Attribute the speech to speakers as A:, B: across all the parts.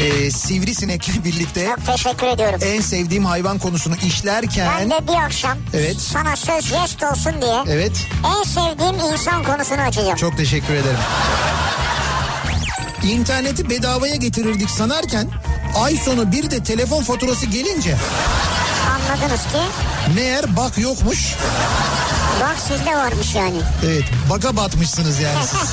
A: e, sivrisinekle birlikte
B: Çok teşekkür ediyorum.
A: en sevdiğim hayvan konusunu
B: ben
A: işlerken...
B: de bir akşam
A: Evet.
B: sana söz jest olsun diye
A: Evet.
B: en sevdiğim insan konusunu açacağım.
A: Çok teşekkür ederim. İnterneti bedavaya getirirdik sanarken ay sonu bir de telefon faturası gelince
B: Anladınız ki
A: meğer bak yokmuş.
B: bak sizde varmış yani.
A: Evet baka batmışsınız yani siz.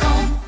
C: com.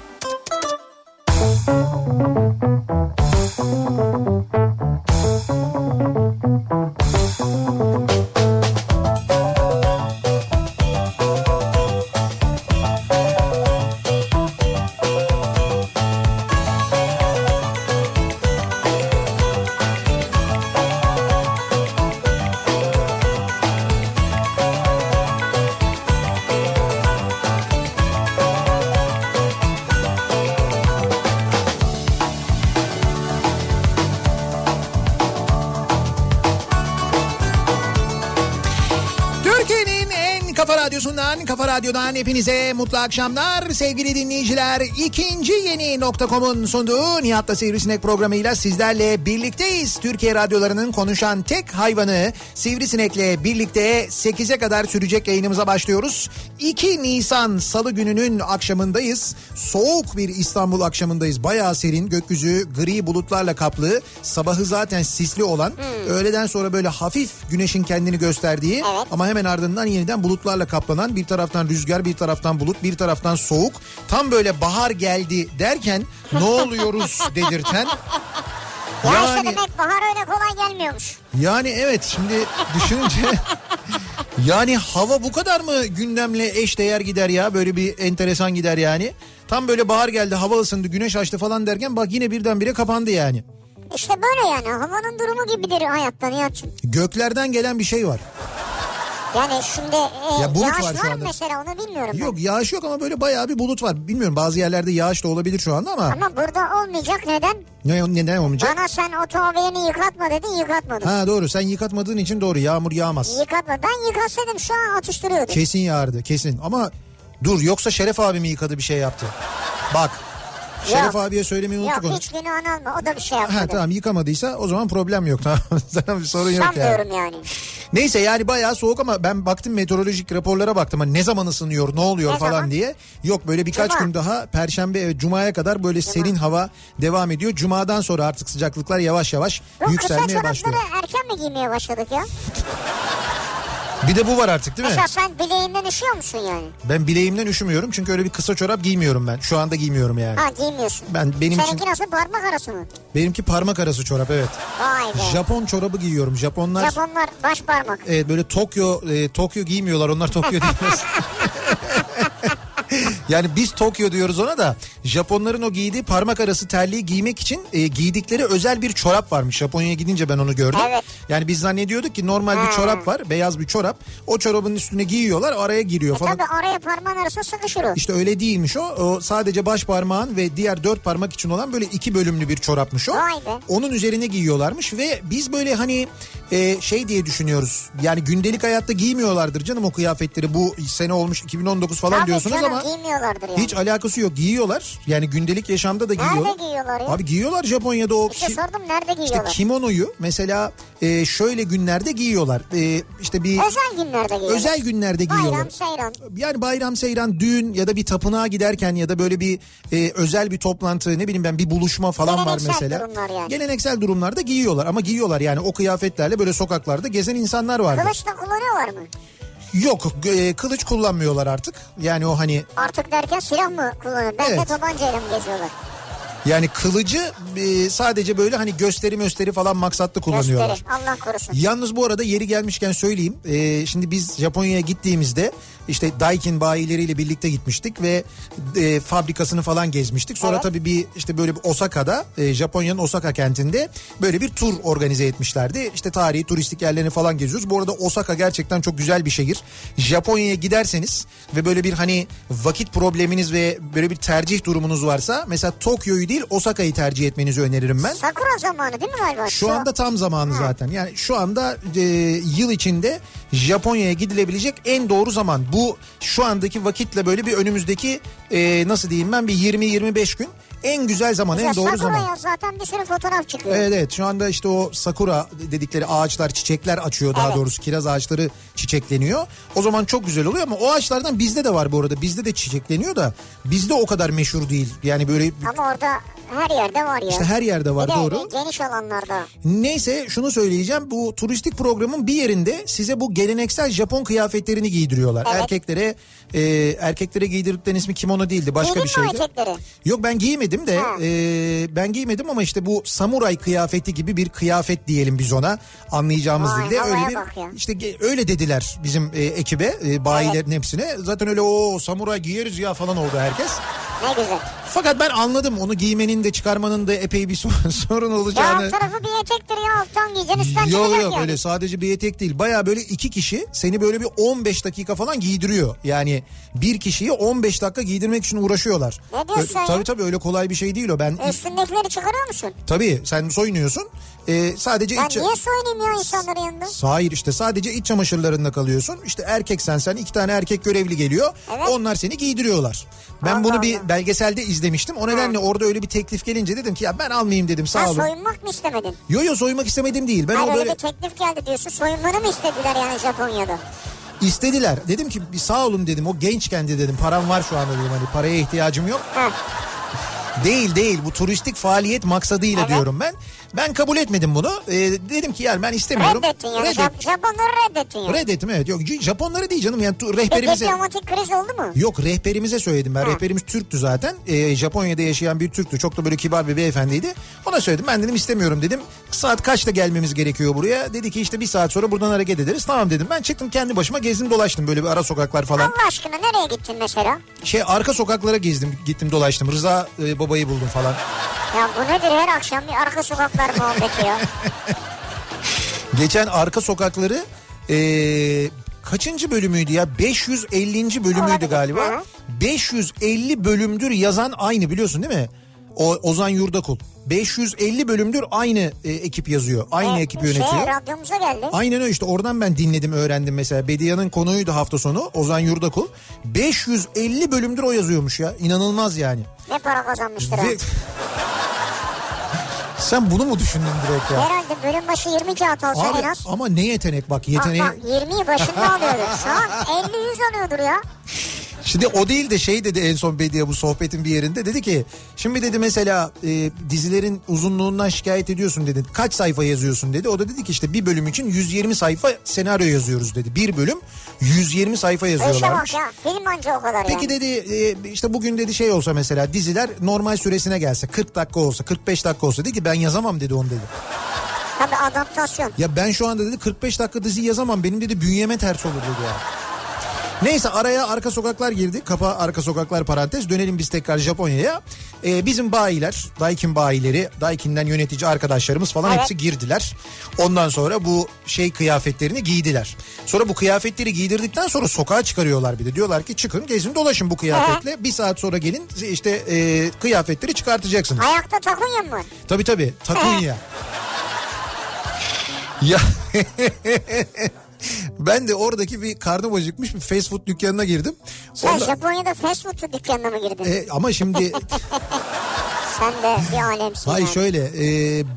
A: Türkiye'nin en kafa radyosundan, kafa radyodan hepinize mutlu akşamlar. Sevgili dinleyiciler, ikinci yeni nokta.com'un sunduğu Nihat'la Sivrisinek programıyla sizlerle birlikteyiz. Türkiye radyolarının konuşan tek hayvanı Sivrisinek'le birlikte 8'e kadar sürecek yayınımıza başlıyoruz. 2 Nisan Salı gününün akşamındayız. Soğuk bir İstanbul akşamındayız. Bayağı serin, gökyüzü gri bulutlarla kaplı. Sabahı zaten sisli olan, öğleden sonra böyle hafif güneşin kendini gösterdiği
B: Evet.
A: ama hemen ardından yeniden bulutlarla kaplanan bir taraftan rüzgar bir taraftan bulut bir taraftan soğuk tam böyle bahar geldi derken ne oluyoruz dedirten
B: Ya işte
A: yani
B: demek bahar öyle kolay gelmiyormuş.
A: yani evet şimdi düşününce yani hava bu kadar mı gündemle eşdeğer gider ya böyle bir enteresan gider yani tam böyle bahar geldi hava ısındı güneş açtı falan derken bak yine birdenbire kapandı yani
B: İşte böyle yani havanın durumu gibidir hayatta Nihat'cığım.
A: göklerden gelen bir şey var
B: Yani şimdi e,
A: Ya bulut
B: yağış
A: var
B: var,
A: şu
B: mı
A: anda.
B: mesela onu bilmiyorum ben.
A: yok yağış yok ama böyle bayağı bir bulut var bilmiyorum bazı yerlerde yağış da olabilir şu anda ama
B: Ama burada olmayacak neden?
A: ne, neden olmayacak?
B: Bana sen o torbeyeni yıkatma dedin yıkatmadın.
A: Ha doğru sen yıkatmadığın için doğru yağmur yağmaz.
B: Yıkatma. Ben yıkatsaydım şu an atıştırıyordum.
A: Kesin yağardı kesin ama dur yoksa Şeref abimi yıkadı bir şey yaptı. Bak Şeref abiye söylemeyi unuttuk
B: Yok
A: onu.
B: hiç günahını alma. O da bir şey
A: Ha
B: yapmadı.
A: tamam yıkamadıysa o zaman problem yok tamam. Tamam, bir sorun yok yani.
B: Sanmıyorum yani.
A: Neyse yani bayağı soğuk ama ben baktım meteorolojik raporlara baktım. Hani ne zaman ısınıyor, ne oluyor
B: Ne
A: falan
B: zaman?
A: diye. Yok böyle birkaç
B: Cuma.
A: gün daha perşembe evet cumaya kadar böyle serin hava devam ediyor. Cumadan sonra artık sıcaklıklar yavaş yavaş
B: Bu kısa
A: yükselmeye
B: çorapları
A: başlıyor.
B: erken mi giymeye başladık ya?
A: Bir de bu var artık değil mi?
B: Mesela sen bileğinden üşüyor musun yani?
A: Ben bileğimden üşümüyorum çünkü öyle bir kısa çorap giymiyorum ben. Şu anda giymiyorum yani.
B: Ha giymiyorsun.
A: Ben benim
B: Seninki
A: için
B: nasıl parmak arası mı?
A: benimki parmak arası çorap evet.
B: Vay be.
A: Japon çorabı giyiyorum. Japonlar
B: Japonlar baş parmak.
A: evet, böyle Tokyo e, Tokyo giymiyorlar. Onlar Tokyo giymez. yani biz Tokyo diyoruz ona da Japonların o giydiği parmak arası terliği giymek için e, giydikleri özel bir çorap varmış. Japonya'ya gidince ben onu gördüm.
B: Evet.
A: Yani biz zannediyorduk ki normal bir çorap var, beyaz bir çorap. O çorabın üstüne giyiyorlar, araya giriyor falan.
B: E, Tabii oraya parmağın arasına sıkışır o.
A: İşte öyle değilmiş o. O sadece baş parmağın ve diğer dört parmak için olan böyle iki bölümlü bir çorapmış o.
B: Vay be.
A: Onun üzerine giyiyorlarmış ve biz böyle hani e, şey diye düşünüyoruz. Yani gündelik hayatta giymiyorlardır canım o kıyafetleri. Bu sene olmuş 2019 falan
B: Tabii
A: diyorsunuz
B: canım,
A: ama
B: giymiyorlardır yani.
A: hiç alakası yok. Giyiyorlar. Yani gündelik yaşamda da
B: Nerede
A: giyiyorlar.
B: giyiyorlar ya?
A: Abi giyiyorlar Japonya'da o
B: İşte
A: ki-
B: sordum nerede
A: işte
B: giyiyorlar?
A: kimonoyu mesela e, şöyle günlerde giyiyorlar. E, işte bir
B: Özel günlerde giyiyorlar.
A: özel günlerde giyiyorlar
B: Bayram, seyran.
A: yani bayram seyran düğün ya da bir tapınağa giderken ya da böyle bir e, özel bir toplantı ne bileyim ben bir buluşma falan
B: Geleneksel
A: var mesela.
B: durumlar yani.
A: Geleneksel durumlarda giyiyorlar ama giyiyorlar yani o kıyafetlerle böyle sokaklarda gezen insanlar vardı.
B: Kılıç da kullanıyorlar mı?
A: Yok e, kılıç kullanmıyorlar artık yani o hani
B: Artık derken silah mı kullanıyor? Ben
A: Evet.
B: de tabancayla mı geziyorlar?
A: Yani kılıcı e, sadece böyle hani gösteri gösteri falan maksatlı kullanıyorlar.
B: Gösteri. Allah korusun.
A: Yalnız bu arada yeri gelmişken söyleyeyim. Ee, şimdi biz Japonya'ya gittiğimizde işte Daikin bayileriyle birlikte gitmiştik ve e, fabrikasını falan gezmiştik. Sonra
B: Evet.
A: tabii bir işte böyle bir Osaka'da e, Japonya'nın Osaka kentinde böyle bir tur organize etmişlerdi. İşte tarihi turistik yerlerini falan geziyoruz. Bu arada Osaka gerçekten çok güzel bir şehir. Japonya'ya giderseniz ve böyle bir hani vakit probleminiz ve böyle bir tercih durumunuz varsa mesela Tokyo'yu değil Osaka'yı tercih etmenizi öneririm ben.
B: Sakura zamanı değil mi galiba?
A: Şu anda tam zamanı zaten. Yani şu anda e, yıl içinde Japonya'ya gidilebilecek en doğru zaman. Bu şu andaki vakitle böyle bir önümüzdeki e, nasıl diyeyim ben bir 20-25 gün en güzel zaman,
B: Ya
A: en doğru
B: Sakura
A: zaman.
B: ya zaten bir sürü fotoğraf çıkıyor.
A: Evet evet şu anda işte o sakura dedikleri ağaçlar çiçekler açıyor daha
B: Evet.
A: doğrusu kiraz ağaçları çiçekleniyor. O zaman çok güzel oluyor ama o ağaçlardan bizde de var bu arada bizde de çiçekleniyor da bizde o kadar meşhur değil. Yani böyle
B: Ama orada her yerde var ya.
A: işte her yerde var
B: bir de
A: doğru.
B: geniş alanlarda.
A: Neyse şunu söyleyeceğim bu turistik programın bir yerinde size bu geleneksel Japon kıyafetlerini giydiriyorlar.
B: Evet.
A: Erkeklere e, erkeklere giydirdikleri ismi kimono değildi başka
B: Giydin
A: bir
B: mi
A: şeydi.
B: erkekleri?
A: Yok ben giymedim de
B: Ha.
A: e, ben giymedim ama işte bu samuray kıyafeti gibi bir kıyafet diyelim biz ona anlayacağımız
B: Vay,
A: dilde öyle
B: havaya
A: bir
B: bak ya.
A: işte ge- öyle dediler bizim e, ekibe e, bayilerin hepsine zaten öyle o samuray giyeriz ya falan oldu herkes.
B: Ne güzel.
A: Fakat ben anladım onu giymenin de çıkarmanın da epey bir sorun- sorun
B: Ya
A: olacağını.
B: alt tarafı bir etektir ya alttan giyeceksin üstten
A: Yok
B: çıkacak
A: yok
B: yani.
A: öyle sadece bir etek değil. Baya böyle iki kişi seni böyle bir 15 dakika falan giydiriyor. Yani bir kişiyi 15 dakika giydirmek için uğraşıyorlar.
B: Ne diyorsun
A: Ö-
B: ya?
A: Tabii tabii öyle kolay bir şey değil o. Ben
B: Üstündekileri çıkarıyor musun?
A: tabii sen soyunuyorsun. Ee, sadece
B: Ben
A: iç
B: niye soyunayım ya insanların yanında?
A: Hayır işte sadece iç çamaşırlarında kalıyorsun. İşte erkeksen sen iki tane erkek görevli geliyor.
B: Evet.
A: Onlar seni giydiriyorlar. Ben
B: Allah
A: bunu bir
B: Allah.
A: belgeselde izlemiştim. O nedenle orada öyle bir teklif gelince dedim ki ya ben almayayım dedim
B: Ben
A: sağ olun.
B: soyunmak mı istemedin?
A: Yo yo soymak istemedim değil. Ben
B: Hayır
A: o
B: öyle
A: böyle
B: bir teklif geldi diyorsun. Soyunmanı mı istediler yani Japonya'da?
A: İstediler. Dedim ki bir sağ olun dedim. O gençken de dedim param var şu anda dedim. Hani paraya ihtiyacım yok.
B: Ha.
A: Değil değil bu turistik faaliyet maksadıyla
B: Evet.
A: diyorum ben. Ben kabul etmedim bunu. Ee, dedim ki yani ben istemiyorum.
B: Reddettin yani.
A: Reddet-
B: Jap- Japonları reddettin yani.
A: Reddettim evet. Yok Japonları değil canım yani tu-
B: Peki
A: rehberimize...
B: diplomatik kriz oldu mu?
A: Yok rehberimize söyledim ben.
B: Ha.
A: Rehberimiz Türktü zaten. Ee, Japonya'da yaşayan bir Türktü. Çok da böyle kibar bir beyefendiydi. Ona söyledim. Ben dedim istemiyorum dedim. Saat kaçta gelmemiz gerekiyor buraya? Dedi ki işte bir saat sonra buradan hareket ederiz. Tamam dedim. Ben çıktım kendi başıma gezdim dolaştım böyle bir ara sokaklar falan.
B: Allah aşkına nereye gittin mesela?
A: Şey arka sokaklara gezdim gittim dolaştım. Rıza e, babayı buldum falan.
B: Ya bu nedir her akşam bir arka sokaklar muhabbeti ya.
A: Geçen arka sokakları e, kaçıncı bölümüydü ya? 550. bölümüydü
B: Olabilir.
A: galiba.
B: Hı.
A: 550 bölümdür yazan aynı biliyorsun değil mi? O Ozan Yurdakul. 550 bölümdür aynı e, ekip yazıyor. Aynı
B: E,
A: ekip yönetiyor.
B: Şey, radyomuza geldi.
A: Aynen öyle işte oradan ben dinledim öğrendim mesela. Bediye'nin konuydu hafta sonu Ozan Yurdakul. 550 bölümdür o yazıyormuş ya. İnanılmaz yani.
B: Ne para kazanmıştır
A: Ve-
B: o.
A: Sen bunu mu düşündün direkt ya?
B: Herhalde bölüm başı 20 kağıt alsa
A: Abi,
B: en az.
A: ama ne yetenek bak
B: Bak
A: yeteneği.
B: bak 20'yi başında alıyordur. Şu an 50-100 alıyordur ya.
A: Şimdi o değil de şey dedi en son Bediye bu sohbetin bir yerinde dedi ki şimdi dedi mesela e, dizilerin uzunluğundan şikayet ediyorsun dedi. Kaç sayfa yazıyorsun dedi. O da dedi ki işte bir bölüm için 120 sayfa senaryo yazıyoruz dedi. Bir bölüm 120 sayfa
B: Bu işe
A: yazıyorlarmış.
B: şey bak ya. Film anca o kadar
A: Peki
B: yani.
A: dedi e, işte bugün dedi şey olsa mesela diziler normal süresine gelse 40 dakika olsa 45 dakika olsa dedi ki ben yazamam dedi onu dedi.
B: Tabii adaptasyon.
A: Ya ben şu anda dedi 45 dakika dizi yazamam. Benim dedi bünyeme ters olur dedi ya. Neyse araya arka sokaklar girdi. Kapa arka sokaklar parantez. Dönelim biz tekrar Japonya'ya. Ee, bizim bayiler, Daikin bayileri, Daikin'den yönetici arkadaşlarımız falan
B: Evet.
A: hepsi girdiler. Ondan sonra bu şey kıyafetlerini giydiler. Sonra bu kıyafetleri giydirdikten sonra sokağa çıkarıyorlar bir de. Diyorlar ki çıkın gezin dolaşın bu kıyafetle. Bir saat sonra gelin işte e, kıyafetleri çıkartacaksınız.
B: Ayakta takunya mı var?
A: Tabii tabii takunya. ya ben de oradaki bir karnım acıkmış bir fast food dükkanına girdim.
B: Sen
A: Orada-
B: Japonya'da fast food dükkanına mı girdin?
A: E, ama şimdi
B: Sen de bir alemsin.
A: hayır
B: yani.
A: şöyle e,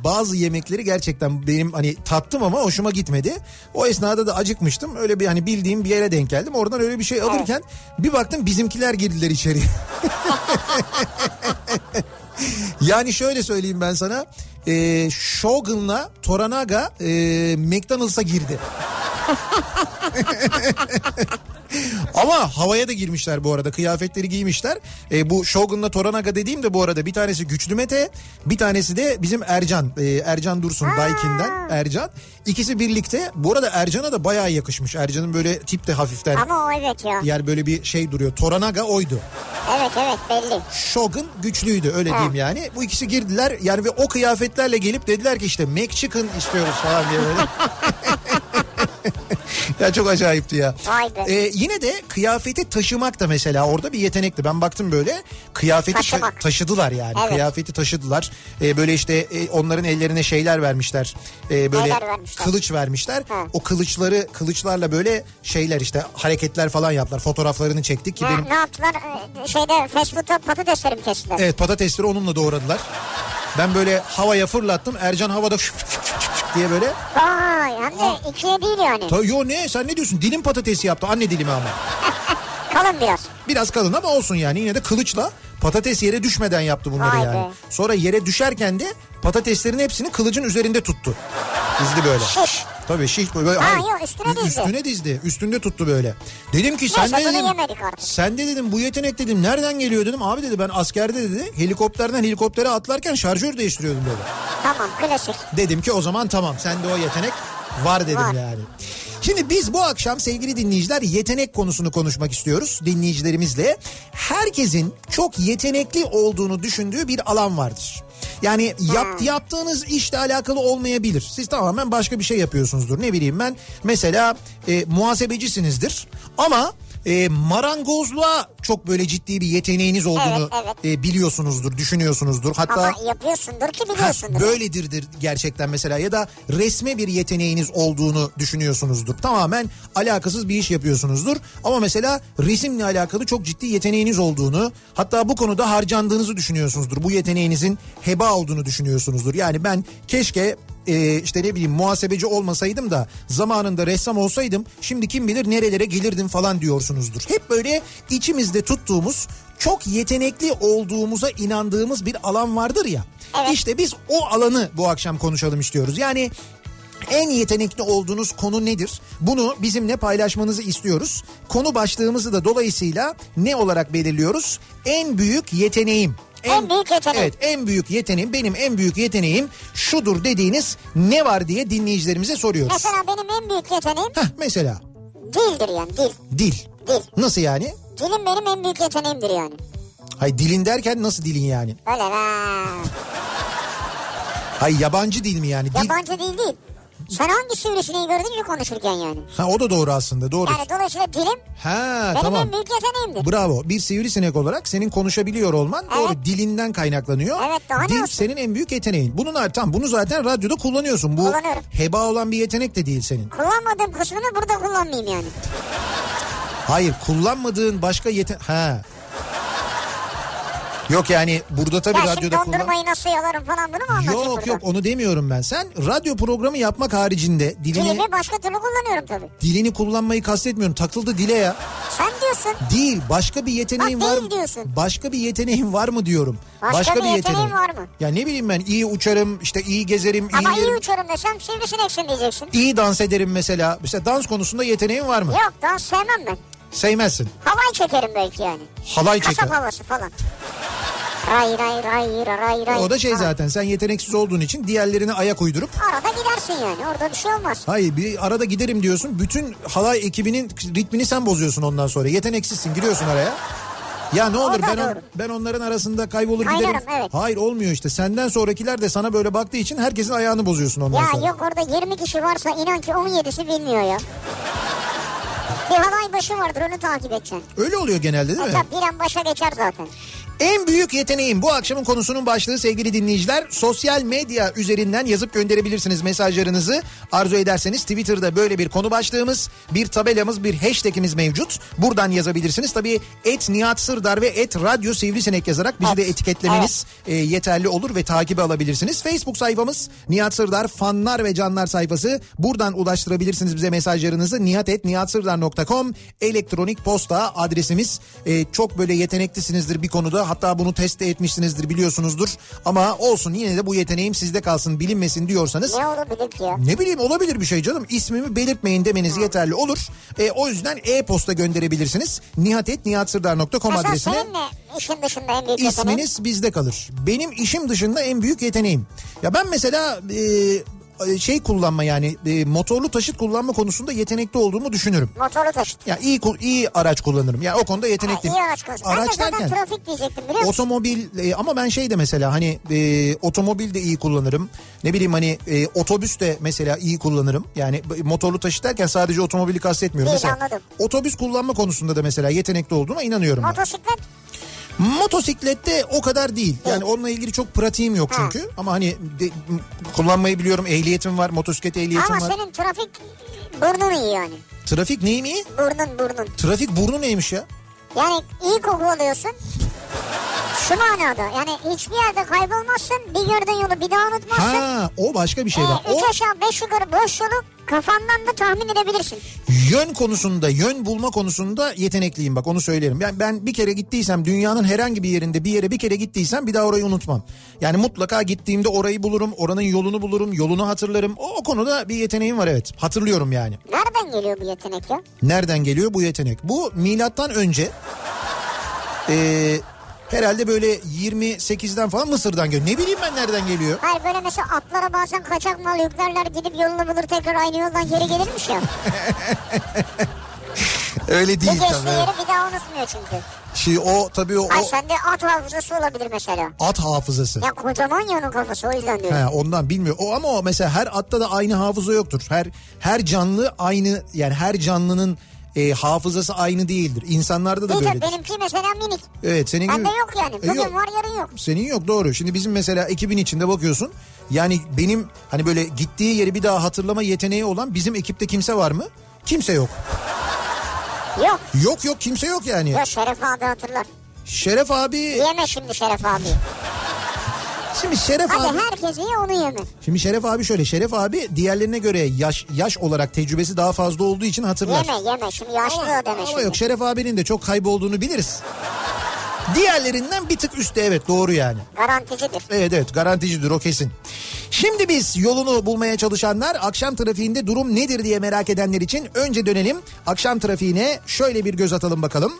A: bazı yemekleri gerçekten benim hani tattım ama hoşuma gitmedi. O esnada da acıkmıştım. Öyle bir hani bildiğim bir yere denk geldim. Oradan öyle bir şey alırken bir baktım bizimkiler girdiler içeriye. Yani şöyle söyleyeyim ben sana. E, Shogun'la Toranaga e, McDonald's'a girdi. Ama havaya da girmişler bu arada. Kıyafetleri giymişler. E, bu Shogun'la Toranaga dediğim de bu arada bir tanesi Güçlü Mete, bir tanesi de bizim Ercan. E, Ercan Dursun Daikin'den Ercan. İkisi birlikte. Bu arada Ercan'a da bayağı yakışmış. Ercan'ın böyle tip de hafiften
B: Ama o evet ya.
A: yer böyle bir şey duruyor. Toranaga oydu.
B: Evet evet belli.
A: Shogun güçlüydü öyle diyeyim yani. Bu ikisi girdiler yani ve o kıyafetlerle gelip dediler ki işte McChicken istiyoruz falan diye böyle. ya çok acayipti ya.
B: Vay be.
A: Ee, yine de kıyafeti taşımak da mesela orada bir yetenekti. Ben baktım böyle kıyafeti şa-
B: Taşımak.
A: taşıdılar yani.
B: Evet.
A: Kıyafeti taşıdılar. Ee, böyle işte e, onların ellerine şeyler vermişler. Ee, böyle
B: Neler vermişler?
A: kılıç vermişler.
B: Hı.
A: O kılıçları kılıçlarla böyle şeyler işte hareketler falan yaptılar. Fotoğraflarını çektik ki
B: Ne,
A: benim E-
B: ne yaptılar? Ee, Şeyde fast food'da patatesleri mi kestiler?
A: Evet patatesleri onunla doğradılar. Ben böyle havaya fırlattım. Ercan havada şıp şıp şıp şıp şıp diye böyle.
B: Vay hem de ikiye değil yani.
A: Ta, yo ne sen ne diyorsun? Dilim patatesi yaptı anne dilimi ama.
B: Kalın biraz.
A: Biraz kalın ama olsun yani. Yine de kılıçla patates yere düşmeden yaptı bunları
B: Vay be.
A: yani. Sonra yere düşerken de patateslerin hepsini kılıcın üzerinde tuttu. Dizdi böyle.
B: Şiş.
A: Tabii şiş böyle.
B: Ha,
A: hayır.
B: yok, üstüne dizdi.
A: Üstüne dizdi. Üstünde tuttu böyle. Dedim ki sen
B: Neyse,
A: de
B: bunu
A: dedim.
B: yemedik artık.
A: Sen de dedim bu yetenek dedim nereden geliyor dedim. Abi dedi ben askerde dedi helikopterden helikoptere atlarken şarjör değiştiriyordum dedi.
B: Tamam klasik.
A: Dedim ki o zaman tamam sende o yetenek var dedim
B: Var.
A: yani. Şimdi biz bu akşam sevgili dinleyiciler yetenek konusunu konuşmak istiyoruz dinleyicilerimizle. Herkesin çok yetenekli olduğunu düşündüğü bir alan vardır. Yani
B: Hmm.
A: yap, yaptığınız işle alakalı olmayabilir. Siz tamamen başka bir şey yapıyorsunuzdur. Ne bileyim ben mesela e, muhasebecisinizdir ama e, marangozluğa çok böyle ciddi bir yeteneğiniz olduğunu
B: Evet,
A: e, biliyorsunuzdur, düşünüyorsunuzdur. Hatta
B: Ama yapıyorsundur ki
A: Ha,
B: biliyorsundur.
A: böyledirdir gerçekten mesela ya da resme bir yeteneğiniz olduğunu düşünüyorsunuzdur. Tamamen alakasız bir iş yapıyorsunuzdur. Ama mesela resimle alakalı çok ciddi yeteneğiniz olduğunu hatta bu konuda harcandığınızı düşünüyorsunuzdur. Bu yeteneğinizin heba olduğunu düşünüyorsunuzdur. Yani ben keşke e, işte ne bileyim muhasebeci olmasaydım da zamanında ressam olsaydım şimdi kim bilir nerelere gelirdim falan diyorsunuzdur. Hep böyle içimizde tuttuğumuz çok yetenekli olduğumuza inandığımız bir alan vardır ya. İşte biz o alanı bu akşam konuşalım istiyoruz. Yani en yetenekli olduğunuz konu nedir? Bunu bizimle paylaşmanızı istiyoruz. Konu başlığımızı da dolayısıyla ne olarak belirliyoruz? En büyük yeteneğim.
B: En büyük yeteneğim.
A: Evet en büyük yeteneğim benim en büyük yeteneğim şudur dediğiniz ne var diye dinleyicilerimize soruyoruz.
B: Mesela benim en büyük yeteneğim
A: Heh, mesela
B: dildir yani dil.
A: dil.
B: Dil.
A: Nasıl yani?
B: Dilim benim en büyük yeteneğimdir yani.
A: Hay dilin derken nasıl dilin yani?
B: Öyle la.
A: Hay yabancı dil mi yani? Dil...
B: Yabancı dil değil. Sen hangi sivrisineği gördün ki konuşurken yani?
A: Ha o da doğru aslında doğru.
B: Yani dolayısıyla dilim
A: Ha
B: benim
A: E, tamam.
B: en büyük yeteneğimdir.
A: Bravo. Bir sivrisinek olarak senin konuşabiliyor olman
B: Evet.
A: doğru dilinden kaynaklanıyor.
B: Evet, daha ne
A: Dil
B: olsun?
A: senin en büyük yeteneğin. Bunun ar- tam bunu zaten radyoda kullanıyorsun. Bu
B: Kullanıyorum.
A: heba olan bir yetenek de değil senin.
B: Kullanmadığım kısmını burada kullanmayayım yani.
A: Hayır, kullanmadığın başka yeten ha. Yok yani burada tabii
B: Ya şimdi
A: radyoda kullan.
B: dondurmayı nasıl yalarım falan bunu mu anlatayım
A: Yok
B: burada?
A: yok onu demiyorum ben. Sen radyo programı yapmak haricinde dilini
B: Dilimi başka türlü kullanıyorum tabii.
A: dilini kullanmayı kastetmiyorum. Takıldı dile ya.
B: Sen diyorsun.
A: Değil başka bir yeteneğin
B: Ha,
A: var
B: değil diyorsun.
A: Başka bir yeteneğin var mı diyorum.
B: Başka bir yeteneğin
A: yeteneğin.
B: var mı?
A: Ya ne bileyim ben iyi uçarım işte iyi gezerim.
B: Ama
A: iyi,
B: iyi uçarım desem sivrisineksin diyeceksin.
A: iyi dans ederim mesela. Mesela dans konusunda yeteneğin var mı?
B: Yok daha sevmem ben.
A: Sevmezsin.
B: Havay çekerim belki yani.
A: Halay çeker.
B: Kasap havası falan. Ray ray ray ray ray.
A: O da şey
B: falan.
A: zaten sen yeteneksiz olduğun için diğerlerine ayak uydurup
B: Arada gidersin yani orada bir şey olmaz.
A: Hayır bir arada giderim diyorsun. Bütün halay ekibinin ritmini sen bozuyorsun ondan sonra. Yeteneksizsin giriyorsun araya. Ya ne olur
B: da
A: ben on-
B: doğru.
A: ben onların arasında kaybolur
B: Kaynarım,
A: giderim.
B: evet.
A: Hayır olmuyor işte. Senden sonrakiler de sana böyle baktığı için herkesin ayağını bozuyorsun ondan
B: Ya
A: sonra.
B: yok orada 20 kişi varsa inan ki 17'si bilmiyor ya. Bir halay başı vardır onu takip edeceksin.
A: Öyle oluyor genelde değil mi?
B: Hatta bilen başa geçer zaten.
A: En büyük yeteneğim bu akşamın konusunun başlığı sevgili dinleyiciler. Sosyal medya üzerinden yazıp gönderebilirsiniz mesajlarınızı. Arzu ederseniz Twitter'da böyle bir konu başlığımız, bir tabelamız, bir hashtagimiz mevcut. Buradan yazabilirsiniz. Tabii et Nihat Sırdar ve et Radyo Sivrisinek yazarak bizi de etiketlemeniz e, yeterli olur ve takibe alabilirsiniz. Facebook sayfamız Nihat Sırdar fanlar ve canlar sayfası. Buradan ulaştırabilirsiniz bize mesajlarınızı. nihat.nihatsırdar.com elektronik posta adresimiz. E, çok böyle yeteneklisinizdir bir konuda Hatta bunu test de etmişsinizdir biliyorsunuzdur. Ama olsun yine de bu yeteneğim sizde kalsın bilinmesin diyorsanız
B: Ne olabilir ki ya?
A: ne bileyim olabilir bir şey canım. İsmimi belirtmeyin demeniz yeterli olur. E, o yüzden e-posta gönderebilirsiniz. nihatetnihatsırdar.com
B: Mesela
A: adresine.
B: senin ne işin dışında en büyük yeteneğin?
A: İsminiz bizde kalır. Benim işim dışında en büyük yeteneğim. Ya ben mesela e, şey kullanma yani e, motorlu taşıt kullanma konusunda yetenekli olduğumu düşünürüm.
B: Motorlu taşıt.
A: Ya iyi kul- iyi araç kullanırım. Ya o konuda
B: Ha,
A: yetenekliyim.
B: iyi araç konusu. Ben de
A: Araç
B: zaten
A: derken
B: trafik diyecektim biliyor musun?
A: otomobil e, ama ben şey de mesela hani e, otomobil de iyi kullanırım. Ne bileyim hani e, otobüs de mesela iyi kullanırım. Yani b- motorlu taşıt derken sadece otomobili kastetmiyorum.
B: Değil,
A: mesela
B: anladım.
A: otobüs kullanma konusunda da mesela yetenekli olduğuma inanıyorum. ben.
B: Motosiklet
A: Motosiklette o kadar değil. Yani onunla ilgili çok pratiğim yok çünkü. Ama hani de- m- kullanmayı biliyorum. Ehliyetim var. Motosiklet ehliyetim
B: ama
A: var.
B: senin trafik burnun iyi yani.
A: Trafik neyim iyi?
B: Burnun burnun.
A: Trafik burnu neymiş ya?
B: Yani iyi koku alıyorsun. Şu manada yani hiçbir yerde kaybolmazsın. Bir gördüğün yolu bir daha unutmazsın.
A: Ha, o başka bir şey var.
B: Ee,
A: O
B: üç aşağı beş yukarı boş yolu kafandan da tahmin edebilirsin.
A: yön konusunda, yön bulma konusunda yetenekliyim bak onu söylerim. Yani ben bir kere gittiysem dünyanın herhangi bir yerinde bir yere bir kere gittiysem bir daha orayı unutmam. Yani mutlaka gittiğimde orayı bulurum, oranın yolunu bulurum, yolunu hatırlarım. O, o konuda bir yeteneğim var evet. Hatırlıyorum yani.
B: Nereden geliyor bu yetenek ya?
A: Nereden geliyor bu yetenek? Bu milattan önce eee, herhalde böyle 28'den falan Mısır'dan geliyor. Ne bileyim ben nereden geliyor?
B: Hayır böyle mesela atlara bazen kaçak mal yüklerler gidip yolunu bulur tekrar aynı yoldan geri gelirmiş ya.
A: Öyle
B: bir
A: değil
B: geçtiği
A: tabii.
B: yeri bir daha unutmuyor çünkü.
A: Şimdi o tabii o,
B: Ay
A: o
B: sende at hafızası olabilir mesela.
A: at hafızası.
B: Ya kocaman ya onun kafası o yüzden diyorum.
A: He, ondan bilmiyor. O ama o mesela her atta da aynı hafıza yoktur. Her her canlı aynı yani her canlının e, hafızası aynı değildir. İnsanlarda da
B: İyi de
A: böyledir.
B: benimki mesela minik.
A: Evet senin gibi.
B: Bende yok yani.
A: E,
B: Bugün var yarın yok.
A: Senin yok doğru. Şimdi bizim mesela ekibin içinde bakıyorsun. Yani benim hani böyle gittiği yeri bir daha hatırlama yeteneği olan bizim ekipte kimse var mı? Kimse yok.
B: Yok.
A: Yok yok kimse yok yani.
B: Yok Şeref abi hatırlar.
A: Şeref abi.
B: Yeme şimdi Şeref abi.
A: Şimdi Şeref abi.
B: Hadi herkes ye onu yeme.
A: Şimdi Şeref abi şöyle. Şeref abi diğerlerine göre yaş yaş olarak tecrübesi daha fazla olduğu için hatırlar.
B: Yeme yeme şimdi yaşlı o deme
A: Ama
B: şimdi.
A: yok Şeref abinin de çok kaybolduğunu biliriz. Diğerlerinden bir tık üstte evet doğru yani.
B: Garanticidir.
A: Evet evet garanticidir o kesin. Şimdi biz yolunu bulmaya çalışanlar akşam trafiğinde durum nedir diye merak edenler için önce dönelim. Akşam trafiğine şöyle bir göz atalım bakalım.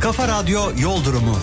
D: Kafa Radyo Yol Durumu.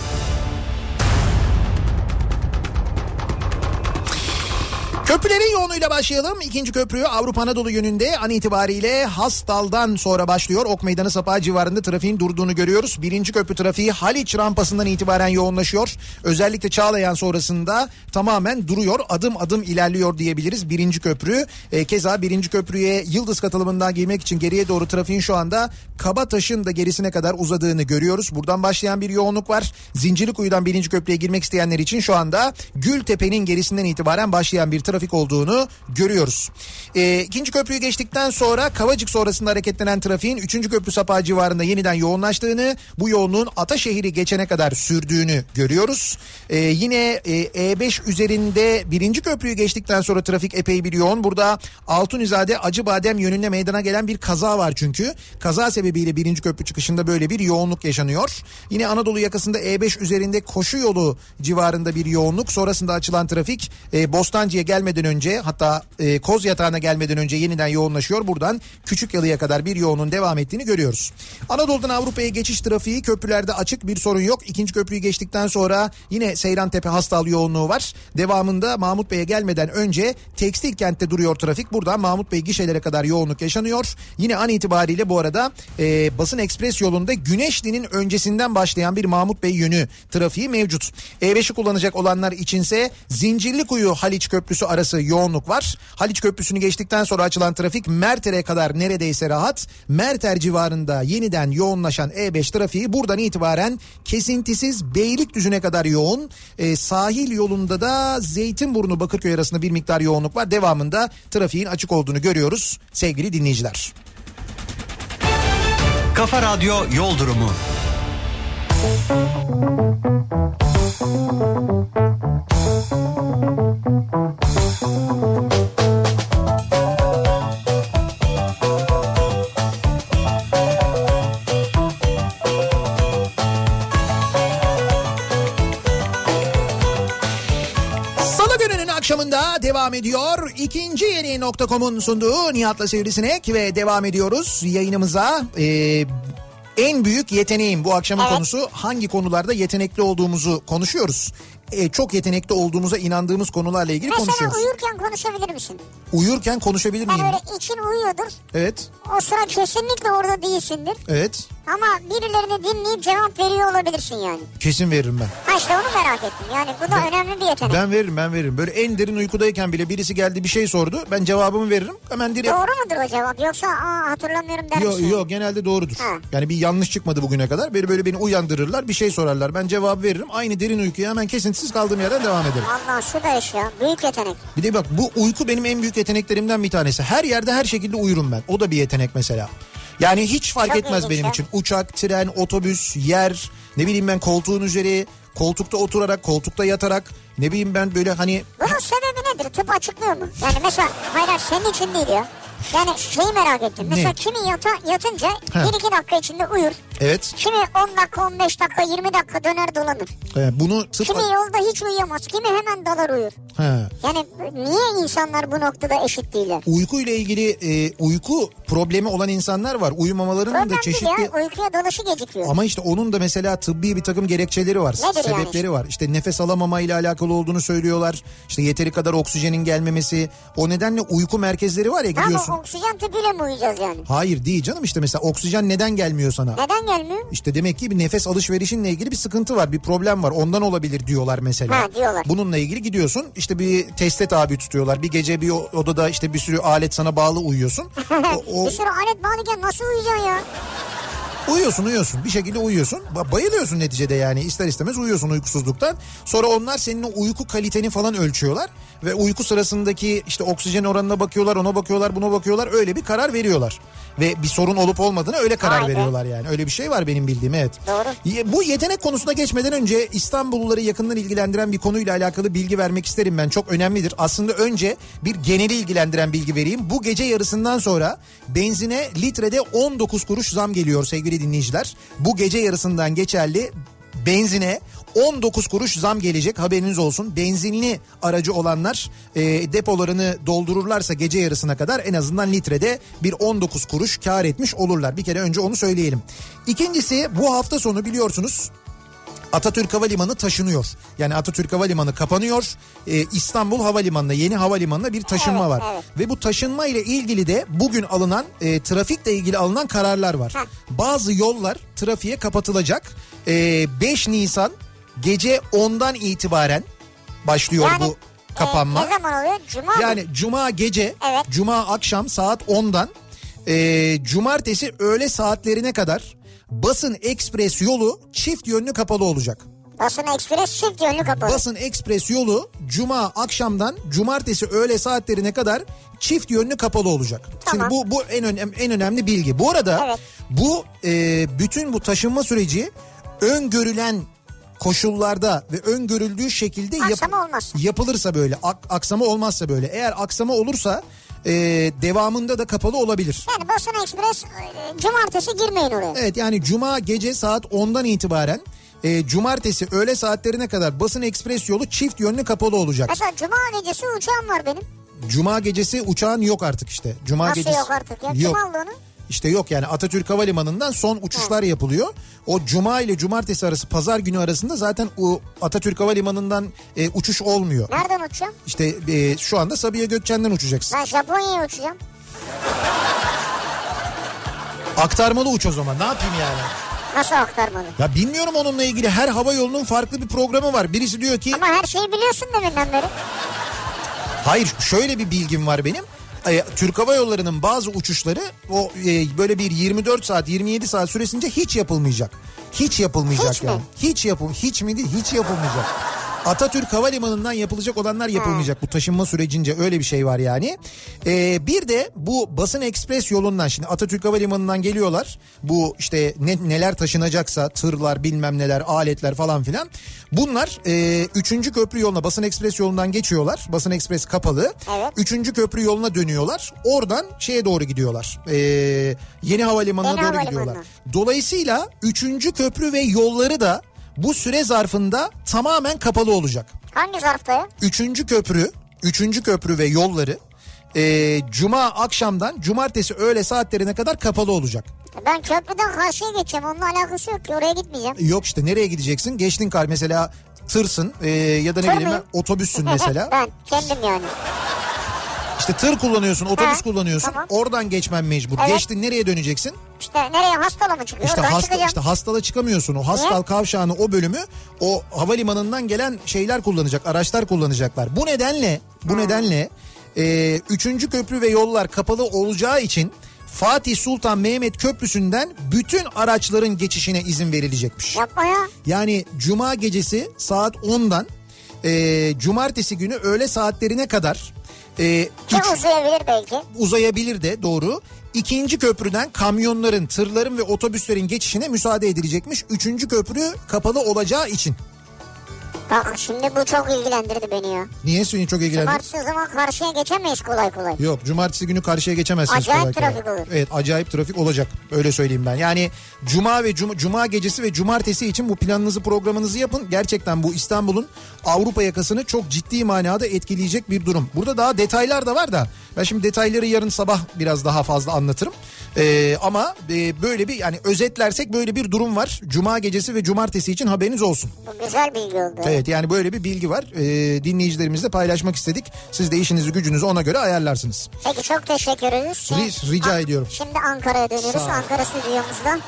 A: Köprülerin yoğunluğuyla başlayalım. İkinci köprü Avrupa Anadolu yönünde an itibariyle Hastal'dan sonra başlıyor. Ok Meydanı Sapağı civarında trafiğin durduğunu görüyoruz. Birinci köprü trafiği Haliç rampasından itibaren yoğunlaşıyor. Özellikle Çağlayan sonrasında tamamen duruyor. Adım adım ilerliyor diyebiliriz birinci köprü. E, keza birinci köprüye Yıldız katılımından girmek için geriye doğru trafiğin şu anda Kabataş'ın da gerisine kadar uzadığını görüyoruz. Buradan başlayan bir yoğunluk var. Zincirlikuyu'dan birinci köprüye girmek isteyenler için şu anda Gültepe'nin gerisinden itibaren başlayan bir trafik olduğunu görüyoruz. E, ikinci köprüyü geçtikten sonra Kavacık sonrasında hareketlenen trafiğin 3. köprü sapağı civarında yeniden yoğunlaştığını, bu yoğunluğun Ataşehir'i geçene kadar sürdüğünü görüyoruz. E, yine e, E5 üzerinde 1. köprüyü geçtikten sonra trafik epey bir yoğun. Burada Altunizade Acıbadem yönünde meydana gelen bir kaza var çünkü. Kaza sebebiyle 1. köprü çıkışında böyle bir yoğunluk yaşanıyor. Yine Anadolu yakasında E5 E üzerinde koşu yolu civarında bir yoğunluk. Sonrasında açılan trafik e, Bostancı'ya gelmeden önce hatta e, Koz Yatağı'na gelmeden önce yeniden yoğunlaşıyor. Buradan Küçük Yalı'ya kadar bir yoğunun devam ettiğini görüyoruz. Anadolu'dan Avrupa'ya geçiş trafiği köprülerde açık bir sorun yok. İkinci köprüyü geçtikten sonra yine Seyran Tepe Hastal yoğunluğu var. Devamında Mahmut Bey'e gelmeden önce Tekstil Kent'te duruyor trafik. Buradan Mahmut Bey gişelere kadar yoğunluk yaşanıyor. Yine an itibariyle bu arada e, Basın Ekspres yolunda Güneşli'nin öncesinden başlayan bir Mahmut Bey yönü trafiği mevcut. E5'i kullanacak olanlar içinse Zincirlikuyu Haliç Köprüsü arası yoğunluk var. Haliç Köprüsü'nü geçtikten sonra açılan trafik Merter'e kadar neredeyse rahat. Merter civarında yeniden yoğunlaşan E5 trafiği buradan itibaren kesintisiz Beylikdüzü'ne kadar yoğun. E, sahil yolunda da Zeytinburnu Bakırköy arasında bir miktar yoğunluk var. Devamında trafiğin açık olduğunu görüyoruz sevgili dinleyiciler.
D: Kafa Radyo Yol Durumu.
A: akşamında devam ediyor. İkinci yeni nokta.com'un sunduğu Nihat'la Sivrisinek ve devam ediyoruz yayınımıza. Ee, en büyük yeteneğim bu akşamın
B: Evet.
A: konusu hangi konularda yetenekli olduğumuzu konuşuyoruz. Ee, çok yetenekli olduğumuza inandığımız konularla ilgili
B: Mesela
A: konuşuyoruz.
B: uyurken konuşabilir misin?
A: Uyurken konuşabilir
B: Ben
A: miyim?
B: öyle için uyuyordur.
A: Evet,
B: O sıra kesinlikle orada değilsindir.
A: evet.
B: Ama birilerini dinleyip cevap veriyor olabilirsin yani.
A: Kesin veririm ben.
B: Ha işte onu merak ettim. Yani bu da önemli bir yetenek.
A: Ben veririm ben veririm. Böyle en derin uykudayken bile birisi geldi bir şey sordu. Ben cevabımı veririm. Hemen direkt...
B: Doğru mudur o cevap? Yoksa Aa, hatırlamıyorum der
A: Yok
B: misin?
A: yok genelde doğrudur.
B: Ha.
A: Yani bir yanlış çıkmadı bugüne kadar. Böyle böyle beni uyandırırlar bir şey sorarlar. Ben cevap veririm. Aynı derin uykuya hemen kesintisiz kaldığım yerden devam ederim.
B: Allah şu da iş ya. Büyük yetenek.
A: Bir de bak bu uyku benim en büyük yeteneklerimden bir tanesi. Her yerde her şekilde uyurum ben. O da bir yetenek mesela. Yani hiç fark
B: Çok
A: etmez
B: ilginç
A: benim
B: ya.
A: için. Uçak, tren, otobüs, yer, ne bileyim ben koltuğun üzeri, koltukta oturarak, koltukta yatarak, ne bileyim ben böyle hani
B: Bunun sebebi nedir? Tıp açıklıyor mu? Yani mesela hayır hayır, senin için değil ya. Yani şeyi merak ettim. Mesela
A: Ne?
B: kimi yata, yatınca
A: Ha.
B: 1-2 dakika içinde uyur.
A: evet
B: Kimi 10 dakika, 15 dakika, 20 dakika döner dolanır.
A: e, bunu tıp...
B: Kimi yolda hiç uyuyamaz. Kimi hemen dalar uyur.
A: Ha.
B: Yani niye insanlar bu noktada eşit değiller?
A: Uyku ile ilgili e, uyku problemi olan insanlar var. Uyumamalarının
B: Problem
A: da
B: değil
A: çeşitli
B: ya. Uykuya dalışı gecikiyor.
A: Ama işte onun da mesela tıbbi bir takım gerekçeleri var.
B: Nedir yani?
A: sebepleri var. İşte nefes alamama ile alakalı olduğunu söylüyorlar. İşte yeteri kadar oksijenin gelmemesi. O nedenle uyku merkezleri var ya
B: Tamam
A: gidiyorsun.
B: oksijen tüpüyle mi uyuyacağız yani?
A: Hayır değil canım işte mesela oksijen neden gelmiyor sana?
B: Neden gelmiyor?
A: İşte demek ki bir nefes alışverişinle ilgili bir sıkıntı var, bir problem var. Ondan olabilir diyorlar mesela.
B: Ha, diyorlar.
A: Bununla ilgili gidiyorsun işte bir teste tabi tutuyorlar. Bir gece bir o- odada işte bir sürü alet sana bağlı uyuyorsun. O- o-
B: Bir şey sürü alet bağlıken nasıl uyuyacaksın ya?
A: Uyuyorsun uyuyorsun bir şekilde uyuyorsun Ba- bayılıyorsun neticede yani ister istemez uyuyorsun uykusuzluktan sonra onlar senin o uyku kaliteni falan ölçüyorlar ve uyku sırasındaki işte oksijen oranına bakıyorlar ona bakıyorlar buna bakıyorlar öyle bir karar veriyorlar ve bir sorun olup olmadığına öyle karar
B: Vay be.
A: veriyorlar yani öyle bir şey var benim bildiğim evet.
B: Doğru.
A: Ye- Bu yetenek konusuna geçmeden önce İstanbulluları yakından ilgilendiren bir konuyla alakalı bilgi vermek isterim ben çok önemlidir aslında önce bir geneli ilgilendiren bilgi vereyim bu gece yarısından sonra benzine litrede 19 kuruş zam geliyor sevgili dinleyiciler bu gece yarısından geçerli benzine 19 kuruş zam gelecek haberiniz olsun. Benzinli aracı olanlar e, depolarını doldururlarsa gece yarısına kadar en azından litrede bir 19 kuruş kar etmiş olurlar. Bir kere önce onu söyleyelim. İkincisi bu hafta sonu biliyorsunuz Atatürk Havalimanı taşınıyor. Yani Atatürk Havalimanı kapanıyor. Ee, İstanbul Havalimanı'na yeni havalimanına bir taşınma
B: Evet,
A: var.
B: evet.
A: Ve bu taşınma ile ilgili de bugün alınan e, trafikle ilgili alınan kararlar var.
B: Heh.
A: Bazı yollar trafiğe kapatılacak. Ee, 5 Nisan gece 10'dan itibaren başlıyor
B: Yani,
A: bu kapanma.
B: Ee, ne zaman oluyor? Cuma mı?
A: Yani cuma gece,
B: Evet.
A: cuma akşam saat 10'dan e, cumartesi öğle saatlerine kadar basın ekspres yolu çift yönlü kapalı olacak.
B: Basın Ekspres çift yönlü kapalı.
A: Basın ekspres yolu cuma akşamdan cumartesi öğle saatlerine kadar çift yönlü kapalı olacak.
B: Tamam.
A: Şimdi bu bu en önem, en önemli bilgi. Bu arada
B: Evet.
A: bu e, bütün bu taşınma süreci öngörülen koşullarda ve öngörüldüğü şekilde yap-
B: Aksama olmaz.
A: yapılırsa böyle ak- aksama olmazsa böyle eğer aksama olursa e, devamında da kapalı olabilir.
B: Yani Basın Ekspres e, cumartesi girmeyin oraya.
A: Evet yani cuma gece saat 10'dan itibaren e, cumartesi öğle saatlerine kadar basın ekspres yolu çift yönlü kapalı olacak.
B: Mesela cuma gecesi uçağım var benim.
A: Cuma gecesi uçağın yok artık işte. Cuma
B: Nasıl
A: gecesi
B: yok artık ya?
A: Yok.
B: Kim aldı onu?
A: İşte yok yani Atatürk Havalimanı'ndan son uçuşlar yapılıyor. O cuma ile cumartesi arası pazar günü arasında zaten o Atatürk Havalimanı'ndan e, uçuş olmuyor.
B: Nereden uçacağım?
A: İşte e, şu anda Sabiha Gökçen'den uçacaksın.
B: Ben Japonya'ya uçacağım.
A: Aktarmalı uç o zaman ne yapayım yani?
B: Nasıl aktarmalı?
A: Ya bilmiyorum onunla ilgili her hava yolunun farklı bir programı var. Birisi diyor ki
B: Ama her şeyi biliyorsun deminden beri.
A: Hayır şöyle bir bilgim var benim. E, Türk Hava Yolları'nın bazı uçuşları o e, böyle bir 24 saat 27 saat süresince hiç yapılmayacak. Hiç yapılmayacak
B: Hiç mi?
A: yani. Hiç yapım hiç mi değil hiç yapılmayacak. Atatürk Havalimanı'ndan yapılacak olanlar yapılmayacak. Bu taşınma sürecince öyle bir şey var yani. E, bir de bu basın ekspres yolundan şimdi Atatürk Havalimanı'ndan geliyorlar. Bu işte ne- neler taşınacaksa tırlar bilmem neler aletler falan filan. Bunlar e, 3. köprü yoluna basın ekspres yolundan geçiyorlar. Basın ekspres kapalı.
B: Evet.
A: 3. köprü yoluna dönüyorlar. Oradan şeye doğru gidiyorlar. E, yeni havalimanına
B: Yeni
A: doğru
B: havalimanına.
A: gidiyorlar. Dolayısıyla 3. köprü ve yolları da bu süre zarfında tamamen kapalı olacak.
B: Hangi zarfta ya?
A: 3. köprü 3. köprü ve yolları e, cuma akşamdan cumartesi öğle saatlerine kadar kapalı olacak.
B: Ben köprüden karşıya geçeceğim. Onunla alakası yok ki. Oraya gitmeyeceğim.
A: Yok işte nereye gideceksin? Geçtin kar mesela tırsın e, ya da ne
B: Tır
A: bileyim ben
B: mıyım?
A: otobüssün mesela.
B: ben kendim yani.
A: İşte tır kullanıyorsun, otobüs
B: Ha,
A: kullanıyorsun.
B: tamam.
A: Oradan geçmen mecbur.
B: Evet.
A: Geçtin nereye döneceksin?
B: İşte nereye hastala mı çıkıyor?
A: İşte
B: Oradan
A: hasta
B: çıkacağım.
A: işte hastala çıkamıyorsun. O hastal
B: Niye?
A: kavşağını o bölümü o havalimanından gelen şeyler kullanacak, araçlar kullanacaklar. Bu nedenle
B: Hmm.
A: bu nedenle e, 3. köprü ve yollar kapalı olacağı için Fatih Sultan Mehmet Köprüsü'nden bütün araçların geçişine izin verilecekmiş.
B: Yapma ya.
A: Yani cuma gecesi saat 10'dan e, cumartesi günü öğle saatlerine kadar e,
B: Ki
A: üç-
B: uzayabilir belki.
A: uzayabilir de doğru. İkinci köprüden kamyonların, tırların ve otobüslerin geçişine müsaade edilecekmiş. Üçüncü köprü kapalı olacağı için.
B: Bak şimdi bu çok ilgilendirdi beni ya.
A: Niye seni çok ilgilendir?
B: Cumartesi o zaman karşıya geçemeyiz kolay kolay.
A: Yok cumartesi günü karşıya geçemezsiniz.
B: Acayip
A: kolay kolay.
B: trafik olur.
A: Evet acayip trafik olacak öyle söyleyeyim ben. Yani cuma ve cuma, cuma gecesi ve cumartesi için bu planınızı programınızı yapın. Gerçekten bu İstanbul'un Avrupa yakasını çok ciddi manada etkileyecek bir durum. Burada daha detaylar da var da ben şimdi detayları yarın sabah biraz daha fazla anlatırım. Ee, ama e, böyle bir yani özetlersek böyle bir durum var. Cuma gecesi ve cumartesi için haberiniz olsun.
B: Bu güzel bilgi oldu.
A: Evet yani böyle bir bilgi var. Ee, dinleyicilerimizle paylaşmak istedik. Siz de işinizi gücünüzü ona göre ayarlarsınız.
B: Peki çok teşekkür ederiz. Şimdi- Ah,
A: Riz- rica ediyorum.
B: Şimdi Ankara'ya dönüyoruz. Ankara stüdyomuzda.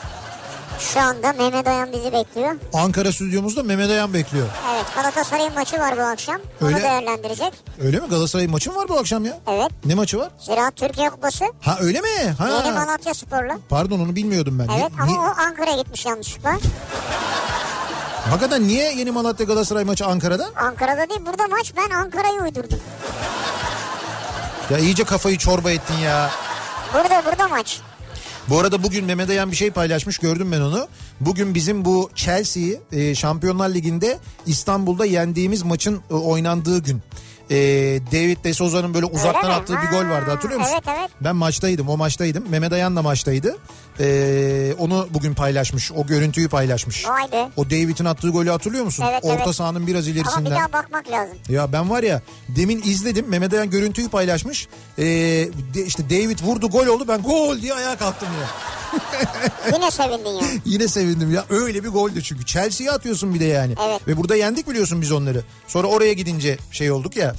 B: Şu anda Mehmet Ayan bizi bekliyor.
A: Ankara stüdyomuzda Mehmet Ayan bekliyor.
B: Evet Galatasaray'ın maçı var bu akşam.
A: Öyle.
B: Onu değerlendirecek.
A: Öyle mi? Galatasaray maçı mı var bu akşam ya?
B: Evet.
A: Ne maçı var?
B: Ziraat Türkiye Kupası.
A: Ha öyle mi?
B: Yeni
A: Ha.
B: Malatya Sporlu.
A: Pardon onu bilmiyordum ben.
B: Evet
A: Ni-
B: ama
A: ni-
B: o Ankara'ya gitmiş yanlışlıkla.
A: Hakikaten niye Yeni Malatya Galatasaray maçı Ankara'da?
B: Ankara'da değil burada maç ben Ankara'yı uydurdum.
A: Ya iyice kafayı çorba ettin ya.
B: Burada burada maç.
A: Bu arada bugün Mehmet Ayan bir şey paylaşmış gördüm ben onu. Bugün bizim bu Chelsea'yi e, Şampiyonlar Ligi'nde İstanbul'da yendiğimiz maçın e, oynandığı gün. E, David De Souza'nın böyle uzaktan
B: mi?
A: attığı bir gol vardı hatırlıyor musun?
B: Evet, evet.
A: Ben maçtaydım o maçtaydım. Mehmet Ayan da maçtaydı. E, onu bugün paylaşmış o görüntüyü paylaşmış.
B: Vay be.
A: O David'in attığı golü hatırlıyor musun?
B: Evet,
A: Orta
B: evet.
A: sahanın biraz
B: Ama bir
A: ilerisinden.
B: daha bakmak lazım.
A: Ya ben var ya demin izledim Mehmet Ayan görüntüyü paylaşmış. Ee, de- işte David vurdu gol oldu ben gol diye ayağa kalktım ya.
B: Yine sevindin ya.
A: Yine sevindim ya öyle bir goldü çünkü Chelsea'ye atıyorsun bir de yani.
B: Evet.
A: Ve burada yendik biliyorsun biz onları. Sonra oraya gidince şey olduk ya.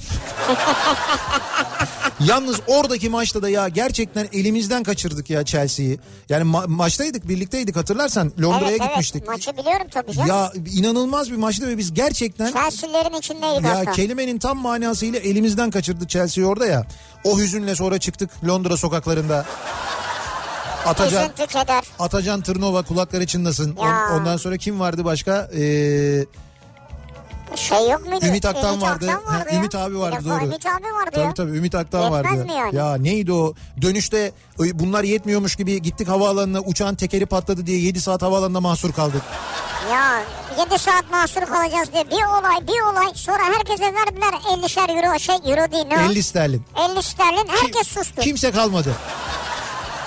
A: Yalnız oradaki maçta da ya gerçekten elimizden kaçırdık ya Chelsea'yi. Yani ma- maçtaydık birlikteydik hatırlarsan Londra'ya
B: evet
A: gitmiştik.
B: evet maçı biliyorum tabii canım.
A: Ya inanılmaz bir maçtı ve biz gerçekten
B: Chelsea'lerin içindeydik
A: ya
B: hatta.
A: kelimenin tam manasıyla elimizden kaçırdı Chelsea'yi orada ya. O hüzünle sonra çıktık Londra sokaklarında. Atacan,
B: Üzüntü keder.
A: Atacan Tırnova kulakları çınlasın. On-
B: Ya.
A: ondan sonra kim vardı başka? Ee,
B: Şey yok muydu?
A: Ümit Aktan vardı.
B: Aktan vardı
A: Ha,
B: ya.
A: Ümit abi vardı
B: Ya,
A: doğru.
B: Ümit abi vardı ya.
A: Tabii tabii Ümit Aktan
B: Yetmez
A: vardı.
B: mi yani?
A: Ya neydi o? Dönüşte e, bunlar yetmiyormuş gibi gittik havaalanına uçağın tekeri patladı diye 7 saat havaalanında mahsur kaldık.
B: Ya 7 saat mahsur kalacağız diye bir olay bir olay sonra herkese verdiler 50'şer euro şey euro değil ne
A: 50
B: 50,
A: sterlin.
B: 50 sterlin herkes sustu.
A: Kimse kalmadı.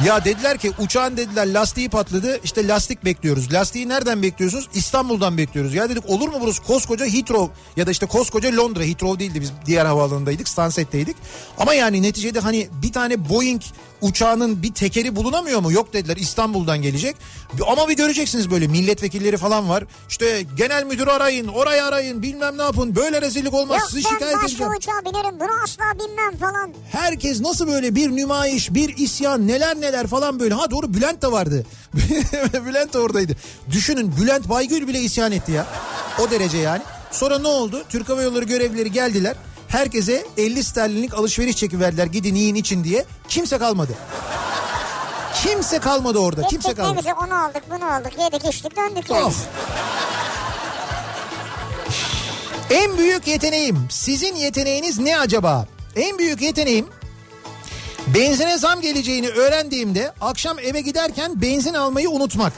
A: Ya dediler ki uçağın dediler lastiği patladı işte lastik bekliyoruz. Lastiği nereden bekliyorsunuz? İstanbul'dan bekliyoruz. Ya dedik olur mu burası koskoca Heathrow ya da işte koskoca Londra Heathrow değildi biz diğer havaalanındaydık Stanset'teydik. Ama yani neticede hani bir tane Boeing uçağının bir tekeri bulunamıyor mu? Yok dediler İstanbul'dan gelecek. Ama bir göreceksiniz böyle milletvekilleri falan var. İşte genel müdürü arayın orayı arayın bilmem ne yapın böyle rezillik olmaz
B: Yok
A: sizi
B: ben
A: şikayet
B: başka
A: edeceğim.
B: uçağa binerim bunu asla binmem falan.
A: Herkes nasıl böyle bir nümayiş, bir isyan, neler neler falan böyle. Ha doğru Bülent de vardı. Bülent de oradaydı. Düşünün Bülent Baygül bile isyan etti ya. O derece yani. Sonra ne oldu? Türk Hava Yolları görevlileri geldiler. Herkese 50 sterlinlik alışveriş çeki verdiler gidin yiyin için diye. Kimse kalmadı. Kimse kalmadı orada. Kimse
B: Gittik ne
A: kalmadı.
B: güzel onu aldık bunu aldık yedik içtik döndük yani.
A: Of. En büyük yeteneğim sizin yeteneğiniz ne acaba? En büyük yeteneğim benzine zam geleceğini öğrendiğimde akşam eve giderken benzin almayı unutmak.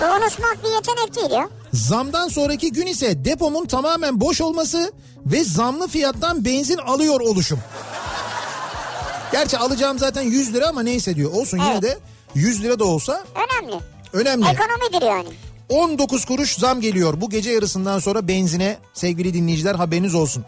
B: Bu Unutmak bir yetenek değil ya.
A: Zamdan sonraki gün ise depomun tamamen boş olması ve zamlı fiyattan benzin alıyor oluşum. Gerçi alacağım zaten 100 lira ama neyse diyor. Olsun yine
B: Evet.
A: de 100 lira da olsa
B: Önemli.
A: önemli.
B: Ekonomidir yani.
A: 19 kuruş zam geliyor bu gece yarısından sonra benzine sevgili dinleyiciler haberiniz olsun.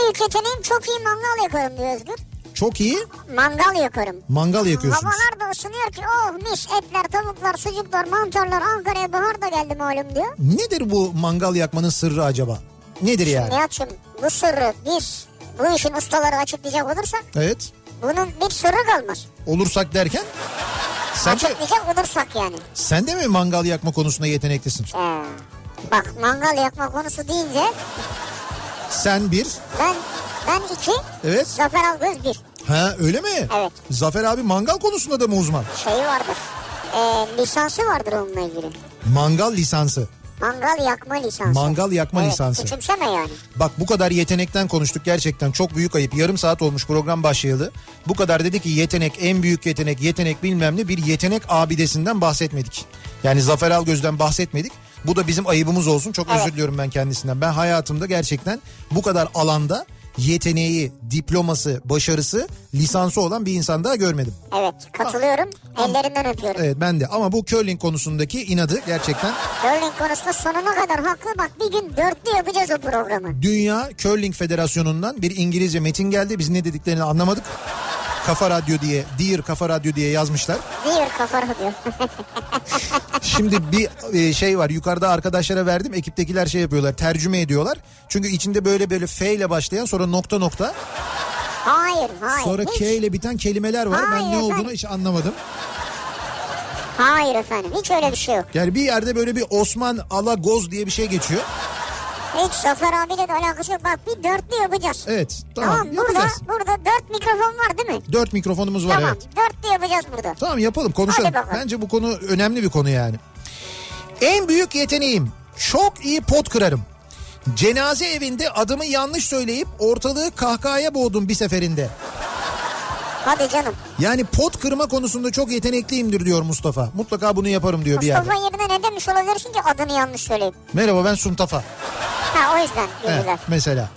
B: Büyük yeteneğim çok iyi mangal yakarım diyor Özgür.
A: Çok iyi
B: Mangal yakarım.
A: mangal yakıyorsunuz.
B: Havalar da ısınıyor ki oh mis etler, tavuklar, sucuklar, mantarlar Ankara'ya bahar da geldi malum diyor.
A: Nedir bu mangal yakmanın sırrı acaba? Nedir yani?
B: Nihat'cığım bu sırrı biz bu işin ustaları açıklayacak olursak
A: Evet.
B: bunun bir sırrı kalmaz.
A: Olursak derken sen de,
B: Açıklayacak olursak yani.
A: sen de mi mangal yakma konusunda yeteneklisin?
B: Ee, bak mangal yakma konusu deyince
A: Sen bir.
B: ben ben iki
A: Evet.
B: Zafer Algöz bir
A: Ha öyle mi?
B: Evet.
A: Zafer abi mangal konusunda da mı uzman?
B: şeyi vardır. Ee, lisansı vardır onunla ilgili.
A: Mangal lisansı.
B: Mangal yakma lisansı.
A: Mangal yakma
B: evet,
A: lisansı.
B: Küçümseme yani.
A: Bak bu kadar yetenekten konuştuk gerçekten çok büyük ayıp. Yarım saat olmuş program başlayalı. Bu kadar dedi ki yetenek en büyük yetenek yetenek bilmem ne bir yetenek abidesinden bahsetmedik. Yani Zafer Algöz'den bahsetmedik. Bu da bizim ayıbımız olsun. Çok özür diliyorum ben kendisinden. Ben hayatımda gerçekten bu kadar alanda yeteneği, diploması, başarısı, lisansı olan bir insan daha görmedim.
B: Evet katılıyorum. Ellerinden öpüyorum.
A: Evet ben de ama bu curling konusundaki inadı gerçekten
B: Curling konusunda sonuna kadar haklı. Bak bir gün dörtlü yapacağız o programı.
A: Dünya Curling Federasyonu'ndan bir İngilizce metin geldi. Biz ne dediklerini anlamadık. Kafa Radyo diye, Dear Kafa Radyo diye yazmışlar.
B: Diyor kafa diyor.
A: Şimdi bir e, şey var yukarıda arkadaşlara verdim. Ekiptekiler şey yapıyorlar, tercüme ediyorlar. Çünkü içinde böyle böyle F ile başlayan sonra nokta nokta.
B: hayır hayır.
A: Sonra
B: hiç,
A: K ile biten kelimeler var.
B: Hayır,
A: Ben ne
B: efendim.
A: olduğunu hiç anlamadım.
B: Hayır efendim hiç öyle bir şey yok.
A: Yani bir yerde böyle bir Osman Alagoz diye bir şey geçiyor.
B: Hiç Zafer abiyle de alakası yok. Bak bir dörtlü yapacağız.
A: Evet tamam,
B: Tamam burada,
A: yapacağız.
B: burada dört mikrofon var değil mi?
A: Dört mikrofonumuz var
B: Tamam
A: evet.
B: dörtlü yapacağız burada.
A: Tamam yapalım konuşalım.
B: Hadi bakalım.
A: Bence bu konu önemli bir konu yani. En büyük yeteneğim çok iyi pot kırarım. Cenaze evinde adımı yanlış söyleyip ortalığı kahkahaya boğdum bir seferinde.
B: Hadi canım.
A: Yani pot kırma konusunda çok yetenekliyimdir diyor Mustafa. Mutlaka bunu yaparım diyor bir yerde.
B: Mustafa yerine ne demiş olabilirsin ki adını yanlış söyleyip.
A: Merhaba ben Suntafa.
B: Ha o yüzden
A: He,
B: dediler.
A: mesela.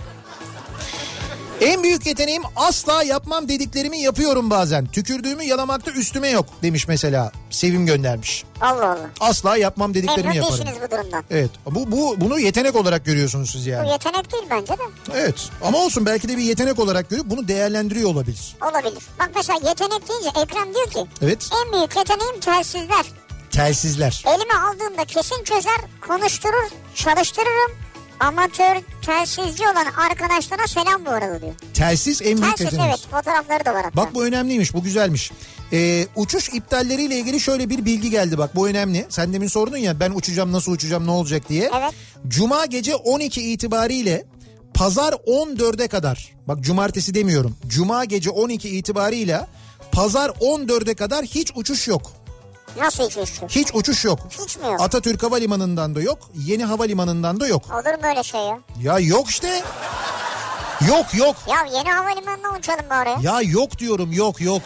A: En büyük yeteneğim asla yapmam dediklerimi yapıyorum bazen. Tükürdüğümü yalamakta üstüme yok demiş mesela. Sevim göndermiş.
B: Allah Allah.
A: Asla yapmam
B: Memnun
A: dediklerimi yaparım.
B: değilsiniz bu durumdan.
A: Evet. Bu bu bunu yetenek olarak görüyorsunuz siz
B: Bu
A: yani.
B: yetenek değil bence de.
A: Evet. Ama olsun belki de bir yetenek olarak görüp bunu değerlendiriyor olabilir.
B: Olabilir. Bak mesela yetenek deyince Ekrem diyor ki
A: Evet.
B: en büyük yeteneğim telsizler.
A: Telsizler.
B: Elime aldığımda kesin çözer, konuşturur, çalıştırırım. Amatör telsizci olan arkadaşlara selam bu arada diyor.
A: Telsiz en büyük
B: Telsiz
A: yetenek.
B: evet fotoğrafları da var hatta.
A: Bak bu önemliymiş, bu güzelmiş. Ee, uçuş iptalleriyle ilgili şöyle bir bilgi geldi bak bu önemli. Sen demin sordun ya ben uçacağım nasıl uçacağım ne olacak diye.
B: Evet.
A: Cuma gece 12 itibariyle pazar 14'e kadar bak cumartesi demiyorum. Cuma gece 12 itibariyle pazar 14'e kadar hiç uçuş yok.
B: Nasıl içiyorsun?
A: Hiç uçuş yok.
B: Hiç mi yok?
A: Atatürk Havalimanı'ndan da yok. Yeni Havalimanı'ndan da yok.
B: Olur mu öyle şey ya?
A: Ya yok işte. Yok yok.
B: Ya yeni havalimanına uçalım bari. Ya.
A: Ya yok diyorum yok yok.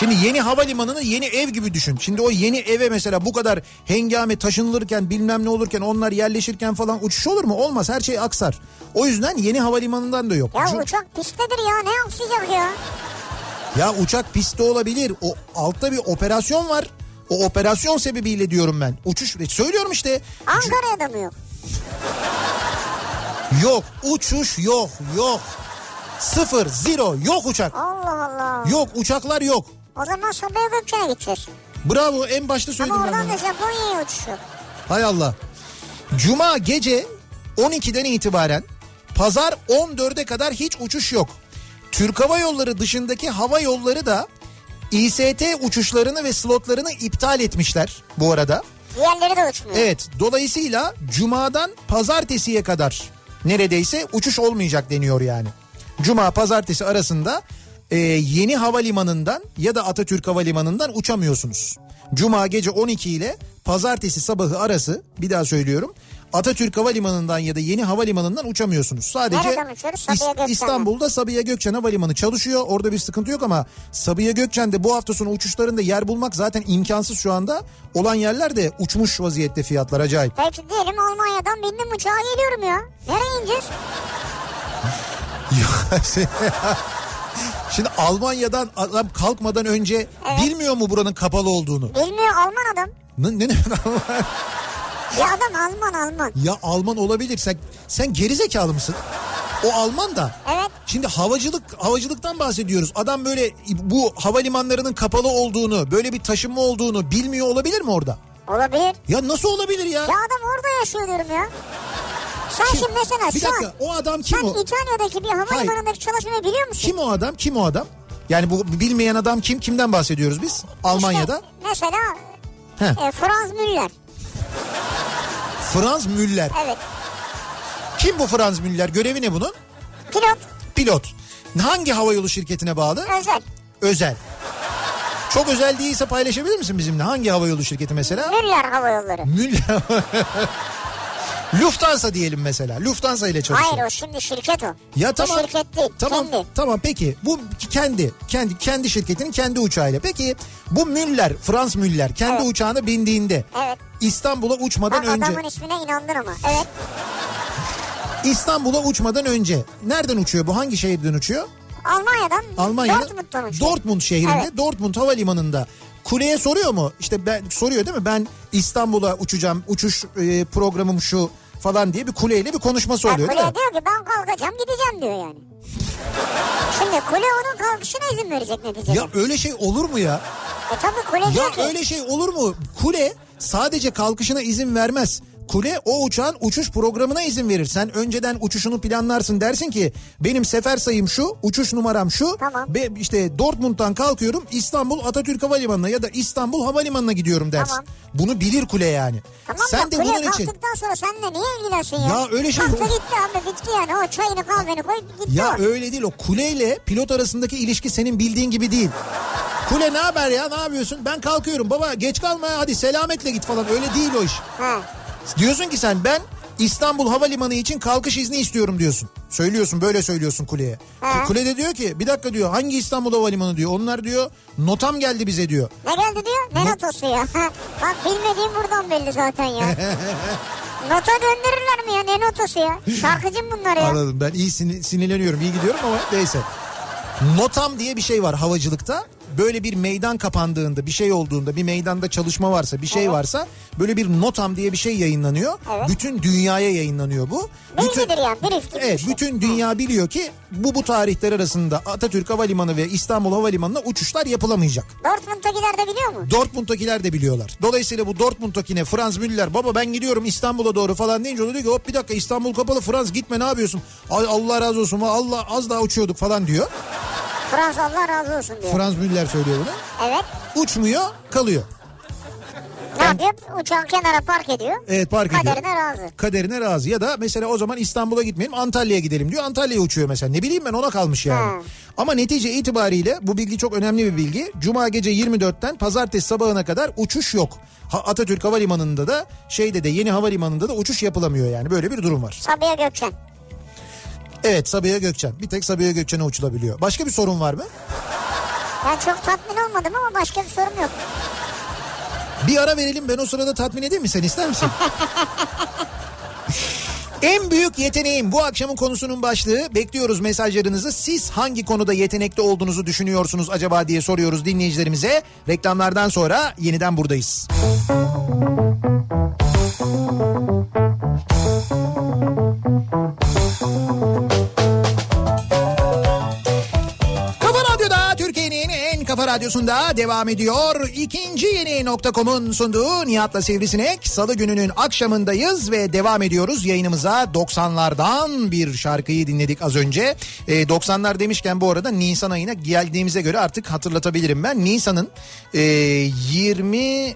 A: Şimdi yeni havalimanını yeni ev gibi düşün. Şimdi o yeni eve mesela bu kadar hengame taşınılırken bilmem ne olurken onlar yerleşirken falan uçuş olur mu? Olmaz her şey aksar. O yüzden yeni havalimanından da yok. Cu-
B: uçak pistedir ya ne aksayacak ya?
A: Ya uçak pistte olabilir. O altta bir operasyon var. O operasyon sebebiyle diyorum ben. Uçuş söylüyorum işte. Cu-
B: Ankara'ya da mı yok?
A: Yok uçuş yok yok. Sıfır zero yok uçak.
B: Allah Allah.
A: Yok uçaklar yok.
B: O zaman Sabiha Gökçen'e gideceğiz.
A: Bravo en başta söyledim
B: Ama
A: ben
B: oradan
A: bunu.
B: da Japonya'ya uçuşu.
A: Hay Allah. Cuma gece 12'den itibaren pazar 14'e kadar hiç uçuş yok. Türk Hava Yolları dışındaki hava yolları da İST uçuşlarını ve slotlarını iptal etmişler bu arada.
B: Diğerleri de uçmuyor.
A: Evet dolayısıyla cumadan pazartesiye kadar neredeyse uçuş olmayacak deniyor yani. Cuma pazartesi arasında e, yeni havalimanından ya da Atatürk Havalimanı'ndan uçamıyorsunuz. Cuma gece 12 ile pazartesi sabahı arası bir daha söylüyorum. Atatürk Havalimanı'ndan ya da yeni havalimanından uçamıyorsunuz. Sadece
B: Nereden uçuyoruz? Sabiha
A: İs-
B: Gökçen'den.
A: İstanbul'da Sabiha Gökçen Havalimanı çalışıyor. Orada bir sıkıntı yok ama Sabiha Gökçen'de bu hafta sonu uçuşlarında yer bulmak zaten imkansız şu anda. Olan yerler de uçmuş vaziyette fiyatlar acayip.
B: Peki diyelim Almanya'dan bindim uçağa geliyorum ya. Nereye ineceğiz?
A: Şimdi Almanya'dan adam kalkmadan önce bilmiyor mu buranın kapalı olduğunu?
B: Bilmiyor Alman adam.
A: Ne, ne, ne-
B: Ya adam Alman Alman.
A: ya Alman olabilir. Sen, sen gerizekalı mısın? O Alman da.
B: Evet.
A: Şimdi havacılık havacılıktan bahsediyoruz. Adam böyle bu havalimanlarının kapalı olduğunu, böyle bir taşınma olduğunu bilmiyor olabilir mi orada?
B: Olabilir.
A: Ya nasıl olabilir ya?
B: Ya adam orada yaşıyor diyorum ya. Sen
A: Kim?
B: şimdi mesela
A: bir
B: şu
A: dakika
B: an
A: o adam kim
B: sen
A: o?
B: İtalya'daki bir havalimanındaki çalışmayı biliyor musun?
A: Kim o adam? Kim o adam? Yani bu bilmeyen adam kim? Kimden bahsediyoruz biz? Almanya'da.
B: İşte mesela
A: Heh.
B: e, Franz Müller.
A: Franz Müller.
B: Evet.
A: Kim bu Franz Müller? Görevi ne bunun?
B: Pilot
A: Pilot. Hangi havayolu şirketine bağlı?
B: özel.
A: Özel. Çok özel değilse paylaşabilir misin bizimle? Hangi havayolu şirketi mesela?
B: Müller Hava Yolları.
A: Müller. Lufthansa diyelim mesela. Lufthansa ile çalışıyor.
B: Hayır o şimdi şirket o.
A: Ya
B: O
A: tamam.
B: şirket değil.
A: Tamam.
B: Kendi.
A: Tamam peki. Bu kendi kendi kendi şirketinin kendi uçağıyla. Peki bu Müller, Frans Müller kendi
B: Evet.
A: uçağına bindiğinde
B: Evet.
A: İstanbul'a uçmadan
B: Bak
A: önce
B: adamın ismine inandın ama. Evet.
A: İstanbul'a uçmadan önce nereden uçuyor bu? Hangi şehirden uçuyor?
B: Almanya'dan
A: Almanya'nın
B: Dortmund'dan uçuyor.
A: Dortmund şehrinde
B: Evet.
A: Dortmund havalimanında kuleye soruyor mu? İşte ben soruyor değil mi? Ben İstanbul'a uçacağım. Uçuş e, programım şu falan diye bir kuleyle bir konuşması
B: Bak
A: oluyor değil mi?
B: kule diyor ki ben kalkacağım gideceğim diyor yani. Şimdi kule onun kalkışına izin verecek neticede.
A: Ya öyle şey olur mu ya?
B: E tabii kule diyor ki.
A: Ya öyle şey olur mu? Kule sadece kalkışına izin vermez. Kule o uçağın uçuş programına izin verir. Sen önceden uçuşunu planlarsın dersin ki benim sefer sayım şu, uçuş numaram şu.
B: Tamam.
A: Ve işte Dortmund'dan kalkıyorum İstanbul Atatürk Havalimanı'na ya da İstanbul Havalimanı'na gidiyorum dersin.
B: Tamam.
A: Bunu bilir kule yani.
B: Tamam
A: Sen
B: da
A: de
B: kule
A: bunun için
B: kalktıktan sonra seninle niye ilgilensin ya?
A: Ya öyle şey-
B: Kalktı gitti abi bitti yani o çayını kahveni koy gitti
A: ya
B: o.
A: öyle değil o kuleyle pilot arasındaki ilişki senin bildiğin gibi değil. Kule ne haber ya ne yapıyorsun? Ben kalkıyorum baba geç kalma ya, hadi selametle git falan öyle değil o iş.
B: Ha.
A: Diyorsun ki sen ben İstanbul Havalimanı için kalkış izni istiyorum diyorsun. Söylüyorsun böyle söylüyorsun kuleye.
B: He.
A: Kule de diyor ki bir dakika diyor hangi İstanbul Havalimanı diyor. Onlar diyor notam geldi bize diyor.
B: Ne geldi diyor? Ne notosu ya? Bak bilmediğim buradan belli zaten ya. Nota döndürürler mi ya? Ne notası ya? Şarkıcım bunlar ya.
A: Anladım ben iyi sin- sinirleniyorum iyi gidiyorum ama neyse. Notam diye bir şey var havacılıkta. Böyle bir meydan kapandığında bir şey olduğunda bir meydanda çalışma varsa bir şey varsa böyle bir notam diye bir şey yayınlanıyor.
B: Evet.
A: Bütün dünyaya yayınlanıyor bu. Bütün,
B: Bilgidir yani brief gibi bir
A: Evet
B: şey.
A: bütün dünya biliyor ki bu bu tarihler arasında Atatürk Havalimanı ve İstanbul Havalimanı'na uçuşlar yapılamayacak.
B: Dortmund'dakiler de biliyor mu?
A: Dortmund'dakiler de biliyorlar. Dolayısıyla bu Dortmund'dakine Franz Müller baba ben gidiyorum İstanbul'a doğru falan deyince o da diyor ki hop bir dakika İstanbul kapalı Franz gitme ne yapıyorsun? Ay, Allah razı olsun Allah az daha uçuyorduk falan diyor.
B: Fransa Allah razı olsun diyor.
A: Franz Müller söylüyor bunu.
B: evet.
A: Uçmuyor kalıyor.
B: Ne yapıyor? Uçağı kenara park ediyor.
A: Evet park ediyor.
B: Kaderine razı.
A: Kaderine razı ya da mesela o zaman İstanbul'a gitmeyelim Antalya'ya gidelim diyor. Antalya'ya uçuyor mesela ne bileyim ben ona kalmış yani.
B: Ha.
A: Ama netice itibariyle bu bilgi çok önemli bir bilgi. Cuma gece 24'ten pazartesi sabahına kadar uçuş yok. Ha- Atatürk Havalimanı'nda da şeyde de yeni havalimanında da uçuş yapılamıyor yani böyle bir durum var.
B: Sabiha Gökçen.
A: Evet Sabiha Gökçen bir tek Sabiha Gökçen'e uçulabiliyor. Başka bir sorun var mı?
B: Ben çok tatmin olmadım ama başka bir sorum yok.
A: Bir ara verelim ben o sırada tatmin edeyim mi sen ister misin? En büyük yeteneğim bu akşamın konusunun başlığı. Bekliyoruz mesajlarınızı. Siz hangi konuda yetenekli olduğunuzu düşünüyorsunuz acaba diye soruyoruz dinleyicilerimize. Reklamlardan sonra yeniden buradayız. Kafa Radyo'da Türkiye'nin en kafa radyosunda devam ediyor. İkinci yeni nokta.com'un sunduğu Nihat'la Sivrisinek. Salı gününün akşamındayız ve devam ediyoruz yayınımıza. 90'lardan bir şarkıyı dinledik az önce. Ee, 90'lar demişken bu arada Nisan ayına geldiğimize göre artık hatırlatabilirim ben. Nisan'ın e, 20...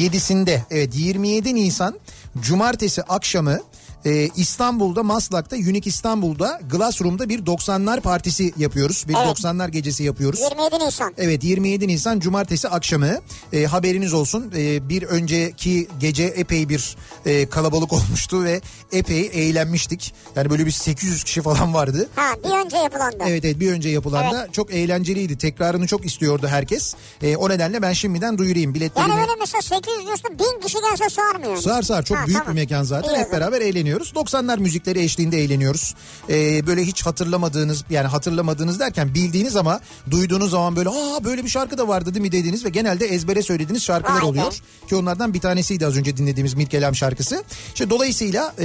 A: 7'sinde evet 27 Nisan cumartesi akşamı e, İstanbul'da Maslak'ta Unique İstanbul'da Glassroom'da bir 90'lar partisi yapıyoruz. Bir
B: Evet.
A: 90'lar gecesi yapıyoruz.
B: 27 Nisan.
A: Evet 27 Nisan Cumartesi akşamı E, haberiniz olsun E, bir önceki gece epey bir e, kalabalık olmuştu ve epey eğlenmiştik. Yani böyle bir 800 kişi falan vardı.
B: Ha bir önce yapılan da.
A: Evet evet bir önce yapılan da çok eğlenceliydi. Tekrarını çok istiyordu herkes. E, o nedenle ben şimdiden duyurayım biletlerini.
B: Yani öyle mesela 800 diyorsun 1000 kişi gelse sığar mı yani?
A: Sığar sığar çok
B: Ha,
A: büyük
B: tamam.
A: bir mekan zaten
B: İyi o
A: hep
B: zaman.
A: beraber eğleniyoruz. dinliyoruz. 90'lar müzikleri eşliğinde eğleniyoruz. Ee, böyle hiç hatırlamadığınız yani hatırlamadığınız derken bildiğiniz ama duyduğunuz zaman böyle aa böyle bir şarkı da vardı değil mi dediğiniz ve genelde ezbere söylediğiniz şarkılar
B: Vay be.
A: oluyor. Ki onlardan bir tanesiydi az önce dinlediğimiz Mirkelam şarkısı. İşte dolayısıyla e,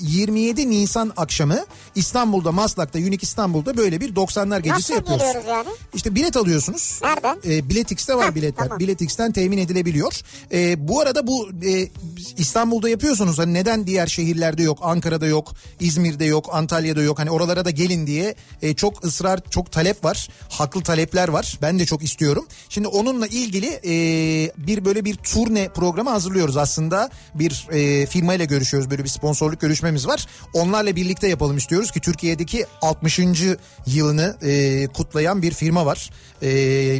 A: 27 Nisan akşamı İstanbul'da Maslak'ta Unique İstanbul'da böyle bir 90'lar gecesi
B: Nasıl
A: yapıyoruz.
B: geliyoruz yani?
A: İşte bilet alıyorsunuz.
B: Nereden?
A: E, Biletix'te var
B: Ha,
A: biletler.
B: tamam.
A: Biletix'ten temin edilebiliyor. E, bu arada bu e, İstanbul'da yapıyorsunuz. Hani neden diğer şehirlerde yok? Ankara'da yok, İzmir'de yok, Antalya'da yok. Hani oralara da gelin diye e, çok ısrar, çok talep var. Haklı talepler var. Ben de çok istiyorum. Şimdi onunla ilgili e, bir böyle bir turne programı hazırlıyoruz aslında. Bir e, firmayla görüşüyoruz. Böyle bir sponsorluk görüşmemiz var. Onlarla birlikte yapalım istiyoruz ki Türkiye'deki 60. yılını e, kutlayan bir firma var. E,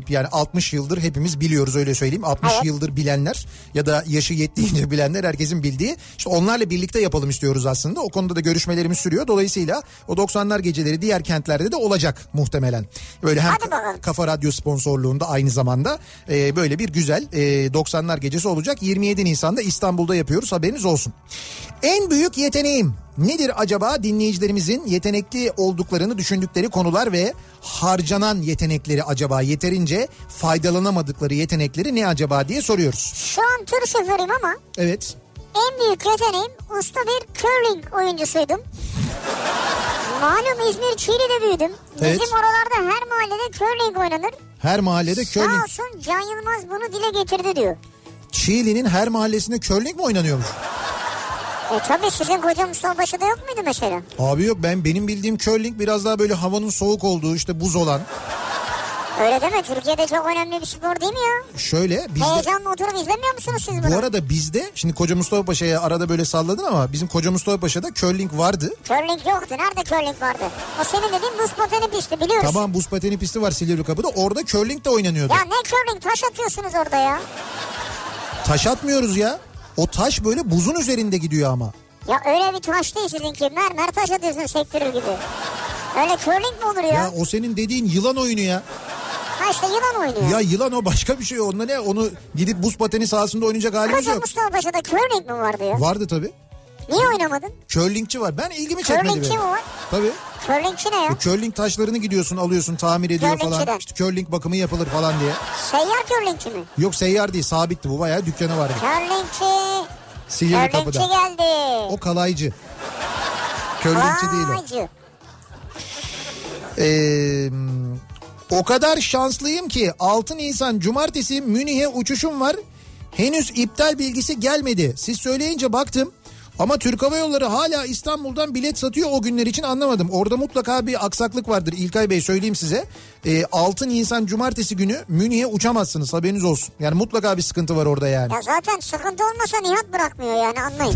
A: yani 60 yıldır hepimiz biliyoruz öyle söyleyeyim. 60
B: Evet.
A: yıldır bilenler ya da yaşı yettiğince bilenler herkesin bildiği. İşte onlarla birlikte yapalım istiyoruz aslında. O konuda da görüşmelerimiz sürüyor. Dolayısıyla o 90'lar geceleri diğer kentlerde de olacak muhtemelen. Böyle hem
B: Hadi bakalım.
A: Kafa Radyo sponsorluğunda aynı zamanda e, böyle bir güzel e, 90'lar gecesi olacak. 27 Nisan'da İstanbul'da yapıyoruz haberiniz olsun. En büyük yeteneğim nedir acaba dinleyicilerimizin yetenekli olduklarını düşündükleri konular ve harcanan yetenekleri acaba yeterince faydalanamadıkları yetenekleri ne acaba diye soruyoruz.
B: Şu an tır şoförüyüm ama
A: Evet.
B: en büyük yeteneğim usta bir curling oyuncusuydum. Malum İzmir Çiğli'de büyüdüm.
A: Evet.
B: Bizim oralarda her mahallede curling oynanır.
A: Her mahallede
B: Sağ
A: curling.
B: olsun Can Yılmaz bunu dile getirdi diyor.
A: Çiğli'nin her mahallesinde curling mi oynanıyormuş?
B: E tabii sizin koca Mustafa'şı da yok muydu mesela?
A: Abi yok ben benim bildiğim curling biraz daha böyle havanın soğuk olduğu işte buz olan.
B: Öyle deme Türkiye'de çok önemli bir spor değil mi ya?
A: Şöyle bizde
B: Heyecanla oturup izlemiyor musunuz siz bunu?
A: Bu arada bizde şimdi Koca Mustafa Paşa'ya arada böyle salladın ama bizim Koca Mustafa Paşa'da curling vardı.
B: Curling yoktu. Nerede curling vardı? O senin dediğin buz pateni pisti biliyoruz.
A: Tamam buz pateni pisti var Silivri Kapı'da orada curling de oynanıyordu.
B: Ya ne curling taş atıyorsunuz orada ya.
A: Taş atmıyoruz ya. O taş böyle buzun üzerinde gidiyor ama.
B: Ya öyle bir taş değil sizinki. Mermer taş atıyorsunuz sektirir gibi. Öyle curling mi olur ya?
A: Ya o senin dediğin yılan oyunu ya.
B: Ha işte yılan oynuyor.
A: Ya yılan o başka bir şey onunla ne onu gidip buz pateni sahasında oynayacak halimiz
B: Koca
A: yok.
B: Mustafa Paşa'da curling mi vardı ya?
A: Vardı tabii.
B: Niye oynamadın?
A: Curlingçi var. Ben ilgimi çekmedi
B: Curlingçi
A: benim.
B: mi var?
A: Tabii.
B: Curlingçi ne ya?
A: O curling taşlarını gidiyorsun alıyorsun tamir ediyor falan.
B: Curlingçiden.
A: İşte curling bakımı yapılır falan diye.
B: Seyyar curlingçi mi?
A: Yok seyyar değil sabitti bu bayağı dükkanı vardı.
B: Curlingçi.
A: Silivri
B: Curlingçi
A: kapıda.
B: geldi.
A: O kalaycı. Körlükçü değil o.
B: Vaycı.
A: Ee, o kadar şanslıyım ki 6 Nisan Cumartesi Münih'e uçuşum var. Henüz iptal bilgisi gelmedi. Siz söyleyince baktım. Ama Türk Hava Yolları hala İstanbul'dan bilet satıyor o günler için anlamadım. Orada mutlaka bir aksaklık vardır İlkay Bey söyleyeyim size. Ee, 6 Nisan Cumartesi günü Münih'e uçamazsınız haberiniz olsun. Yani mutlaka bir sıkıntı var orada yani.
B: Ya zaten sıkıntı olmasa Nihat bırakmıyor yani anlayın.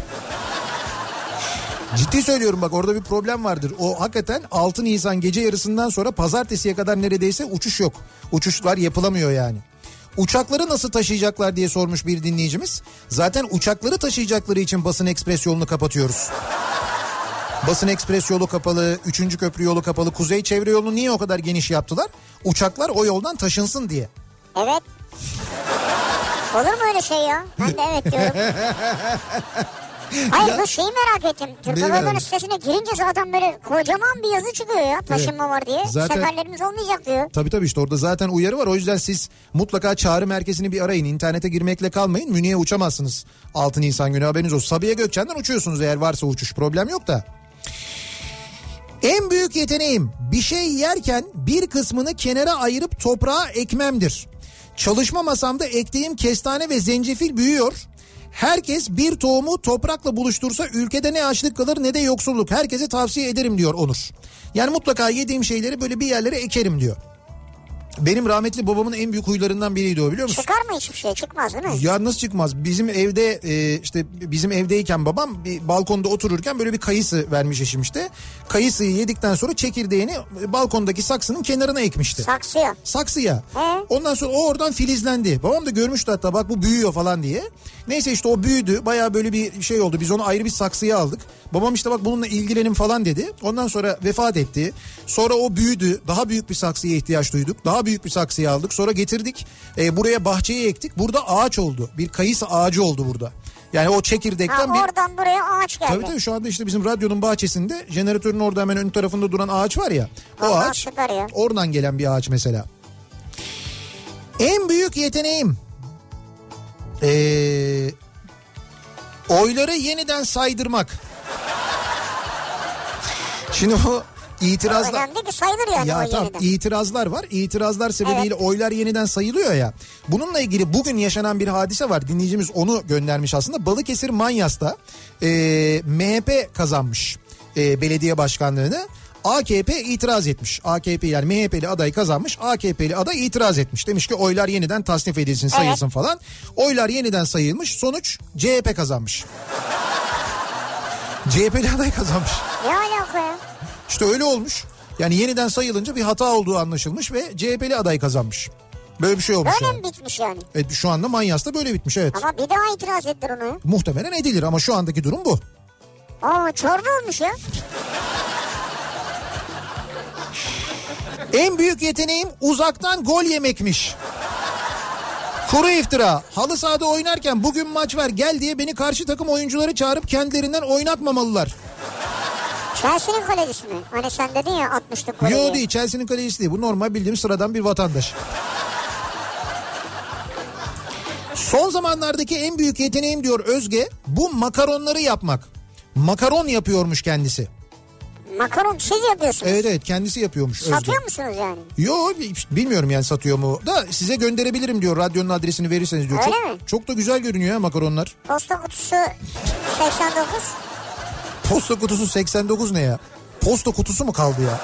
A: Ciddi söylüyorum bak orada bir problem vardır. O hakikaten 6 Nisan gece yarısından sonra pazartesiye kadar neredeyse uçuş yok. Uçuşlar yapılamıyor yani. Uçakları nasıl taşıyacaklar diye sormuş bir dinleyicimiz. Zaten uçakları taşıyacakları için basın ekspres yolunu kapatıyoruz. Basın ekspres yolu kapalı, 3. köprü yolu kapalı, kuzey çevre yolunu niye o kadar geniş yaptılar? Uçaklar o yoldan taşınsın diye.
B: Evet. Olur mu öyle şey ya? Ben de evet diyorum. Hayır bu şeyi merak ettim. Türk
A: Neyi
B: Hava
A: merak
B: Yolları
A: ettin?
B: sitesine girince zaten böyle kocaman bir yazı çıkıyor ya taşınma var diye.
A: Zaten-
B: Seferlerimiz olmayacak diyor.
A: Tabii tabii işte orada zaten uyarı var. O yüzden siz mutlaka çağrı merkezini bir arayın. İnternete girmekle kalmayın. Münih'e uçamazsınız. 6 Nisan günü haberiniz olsun. Sabiha Gökçen'den uçuyorsunuz eğer varsa uçuş. Problem yok da. En büyük yeteneğim bir şey yerken bir kısmını kenara ayırıp toprağa ekmemdir. Çalışma masamda ektiğim kestane ve zencefil büyüyor. Herkes bir tohumu toprakla buluştursa ülkede ne açlık kalır ne de yoksulluk. Herkese tavsiye ederim diyor Onur. Yani mutlaka yediğim şeyleri böyle bir yerlere ekerim diyor. Benim rahmetli babamın en büyük huylarından biriydi o biliyor musun?
B: Çıkar mı hiçbir şey? Çıkmaz değil mi?
A: Ya nasıl çıkmaz? Bizim evde e, işte bizim evdeyken babam bir balkonda otururken böyle bir kayısı vermiş eşim işte. Kayısıyı yedikten sonra çekirdeğini e, balkondaki saksının kenarına ekmişti.
B: Saksıyor.
A: Saksıya.
B: He.
A: Ondan sonra o oradan filizlendi. Babam da görmüştü hatta bak bu büyüyor falan diye. Neyse işte o büyüdü. Baya böyle bir şey oldu. Biz onu ayrı bir saksıya aldık. Babam işte bak bununla ilgilenin falan dedi. Ondan sonra vefat etti. Sonra o büyüdü. Daha büyük bir saksıya ihtiyaç duyduk. Daha büyük bir saksıya aldık. Sonra getirdik. E, buraya bahçeye ektik. Burada ağaç oldu. Bir kayısı ağacı oldu burada. Yani o çekirdekten
B: Ha,
A: bir...
B: oradan buraya ağaç geldi.
A: Tabii tabii şu anda işte bizim radyonun bahçesinde jeneratörün orada hemen ön tarafında duran ağaç var ya. O
B: Allah
A: ağaç
B: süper ya.
A: oradan gelen bir ağaç mesela. En büyük yeteneğim ee, oyları yeniden saydırmak. Şimdi bu itirazlar...
B: Önemli ki sayılır yani
A: Ya
B: o
A: tamam
B: yeniden.
A: itirazlar var. İtirazlar sebebiyle oylar yeniden sayılıyor ya. Bununla ilgili bugün yaşanan bir hadise var. Dinleyicimiz onu göndermiş aslında. Balıkesir Manyas'ta e, MHP kazanmış e, belediye başkanlığını. AKP itiraz etmiş. AKP yani MHP'li aday kazanmış. AKP'li aday itiraz etmiş. Demiş ki oylar yeniden tasnif edilsin sayılsın falan. Oylar yeniden sayılmış. Sonuç CHP kazanmış. CHP'li aday kazanmış.
B: Ne alaka ya?
A: İşte öyle olmuş. Yani yeniden sayılınca bir hata olduğu anlaşılmış ve CHP'li aday kazanmış. Böyle bir şey olmuş
B: Böyle mi
A: yani.
B: bitmiş yani?
A: Evet, şu anda Manyas'ta böyle bitmiş evet.
B: Ama bir daha itiraz ettir onu.
A: Muhtemelen edilir ama şu andaki durum bu.
B: Aa çorba olmuş ya.
A: En büyük yeteneğim uzaktan gol yemekmiş. Kuru iftira. Halı sahada oynarken bugün maç var gel diye beni karşı takım oyuncuları çağırıp kendilerinden oynatmamalılar.
B: Chelsea'nin kalecisi mi? Hani sen dedin ya 60'lık golü.
A: Yo
B: diye.
A: değil Chelsea'nin kalecisi değil. Bu normal bildiğimiz sıradan bir vatandaş. Son zamanlardaki en büyük yeteneğim diyor Özge bu makaronları yapmak. Makaron yapıyormuş kendisi.
B: Makaron siz yapıyorsunuz.
A: Evet evet kendisi yapıyormuş Özge.
B: Satıyor musunuz yani?
A: Yo bi- bilmiyorum yani satıyor mu da size gönderebilirim diyor radyonun adresini verirseniz diyor.
B: Öyle
A: çok,
B: mi?
A: çok da güzel görünüyor ya makaronlar.
B: Posta kutusu 89.
A: Posta kutusu 89 ne ya? Posta kutusu mu kaldı ya?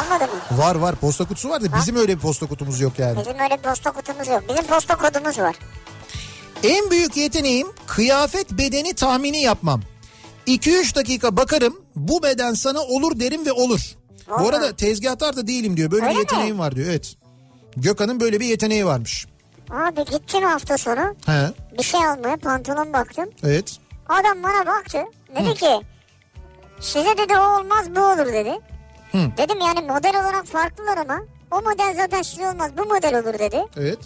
B: Anladın mı?
A: Var var posta kutusu var da bizim öyle bir posta kutumuz yok yani.
B: Bizim öyle bir posta kutumuz yok. Bizim posta kodumuz var.
A: En büyük yeteneğim kıyafet bedeni tahmini yapmam. 2-3 dakika bakarım bu beden sana olur derim ve olur. Bu
B: Vallahi.
A: arada tezgahtar da değilim diyor. Böyle
B: Öyle
A: bir
B: mi?
A: yeteneğim var diyor. Evet. Gökhan'ın böyle bir yeteneği varmış.
B: Abi gittim hafta sonu
A: He.
B: bir şey almaya pantolon baktım.
A: Evet.
B: Adam bana baktı. Dedi ki size dedi o olmaz bu olur dedi.
A: Hı.
B: Dedim yani model olarak farklılar ama o model zaten size olmaz bu model olur dedi.
A: Evet.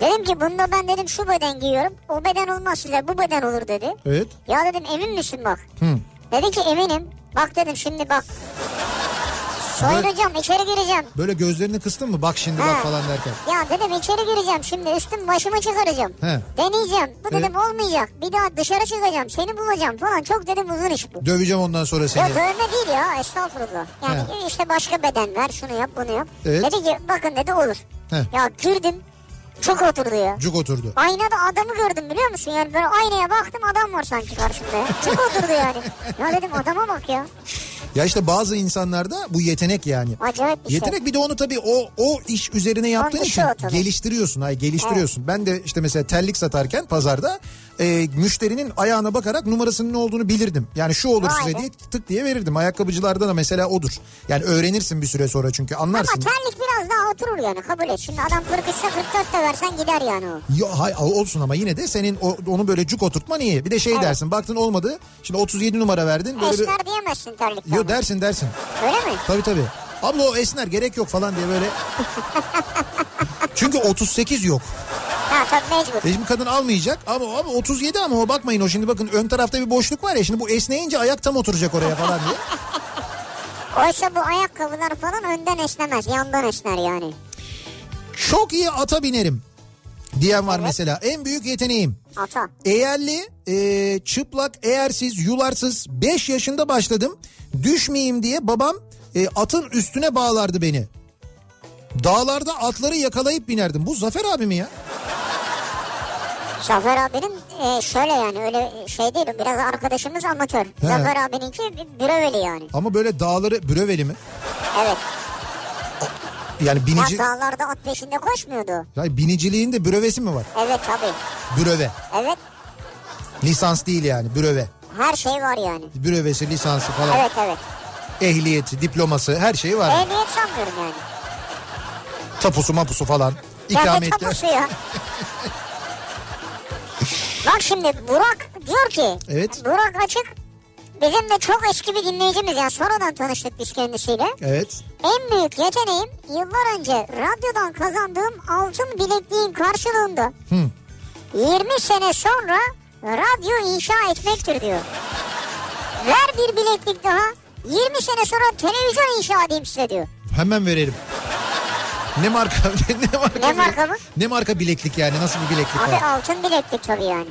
B: Dedim ki bunda ben dedim şu beden giyiyorum. O beden olmaz size bu beden olur dedi.
A: Evet.
B: Ya dedim emin misin bak.
A: Hı.
B: Dedi ki eminim. Bak dedim şimdi bak. Soyunacağım içeri gireceğim.
A: Böyle gözlerini kıstın mı bak şimdi bak
B: Ha.
A: falan derken.
B: Ya dedim içeri gireceğim şimdi üstüm başımı çıkaracağım.
A: He.
B: Deneyeceğim. Bu dedim
A: Evet.
B: olmayacak. Bir daha dışarı çıkacağım. Seni bulacağım falan. Çok dedim uzun iş bu.
A: Döveceğim ondan sonra
B: Ya
A: seni.
B: dövme değil ya estağfurullah. Yani
A: He.
B: işte başka beden ver şunu yap bunu yap.
A: Evet.
B: Dedi ki bakın dedi olur.
A: He.
B: Ya girdim çok oturdu ya.
A: Cuk oturdu.
B: Aynada adamı gördüm biliyor musun? Yani böyle aynaya baktım adam var sanki karşımda. ya. Çok oturdu yani. Ya dedim adama bak ya.
A: Ya işte bazı insanlarda bu yetenek yani.
B: Acayip bir şey.
A: Yetenek bir de onu tabii o o iş üzerine yaptığın
B: işi
A: için
B: o tabii.
A: geliştiriyorsun. Hayır geliştiriyorsun. Ben de işte mesela terlik satarken pazarda e, müşterinin ayağına bakarak numarasının ne olduğunu bilirdim. Yani şu olur
B: Vay
A: size
B: be.
A: diye tık diye verirdim. Ayakkabıcılarda da mesela odur. Yani öğrenirsin bir süre sonra çünkü
B: Ama
A: anlarsın.
B: terlik biraz daha oturur yani kabul et. Şimdi adam 43'e 44 de versen gider yani o.
A: Ya, hay, olsun ama yine de senin o- onu böyle cuk oturtman iyi. Bir de şey dersin baktın olmadı. Şimdi 37 numara verdin. Böyle bir...
B: Esmer diyemezsin terlikten.
A: Yo dersin dersin.
B: Öyle mi?
A: Tabii tabii. Abla o esner gerek yok falan diye böyle. Çünkü 38 yok.
B: Ha tabii mecbur.
A: E şimdi kadın almayacak ama abi 37 ama o bakmayın o şimdi bakın ön tarafta bir boşluk var ya şimdi bu esneyince ayak tam oturacak oraya falan diye. E-
B: Oysa bu ayakkabılar falan önden esnemez. Yandan esner yani.
A: Çok iyi ata binerim diyen var mesela. En büyük yeteneğim.
B: Ata.
A: Eğerli, e, çıplak, eğersiz, yularsız 5 yaşında başladım. Düşmeyeyim diye babam e, atın üstüne bağlardı beni. Dağlarda atları yakalayıp binerdim. Bu Zafer abi mi ya?
B: Zafer abinin e, şöyle yani öyle şey değil. Biraz arkadaşımız amatör. Zafer abininki bir bröveli yani.
A: Ama böyle dağları bröveli mi?
B: Evet.
A: Yani binici,
B: Ya dağlarda at peşinde koşmuyordu.
A: yani biniciliğin de brövesi mi var?
B: Evet tabii.
A: Bröve.
B: Evet.
A: Lisans değil yani bröve.
B: Her şey var yani.
A: Brövesi, lisansı falan.
B: Evet evet.
A: Ehliyeti, diploması her şeyi var.
B: Ehliyet sanmıyorum yani.
A: Tapusu mapusu falan.
B: Ya ne
A: İkamette.
B: tapusu ya. Bak şimdi Burak diyor ki.
A: Evet.
B: Burak açık. Bizim de çok eski bir dinleyicimiz yani sonradan tanıştık biz kendisiyle.
A: Evet.
B: En büyük yeteneğim yıllar önce radyodan kazandığım altın bilekliğin karşılığında
A: Hı.
B: 20 sene sonra radyo inşa etmektir diyor. Ver bir bileklik daha. 20 sene sonra televizyon inşa edeyim size diyor.
A: Hemen verelim. Ne marka? ne marka?
B: Ne marka mı?
A: Ne marka bileklik yani? Nasıl bir bileklik
B: Abi
A: var?
B: altın bileklik tabii yani.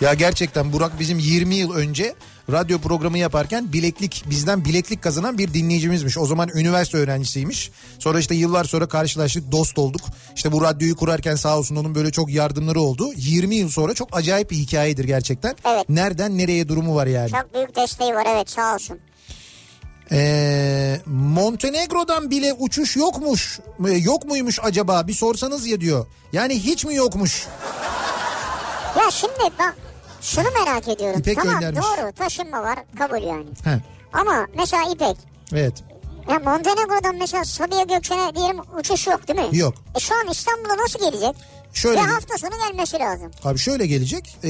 A: Ya gerçekten Burak bizim 20 yıl önce radyo programı yaparken bileklik bizden bileklik kazanan bir dinleyicimizmiş. O zaman üniversite öğrencisiymiş. Sonra işte yıllar sonra karşılaştık, dost olduk. İşte bu radyoyu kurarken sağ olsun onun böyle çok yardımları oldu. 20 yıl sonra çok acayip bir hikayedir gerçekten.
B: Evet.
A: Nereden nereye durumu var yani.
B: Çok büyük desteği var evet sağ olsun.
A: Ee, Montenegro'dan bile uçuş yokmuş. Ee, Yok muymuş acaba? Bir sorsanız ya diyor. Yani hiç mi yokmuş?
B: Ya şimdi bak şunu merak ediyorum.
A: İpek
B: tamam
A: göndermiş.
B: doğru taşınma var kabul yani.
A: He.
B: Ama mesela İpek
A: Evet.
B: ya Montenegro'dan mesela Sabiha Gökçen'e diyelim uçuş yok değil mi?
A: Yok.
B: E şu an İstanbul'a nasıl gelecek?
A: Şöyle
B: Ve
A: bir-
B: hafta sonu gelmesi lazım.
A: Abi şöyle gelecek. Ee,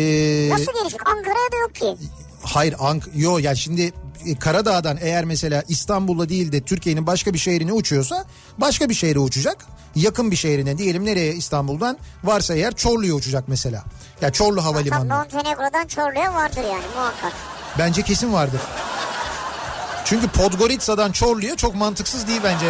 B: Nasıl gelecek? Ankara'ya da yok ki.
A: Hayır Ank yo ya şimdi e, Karadağ'dan eğer mesela İstanbul'a değil de Türkiye'nin başka bir şehrine uçuyorsa başka bir şehre uçacak. Yakın bir şehrine diyelim nereye İstanbul'dan varsa eğer Çorlu'ya uçacak mesela. Ya Çorlu
B: Tam
A: Havalimanı'na.
B: Montenegro'dan Çorlu'ya vardır yani muhakkak.
A: Bence kesin vardır. Çünkü Podgorica'dan Çorlu'ya çok mantıksız değil bence.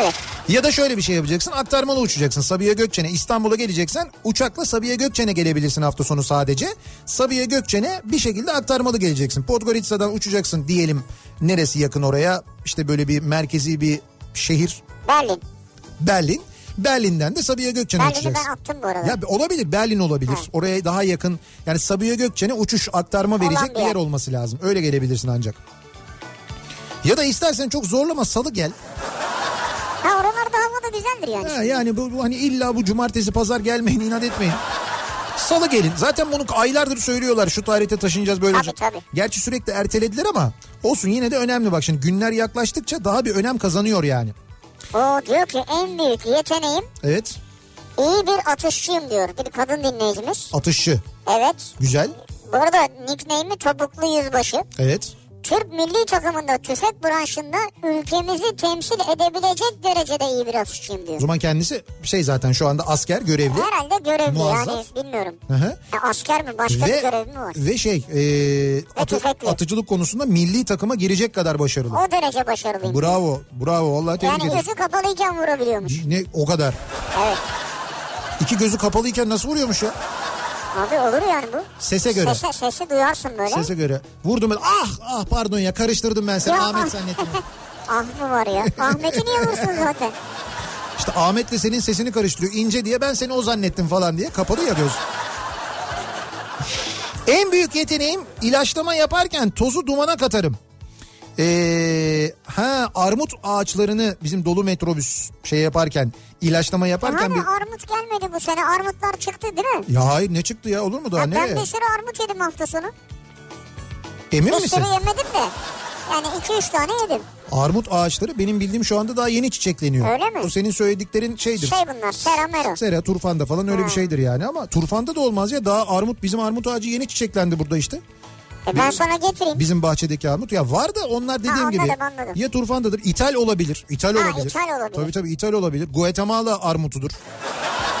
B: Evet.
A: Ya da şöyle bir şey yapacaksın aktarmalı uçacaksın Sabiha Gökçen'e İstanbul'a geleceksen uçakla Sabiha Gökçen'e gelebilirsin hafta sonu sadece. Sabiha Gökçen'e bir şekilde aktarmalı geleceksin. Podgorica'dan uçacaksın diyelim neresi yakın oraya işte böyle bir merkezi bir şehir
B: Berlin.
A: Berlin. Berlin'den de Sabiha Gökçen'e
B: Berlin'i
A: uçacaksın.
B: ben attım bu arada.
A: Ya olabilir Berlin olabilir.
B: Evet.
A: Oraya daha yakın yani Sabiha Gökçen'e uçuş aktarma
B: Olan
A: verecek
B: bir
A: bir yer
B: yer.
A: olması lazım. Öyle gelebilirsin ancak. Ya da istersen çok zorlama salı gel.
B: Ha oralarda hava da güzeldir yani.
A: Ha, yani bu, bu hani illa bu cumartesi pazar gelmeyin inat etmeyin. Salı gelin. Zaten bunu aylardır söylüyorlar. Şu tarihte taşınacağız böyle.
B: Tabii,
A: olacak.
B: tabii.
A: Gerçi sürekli ertelediler ama olsun yine de önemli. Bak şimdi günler yaklaştıkça daha bir önem kazanıyor yani.
B: O diyor ki en büyük yeteneğim
A: Evet.
B: iyi bir atışçıyım diyor. Bir kadın dinleyicimiz.
A: Atışçı.
B: Evet.
A: Güzel.
B: Bu arada nickname'i Topuklu Yüzbaşı.
A: Evet.
B: Türk milli takımında tüfek branşında ülkemizi temsil edebilecek derecede iyi bir atışçıyım
A: O
B: diyor.
A: zaman kendisi şey zaten şu anda asker görevli.
B: Herhalde görevli yani
A: Muazzaf.
B: bilmiyorum.
A: Hı hı.
B: Ya asker mi başka bir
A: Ve,
B: görev mi var?
A: ve şey e, atı-
B: tüfekli.
A: atıcılık konusunda milli takıma girecek kadar başarılı.
B: O derece başarılıyım.
A: Bravo. Bravo. Vallahi tebrik
B: yani
A: ederim.
B: gözü kapalıyken vurabiliyormuş.
A: Ne, o kadar.
B: Evet.
A: İki gözü kapalıyken nasıl vuruyormuş ya?
B: Abi olur yani bu.
A: Sese göre.
B: Sese, sesi duyarsın böyle.
A: Sese göre. Vurdum ben. Ah ah pardon ya karıştırdım ben seni.
B: Ya.
A: Ahmet zannettim.
B: Ah mı var ya? Ahmet'i niye vursun zaten?
A: işte Ahmet'le senin sesini karıştırıyor. İnce diye ben seni o zannettim falan diye. Kapalı ya göz. en büyük yeteneğim ilaçlama yaparken tozu dumana katarım. Ee, ha armut ağaçlarını bizim dolu metrobüs şey yaparken ilaçlama yaparken
B: Abi
A: bir...
B: armut gelmedi bu sene. Armutlar çıktı değil mi?
A: Ya hayır ne çıktı ya olur mu daha
B: Ya
A: nereye?
B: ben bir sürü armut yedim hafta sonu.
A: Emin
B: Bir
A: misin?
B: sürü yemedim de. Yani 2-3 tane yedim.
A: Armut ağaçları benim bildiğim şu anda daha yeni çiçekleniyor.
B: Öyle mi?
A: O senin söylediklerin şeydir.
B: Şey bunlar sera mera.
A: Sera, turfanda falan öyle bir şeydir yani ama turfanda da olmaz ya. Daha armut bizim armut ağacı yeni çiçeklendi burada işte.
B: E ben sana getireyim.
A: Bizim bahçedeki armut. Ya var da onlar dediğim
B: Ha,
A: gibi.
B: anladım, anladım.
A: Ya turfandadır. İthal olabilir. İthal
B: Ha,
A: olabilir.
B: ithal olabilir.
A: Tabii tabii ithal olabilir. Guatemala armutudur.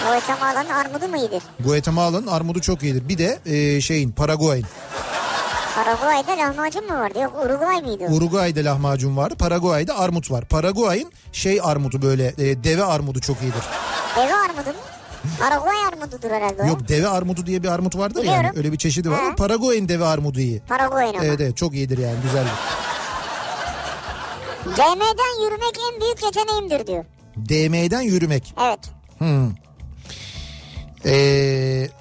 B: Guatemala'nın armudu mu iyidir?
A: Guatemala'nın armudu çok iyidir. Bir de e, şeyin Paraguay'ın.
B: Paraguay'da lahmacun mu vardı? Yok Uruguay mıydı? o?
A: Uruguay'da lahmacun var. Paraguay'da armut var. Paraguay'ın şey armudu böyle e, deve armudu çok iyidir.
B: Deve armudu mu? Paraguay armududur herhalde o.
A: Yok deve armudu diye bir armut vardır yani.
B: Biliyorum.
A: Öyle bir çeşidi var.
B: Ha.
A: ama Paraguay'ın deve armudu iyi.
B: Paraguay'ın ama.
A: Evet evet çok iyidir yani güzeldir.
B: DM'den yürümek en büyük yeteneğimdir diyor.
A: DM'den yürümek.
B: Evet.
A: Hmm. Ee,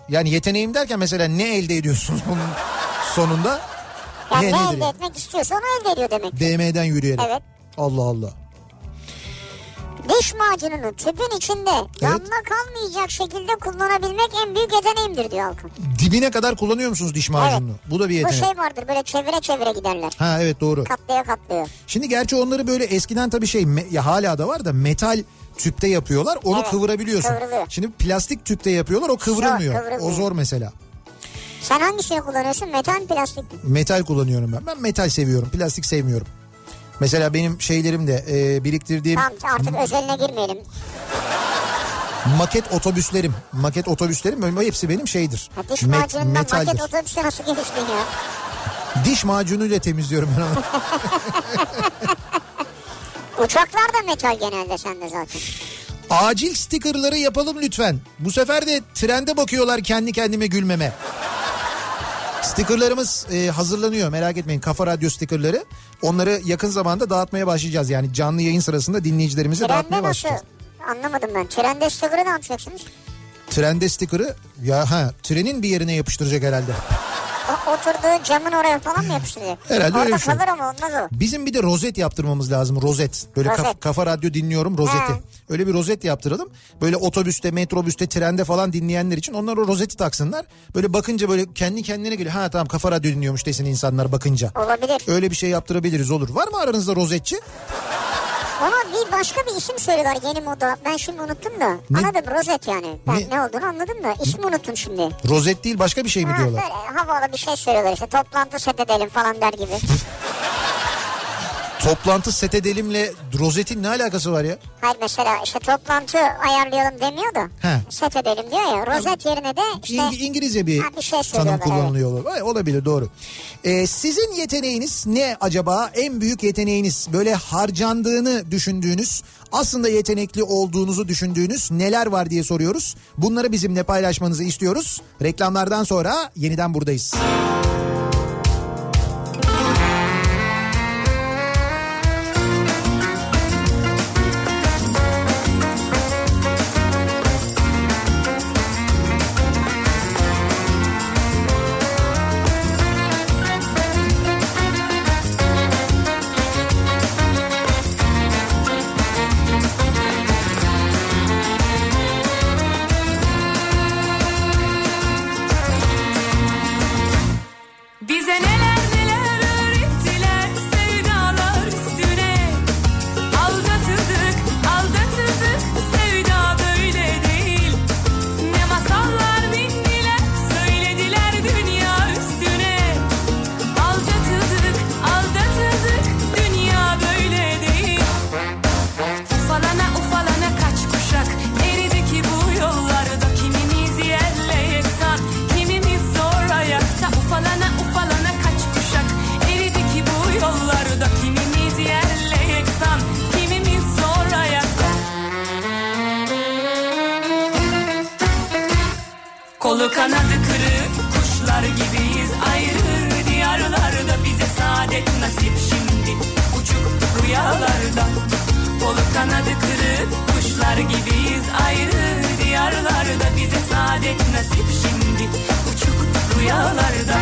A: yani yeteneğim derken mesela ne elde ediyorsunuz bunun sonunda?
B: Yani ne,
A: nedir
B: elde
A: yani?
B: etmek istiyorsa onu elde ediyor demek.
A: DM'den yürüyerek.
B: Evet.
A: Allah Allah.
B: Diş macununu tüpün içinde damla kalmayacak şekilde kullanabilmek en büyük yeteneğimdir diyor Halkın.
A: Dibine kadar kullanıyor musunuz diş macununu?
B: Evet.
A: Bu da bir
B: Bu
A: yetenek.
B: şey vardır böyle çevire çevire giderler.
A: Ha evet doğru.
B: Katlaya katlaya.
A: Şimdi gerçi onları böyle eskiden tabii şey me- ya hala da var da metal tüpte yapıyorlar. Onu
B: Evet,
A: kıvırabiliyorsun.
B: kıvrılıyor.
A: Şimdi plastik tüpte yapıyorlar o kıvrılmıyor. o
B: kıvrılmıyor.
A: zor mesela.
B: Sen hangisini kullanıyorsun? Metal mi, plastik mi?
A: Metal kullanıyorum ben. Ben metal seviyorum. Plastik sevmiyorum. Mesela benim şeylerim de e, biriktirdiğim
B: Tamam artık özeline girmeyelim.
A: Maket otobüslerim. Maket otobüslerim böyle hepsi benim şeydir.
B: Ha, Diş
A: Met-
B: macunundan
A: metaldir.
B: maket otobüse nasıl geliştin ya?
A: Diş macunuyla temizliyorum ben onu.
B: Uçaklar da metal genelde sende zaten.
A: Acil stikerları yapalım lütfen. Bu sefer de trende bakıyorlar kendi kendime gülmeme. Stikerlarımız e, hazırlanıyor merak etmeyin Kafa Radyo stikerları. Onları yakın zamanda dağıtmaya başlayacağız. Yani canlı yayın sırasında dinleyicilerimize
B: Trende
A: dağıtmaya
B: nasıl?
A: başlayacağız.
B: Anlamadım ben. Trende sticker'ı ne yapacaksınız?
A: Trende stikeri ya ha trenin bir yerine yapıştıracak herhalde.
B: O, oturduğu camın oraya falan mı yapıştıracak?
A: Herhalde öyle
B: Orada
A: bir şey.
B: kalır ama olmaz o.
A: Bizim bir de rozet yaptırmamız lazım rozet. Böyle kaf-
B: Rozet.
A: kafa radyo dinliyorum rozeti.
B: He.
A: Öyle bir rozet yaptıralım. Böyle otobüste, metrobüste, trende falan dinleyenler için onlar o rozeti taksınlar. Böyle bakınca böyle kendi kendine geliyor. Ha tamam kafa radyo dinliyormuş desin insanlar bakınca.
B: Olabilir.
A: Öyle bir şey yaptırabiliriz olur. Var mı aranızda rozetçi?
B: Ona bir başka bir isim söylüyorlar yeni moda. Ben şimdi unuttum da.
A: Ne?
B: Anladım rozet yani. Ben
A: Ne?
B: ne, olduğunu anladım da ismi unuttum şimdi.
A: Rozet değil başka bir şey mi
B: Ha, böyle
A: diyorlar?
B: havalı bir şey söylüyorlar işte toplantı set edelim falan der gibi.
A: Toplantı set edelimle rozetin ne alakası var ya?
B: Hayır mesela işte toplantı ayarlayalım demiyor da
A: He.
B: set edelim diyor ya rozet yerine de işte
A: İng- İngilizce bir,
B: Ha, bir şey
A: tanım
B: söylüyorlar,
A: kullanılıyor. Vay, Olabilir doğru. Ee, sizin yeteneğiniz ne acaba? En büyük yeteneğiniz böyle harcandığını düşündüğünüz aslında yetenekli olduğunuzu düşündüğünüz neler var diye soruyoruz. Bunları bizimle paylaşmanızı istiyoruz. Reklamlardan sonra yeniden buradayız.
C: Bize neler neler öğrettiler sevdalar üstüne Aldatıldık, aldatıldık sevda böyle değil Ne masallar bindiler, söylediler dünya üstüne Aldatıldık, aldatıldık dünya böyle değil Ufalana ufalana kaç kuşak eridi ki bu yollarda Kimimiz yerle yeksan kimimiz zor ayakta Ufalana ufalana kaç kuşak eridi ki bu yollarda Kimimiz yerle yeksan kimimiz zor ayakta Kolu kanadı kırık kuşlar gibiyiz ayrı diyarlarda bize saadet nasip şimdi uçuk rüyalarda Kolu kanadı kırık kuşlar gibiyiz ayrı diyarlarda bize saadet nasip şimdi uçuk rüyalarda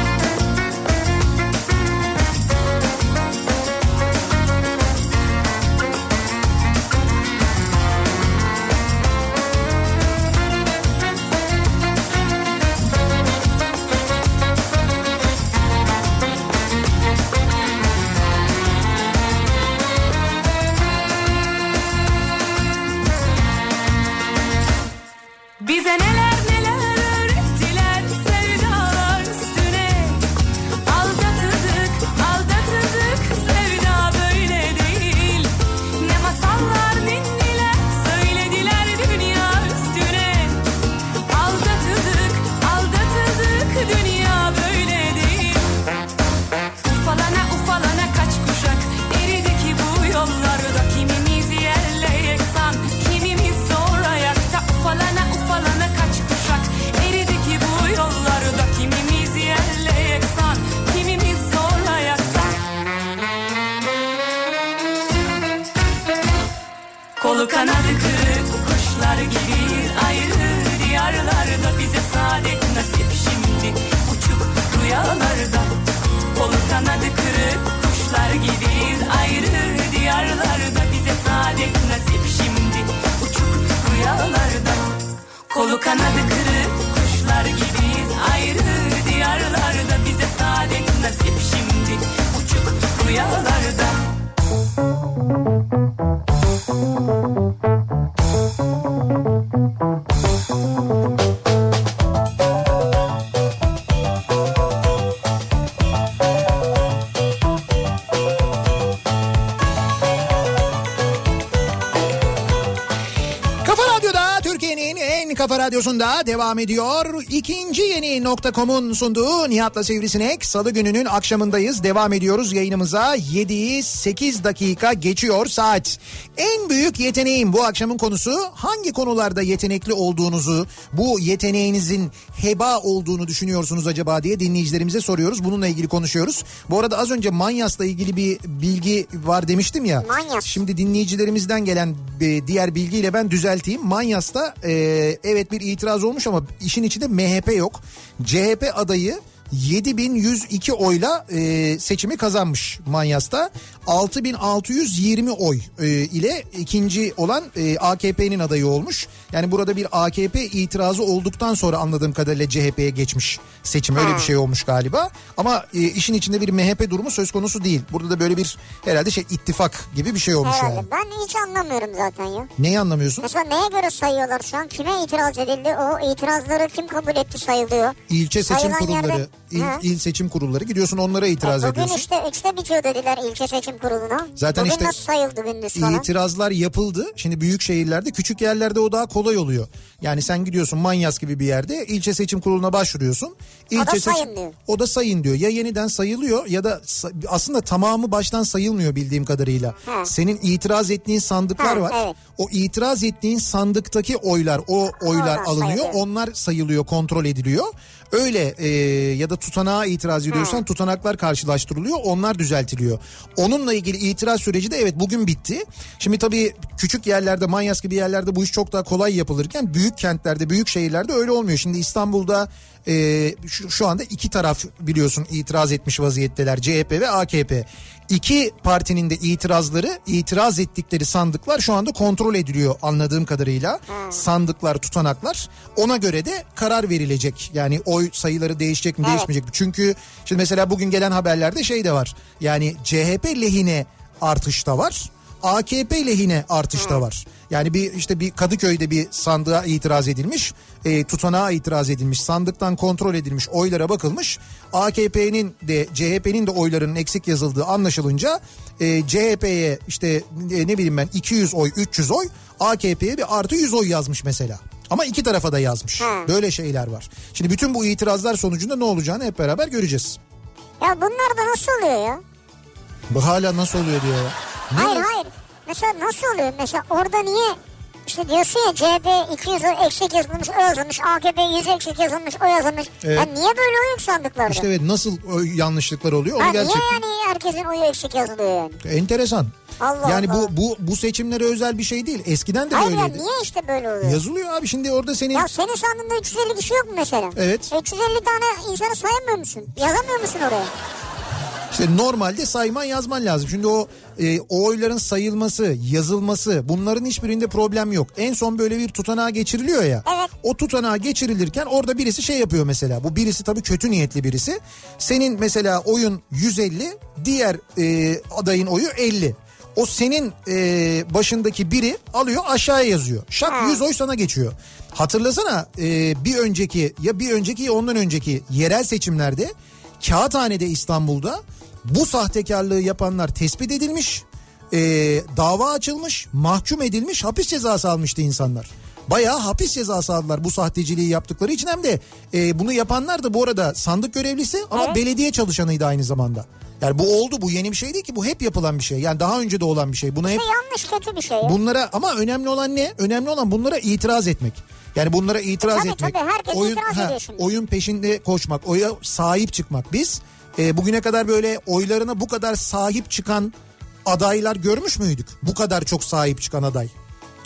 C: Bize neler neler öğrettiler sevdalar üstüne Aldatıldık, aldatıldık sevda böyle değil Ne masallar dindiler, söylediler dünya üstüne Aldatıldık, aldatıldık dünya böyle değil Ufalana ufalana kaç kuşak eridi ki bu yollarda Kimimiz yerle yeksan kimimiz zor ayakta Ufalana ufalana kaç kuşak eridi ki bu yollarda Kimimiz yerle yeksan kimimiz zor ayakta Kolu kanadı kırık kuşlar gibiyiz ayrı diyarlarda bize saadet nasip şimdi uçuk rüyalarda Kolu kanadı kırık kuşlar gibiyiz ayrı diyarlarda bize saadet nasip şimdi uçuk rüyalarda Kolu kanadı kırık kuşlar gibiyiz ayrı diyarlarda bize saadet nasip şimdi uçuk rüyalarda
A: Kafa Radyo'da Türkiye'nin Kafa Radyosu'nda devam ediyor. İkinci yeni nokta.com'un sunduğu Nihat'la Sivrisinek. Salı gününün akşamındayız. Devam ediyoruz yayınımıza. 7'yi 8 dakika geçiyor saat. En büyük yeteneğim bu akşamın konusu hangi konularda yetenekli olduğunuzu, bu yeteneğinizin heba olduğunu düşünüyorsunuz acaba diye dinleyicilerimize soruyoruz. Bununla ilgili konuşuyoruz. Bu arada az önce Manyas'la ilgili bir bilgi var demiştim ya.
B: Manyas.
A: Şimdi dinleyicilerimizden gelen e, diğer bilgiyle ben düzelteyim. Manyas'ta e, evet bir itiraz olmuş ama işin içinde MHP yok. CHP adayı 7102 oyla e, seçimi kazanmış Manyas'ta. 6620 oy e, ile ikinci olan e, AKP'nin adayı olmuş. Yani burada bir AKP itirazı olduktan sonra anladığım kadarıyla CHP'ye geçmiş seçim öyle bir şey olmuş galiba. Ama e, işin içinde bir MHP durumu söz konusu değil. Burada da böyle bir herhalde şey ittifak gibi bir şey olmuş yani.
B: Herhalde. Ben hiç anlamıyorum zaten ya.
A: Neyi anlamıyorsun?
B: Mesela neye göre sayıyorlar şu an? Kime itiraz edildi? O itirazları kim kabul etti sayılıyor.
A: İlçe seçim
B: Sayılan
A: kurulları,
B: yerde-
A: il,
B: Ha.
A: il seçim kurulları gidiyorsun onlara itiraz
B: Bugün
A: ediyorsun.
B: işte üçte bitiyor dediler ilçe seçim kuruluna.
A: Zaten
B: Bugün
A: işte
B: nasıl sayıldı gündüz falan?
A: İtirazlar yapıldı. Şimdi büyük şehirlerde, küçük yerlerde o daha kolay oluyor. Yani sen gidiyorsun Manyas gibi bir yerde ilçe seçim kuruluna başvuruyorsun. İlçe
B: sayın
A: seçim-
B: diyor.
A: O da sayın diyor. Ya yeniden sayılıyor ya da sa- aslında tamamı baştan sayılmıyor bildiğim kadarıyla.
B: Ha.
A: Senin itiraz ettiğin sandıklar
B: Ha,
A: var.
B: evet.
A: O itiraz ettiğin sandıktaki oylar, o oylar
B: Oradan
A: alınıyor.
B: sayılıyor.
A: Onlar sayılıyor, kontrol ediliyor. Öyle e, ya da tutanağa itiraz ediyorsan tutanaklar karşılaştırılıyor. Onlar düzeltiliyor. Onunla ilgili itiraz süreci de evet bugün bitti. Şimdi tabii küçük yerlerde, manyas gibi yerlerde bu iş çok daha kolay yapılırken büyük kentlerde, büyük şehirlerde öyle olmuyor. Şimdi İstanbul'da e, şu, şu anda iki taraf biliyorsun itiraz etmiş vaziyetteler CHP ve AKP. İki partinin de itirazları itiraz ettikleri sandıklar şu anda kontrol ediliyor anladığım kadarıyla. Sandıklar tutanaklar ona göre de karar verilecek. Yani oy sayıları değişecek mi
B: Evet.
A: değişmeyecek mi? Çünkü şimdi mesela bugün gelen haberlerde şey de var. Yani CHP lehine artışta var. AKP lehine artışta var. Yani bir işte bir Kadıköy'de bir sandığa itiraz edilmiş, e, tutanağa itiraz edilmiş, sandıktan kontrol edilmiş, oylara bakılmış. AKP'nin de CHP'nin de oylarının eksik yazıldığı anlaşılınca e, CHP'ye işte e, ne bileyim ben 200 oy, 300 oy, AKP'ye bir artı 100 oy yazmış mesela. Ama iki tarafa da yazmış. Böyle şeyler var. Şimdi bütün bu itirazlar sonucunda ne olacağını hep beraber göreceğiz.
B: Ya bunlar da nasıl oluyor ya?
A: Bu hala nasıl oluyor diyor ya. Ne-
B: Hayır hayır. Mesela nasıl oluyor? Mesela orada niye işte diyorsun ya CHP 200 oy eksik yazılmış, o yazılmış, AKP 100 eksik yazılmış, o yazılmış.
A: Evet.
B: Ya niye böyle oy yok sandıklarda?
A: İşte evet nasıl ö, yanlışlıklar oluyor
B: ha,
A: onu
B: niye
A: gerçekten.
B: yani herkesin oyu eksik yazılıyor yani?
A: Enteresan.
B: Allah
A: yani
B: Allah.
A: bu bu bu seçimlere özel bir şey değil. Eskiden de
B: Hayır ya
A: böyleydi.
B: niye işte böyle oluyor?
A: Yazılıyor abi şimdi orada senin
B: Ya senin sandığında 350 kişi yok mu mesela? E,
A: Evet.
B: 350 tane insanı sayamıyor musun? Yazamıyor musun oraya?
A: işte normalde sayman yazman lazım. Şimdi o e, o oyların sayılması, yazılması bunların hiçbirinde problem yok. En son böyle bir tutanağa geçiriliyor ya.
B: Evet.
A: O tutanağa geçirilirken orada birisi şey yapıyor mesela. Bu birisi tabii kötü niyetli birisi. Senin mesela oyun 150, diğer e, adayın oyu 50. O senin e, başındaki biri alıyor aşağıya yazıyor. Şak 100 oy sana geçiyor. Hatırlasana e, bir önceki ya bir önceki ya ondan önceki yerel seçimlerde Kağıthane'de İstanbul'da bu sahtekarlığı yapanlar tespit edilmiş. E, dava açılmış, mahkum edilmiş, hapis cezası almıştı insanlar. Bayağı hapis cezası aldılar bu sahteciliği yaptıkları için hem de e, bunu yapanlar da bu arada sandık görevlisi ama belediye çalışanıydı aynı zamanda. Yani bu oldu bu yeni bir şey değil ki bu hep yapılan bir şey. Yani daha önce de olan bir şey. Buna hep
B: Bu yanlış kötü bir şey. ya.
A: bunlara ama önemli olan ne? Önemli olan bunlara itiraz etmek. Yani bunlara itiraz
B: Tabii,
A: etmek.
B: tabii, herkes itiraz ediyor şimdi.
A: Oyun peşinde koşmak, oya sahip çıkmak. Biz e, bugüne kadar böyle oylarına bu kadar sahip çıkan adaylar görmüş müydük? Bu kadar çok sahip çıkan aday.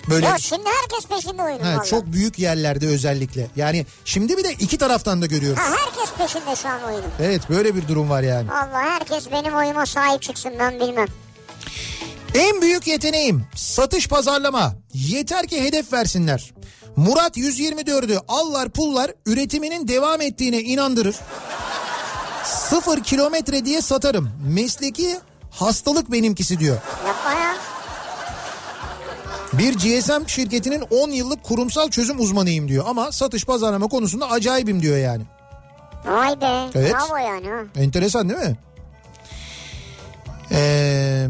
A: Böyle
B: Ya şimdi herkes peşinde oyunun
A: He,
B: vallahi.
A: çok büyük yerlerde özellikle. Yani şimdi bir de iki taraftan da görüyoruz.
B: Ha, herkes peşinde şu an oyunun.
A: Evet böyle bir durum var yani.
B: Allah herkes benim oyuma sahip çıksın ben bilmem.
A: En büyük yeteneğim satış pazarlama. Yeter ki hedef versinler. Murat 124'ü allar pullar üretiminin devam ettiğine inandırır. Sıfır kilometre diye satarım. Mesleki hastalık benimkisi diyor.
B: Yapma ya.
A: Bir GSM şirketinin 10 yıllık kurumsal çözüm uzmanıyım diyor. Ama satış pazarlama konusunda acayibim diyor yani.
B: Vay be.
A: Evet.
B: Bravo yani ha.
A: Enteresan değil mi? Ee,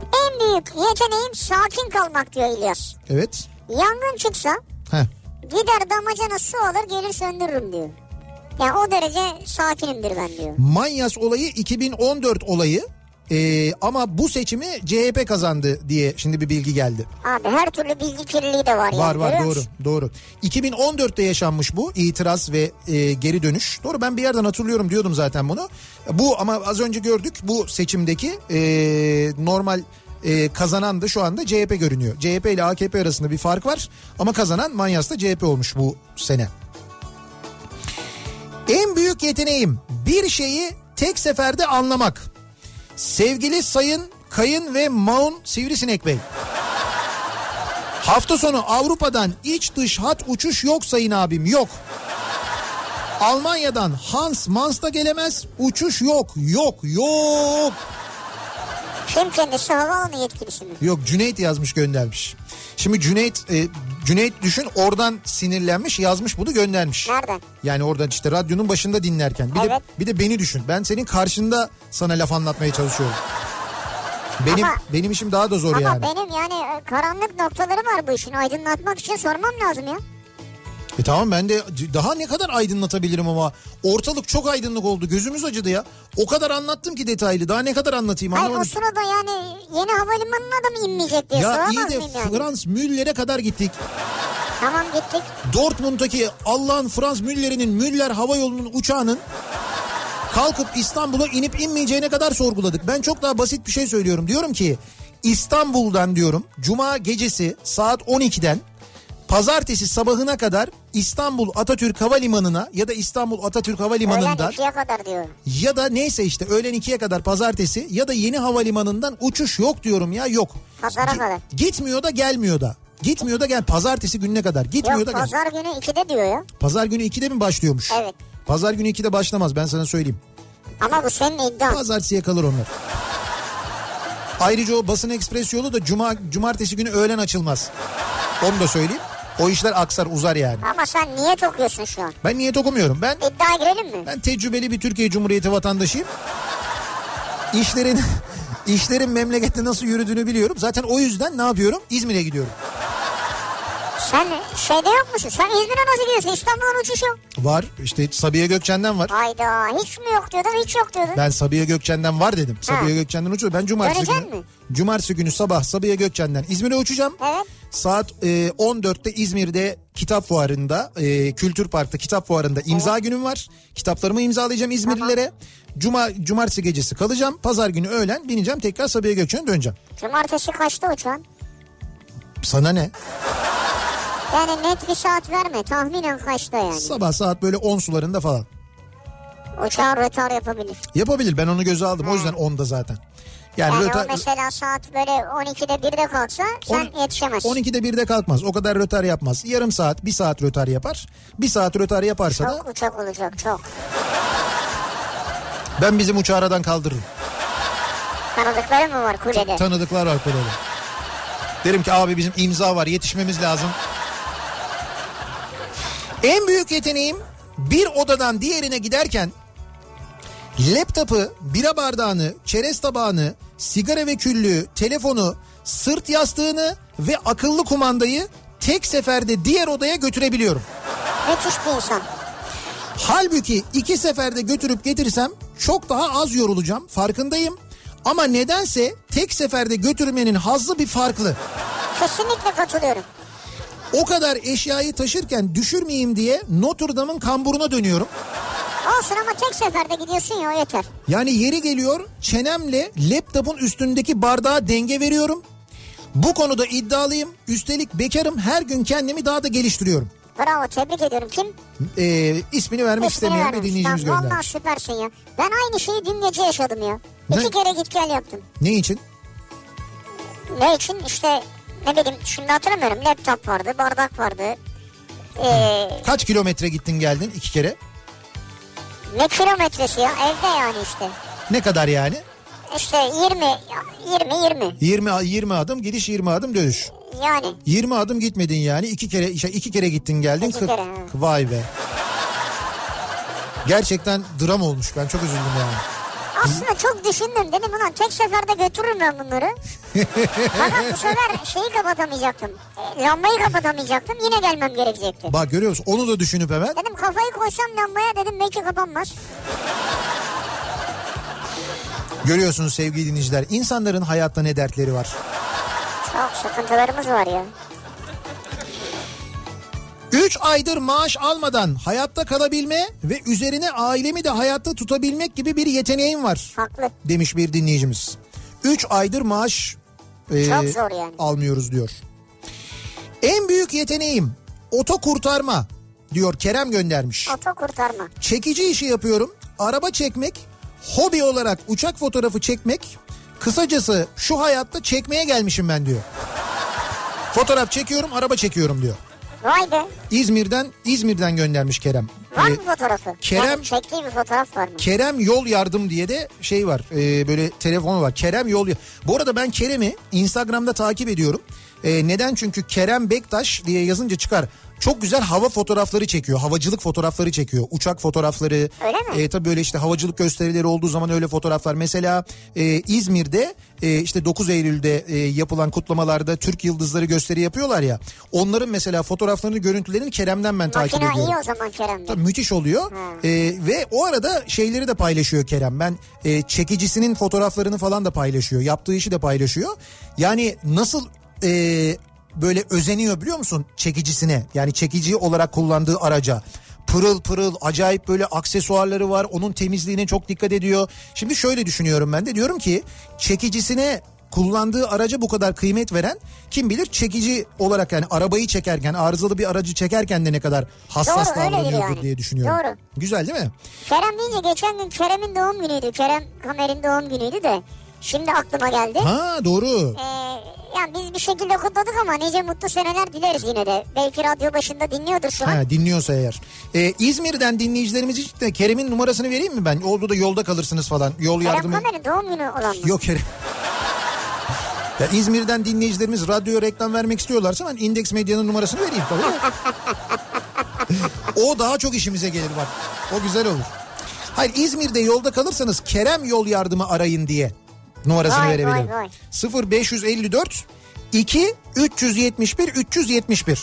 B: En büyük yeteneğim sakin kalmak diyor İlyas.
A: evet.
B: Yangın çıksa
A: Heh.
B: Gider damacana su alır gelir söndürürüm diyor. Ya o derece sakinimdir ben diyor.
A: Manyas olayı 2014 olayı Ee, ama bu seçimi CHP kazandı diye şimdi bir bilgi geldi.
B: Abi her türlü bilgi kirliliği de
A: Var
B: var. yani,
A: var
B: görüyor
A: doğru
B: musun?
A: doğru. 2014'te yaşanmış bu itiraz ve e, geri dönüş. Doğru ben bir yerden hatırlıyorum diyordum zaten bunu. Bu ama az önce gördük bu seçimdeki e, normal e, kazanan da şu anda CHP görünüyor. CHP ile AKP arasında bir fark var ama kazanan Manyas'ta CHP olmuş bu sene. En büyük yeteneğim bir şeyi tek seferde anlamak. Sevgili Sayın Kayın ve Maun Sivrisinek Bey. Hafta sonu Avrupa'dan iç dış hat uçuş yok sayın abim yok. Almanya'dan Hans Mans da gelemez. Uçuş yok yok yok.
B: Kim kendisi havaalanı yetkilisi mi?
A: Yok Cüneyt yazmış göndermiş. Şimdi Cüneyt e, Cüneyt düşün oradan sinirlenmiş yazmış bunu göndermiş.
B: Nereden?
A: Yani oradan işte radyonun başında dinlerken. Bir, de,
B: Evet.
A: bir de beni düşün. Ben senin karşında sana laf anlatmaya çalışıyorum. Benim
B: Ama-
A: benim işim daha da zor
B: Ama
A: yani.
B: benim yani e, karanlık noktaları var bu işin. Aydınlatmak için sormam lazım ya.
A: E tamam ben de c- daha ne kadar aydınlatabilirim ama ortalık çok aydınlık oldu gözümüz acıdı ya. O kadar anlattım ki detaylı daha ne kadar anlatayım
B: Hayır o
A: anlamadım.
B: sırada yani yeni havalimanına da mı inmeyecek diye
A: Ya
B: soramaz
A: iyi de
B: mıyım yani?
A: Frans Müller'e kadar gittik.
B: Tamam gittik.
A: Dortmund'daki Allah'ın Frans Müller'inin Müller Hava Yolu'nun uçağının kalkıp İstanbul'a inip inmeyeceğine kadar sorguladık. Ben çok daha basit bir şey söylüyorum. Diyorum ki İstanbul'dan diyorum cuma gecesi saat 12'den pazartesi sabahına kadar İstanbul Atatürk Havalimanı'na ya da İstanbul Atatürk
B: Öğlen
A: Havalimanı'ndan
B: ikiye kadar diyor.
A: ya da neyse işte öğlen 2'ye kadar pazartesi ya da yeni havalimanından uçuş yok diyorum ya yok.
B: Pazara kadar.
A: Gitmiyor da gelmiyor da. Gitmiyor da gel pazartesi gününe kadar. Gitmiyor da gel.
B: Yok pazar günü 2'de diyor ya.
A: Pazar günü 2'de mi başlıyormuş?
B: Evet.
A: Pazar günü 2'de başlamaz ben sana söyleyeyim.
B: Ama bu senin iddian.
A: Pazartesiye kalır onlar. Ayrıca o basın ekspres yolu da cuma cumartesi günü öğlen açılmaz. Onu da söyleyeyim. O işler aksar uzar yani.
B: Ama sen niyet okuyorsun şu an.
A: Ben niyet okumuyorum. Ben
B: İddiaya girelim mi?
A: Ben tecrübeli bir Türkiye Cumhuriyeti vatandaşıyım. İşlerin işlerin memlekette nasıl yürüdüğünü biliyorum. Zaten o yüzden ne yapıyorum? İzmir'e gidiyorum.
B: Sen şeyde yok musun? Sen İzmir'e nasıl gidiyorsun? İstanbul'un uçuşu. yok.
A: Var işte Sabiha Gökçen'den var.
B: Hayda hiç mi yok diyordun hiç yok diyordun.
A: Ben Sabiha Gökçen'den var dedim. Sabiha Gökçen'den uçuyorum. Ben cumartesi
B: Dönecek
A: günü,
B: mi?
A: cumartesi günü sabah Sabiha Gökçen'den İzmir'e uçacağım.
B: Evet.
A: Saat e, 14'te İzmir'de kitap fuarında, e, Kültür Park'ta kitap fuarında imza günüm var. Kitaplarımı imzalayacağım İzmirlilere. Cuma cumartesi gecesi kalacağım. Pazar günü öğlen bineceğim tekrar Sabiha Gökçen'e döneceğim.
B: Cumartesi kaçta uçan?
A: Sana ne?
B: Yani net bir saat verme. Tahminen kaçta yani?
A: Sabah saat böyle 10 sularında falan.
B: Uçağın rötar yapabilir.
A: Yapabilir ben onu göze aldım o yüzden 10'da zaten. Yani,
B: Yani
A: rötar-
B: o mesela saat böyle 12'de 1'de kalksa sen
A: On-
B: yetişemezsin.
A: 12'de 1'de kalkmaz o kadar rötar yapmaz. Yarım saat 1 saat rötar yapar. 1 saat rötar yaparsa da
B: Çok uçak olacak çok.
A: ben bizim uçağı aradan kaldırırım.
B: Tanıdıkları mı var kulede?
A: Tanıdıklar var kulede. Derim ki abi bizim imza var yetişmemiz lazım. En büyük yeteneğim bir odadan diğerine giderken laptopu, bira bardağını, çerez tabağını, sigara ve küllüğü, telefonu, sırt yastığını ve akıllı kumandayı tek seferde diğer odaya götürebiliyorum.
B: Müthiş bir insan.
A: Halbuki iki seferde götürüp getirsem çok daha az yorulacağım farkındayım. Ama nedense tek seferde götürmenin hazzı bir farklı.
B: Kesinlikle katılıyorum.
A: O kadar eşyayı taşırken düşürmeyeyim diye Notre Dame'ın kamburuna dönüyorum.
B: Olsun ama tek seferde gidiyorsun ya o yeter.
A: Yani yeri geliyor çenemle laptopun üstündeki bardağa denge veriyorum. Bu konuda iddialıyım. Üstelik bekarım her gün kendimi daha da geliştiriyorum.
B: Bravo tebrik ediyorum. Kim?
A: Ee, ismini vermek
B: İsmini
A: istemeyen bir
B: vermemiş.
A: dinleyicimiz
B: Lan Vallahi
A: göndermiş.
B: süpersin ya. Ben aynı şeyi dün gece yaşadım ya.
A: Ne?
B: İki kere git gel yaptım.
A: Ne için?
B: Ne için işte ne bileyim şimdi hatırlamıyorum laptop vardı bardak vardı. Ee,
A: Kaç kilometre gittin geldin iki kere?
B: ne kilometresi ya evde yani işte.
A: Ne kadar yani?
B: İşte 20 20 20
A: 20 a- 20 adım gidiş 20 adım dönüş.
B: yani
A: 20 adım gitmedin yani. iki kere işte iki kere gittin geldin.
B: İki
A: Kırk-
B: kere, evet.
A: Vay be. Gerçekten dram olmuş. Ben çok üzüldüm yani.
B: aslında çok düşündüm. Dedim ulan tek seferde götürürüm ben bunları. Fakat bu sefer şeyi kapatamayacaktım. E, Lambayı kapatamayacaktım. Yine gelmem gerekecekti.
A: Bak görüyor musun onu da düşünüp hemen.
B: Dedim kafayı koysam lambaya dedim belki kapanmaz.
A: Görüyorsunuz sevgili dinleyiciler insanların hayatta ne dertleri var.
B: Çok sıkıntılarımız var ya.
A: 3 aydır maaş almadan hayatta kalabilme ve üzerine ailemi de hayatta tutabilmek gibi bir yeteneğim var
B: Haklı.
A: demiş bir dinleyicimiz. 3 aydır maaş e,
B: Çok zor yani.
A: almıyoruz diyor. En büyük yeteneğim oto kurtarma diyor Kerem göndermiş.
B: Oto kurtarma.
A: Çekici işi yapıyorum. Araba çekmek, hobi olarak uçak fotoğrafı çekmek. Kısacası şu hayatta çekmeye gelmişim ben diyor. Fotoğraf çekiyorum, araba çekiyorum diyor.
B: Vay be.
A: İzmir'den İzmir'den göndermiş Kerem.
B: Var
A: Ee,
B: mı fotoğrafı?
A: Kerem-
B: Yani çektiği bir fotoğraf var mı?
A: Kerem Yol Yardım diye de şey var. e, böyle telefonu var. Kerem Yol Bu arada ben Kerem'i Instagram'da takip ediyorum. E, neden? Çünkü Kerem Bektaş diye yazınca çıkar. Çok güzel hava fotoğrafları çekiyor. Havacılık fotoğrafları çekiyor. Uçak fotoğrafları.
B: Öyle mi?
A: E, tabii böyle işte havacılık gösterileri olduğu zaman öyle fotoğraflar. Mesela e, İzmir'de e, işte 9 Eylül'de e, yapılan kutlamalarda Türk Yıldızları gösteri yapıyorlar ya. Onların mesela fotoğraflarını, görüntülerini Kerem'den ben takip
B: Makina
A: ediyorum.
B: iyi o zaman Kerem Bey.
A: Tabii müthiş oluyor. Ee, ve o arada şeyleri de paylaşıyor Kerem. Ben e, çekicisinin fotoğraflarını falan da paylaşıyor. Yaptığı işi de paylaşıyor. Yani nasıl e, böyle özeniyor biliyor musun çekicisine? Yani çekici olarak kullandığı araca. Pırıl pırıl acayip böyle aksesuarları var. Onun temizliğine çok dikkat ediyor. Şimdi şöyle düşünüyorum ben de diyorum ki çekicisine kullandığı araca bu kadar kıymet veren kim bilir çekici olarak yani arabayı çekerken arızalı bir aracı çekerken de ne kadar hassas
B: Doğru, öyledir
A: davranıyordur
B: yani.
A: diye düşünüyorum.
B: Doğru.
A: Güzel değil mi?
B: Kerem deyince geçen gün Kerem'in doğum günüydü. Kerem Kamer'in doğum günüydü de. Şimdi aklıma geldi.
A: Ha doğru.
B: Ee, yani biz bir şekilde kutladık ama nice mutlu seneler dileriz yine de. Belki radyo başında dinliyordur şu an.
A: Ha, dinliyorsa eğer. Ee, İzmir'den dinleyicilerimiz için de Kerem'in numarasını vereyim mi ben? Oldu da yolda kalırsınız falan. Yol
B: Kerem
A: yardımı.
B: Kamer'in doğum günü olan mı?
A: Yok Kerem. Ya İzmir'den dinleyicilerimiz radyoya reklam vermek istiyorlarsa ben Index Medya'nın numarasını vereyim tabii. o daha çok işimize gelir bak. O güzel olur. Hayır İzmir'de yolda kalırsanız Kerem Yol Yardımı arayın diye numarasını
B: Vay, vay,
A: verebilirim.
B: vay.
A: 0554 2 371 371.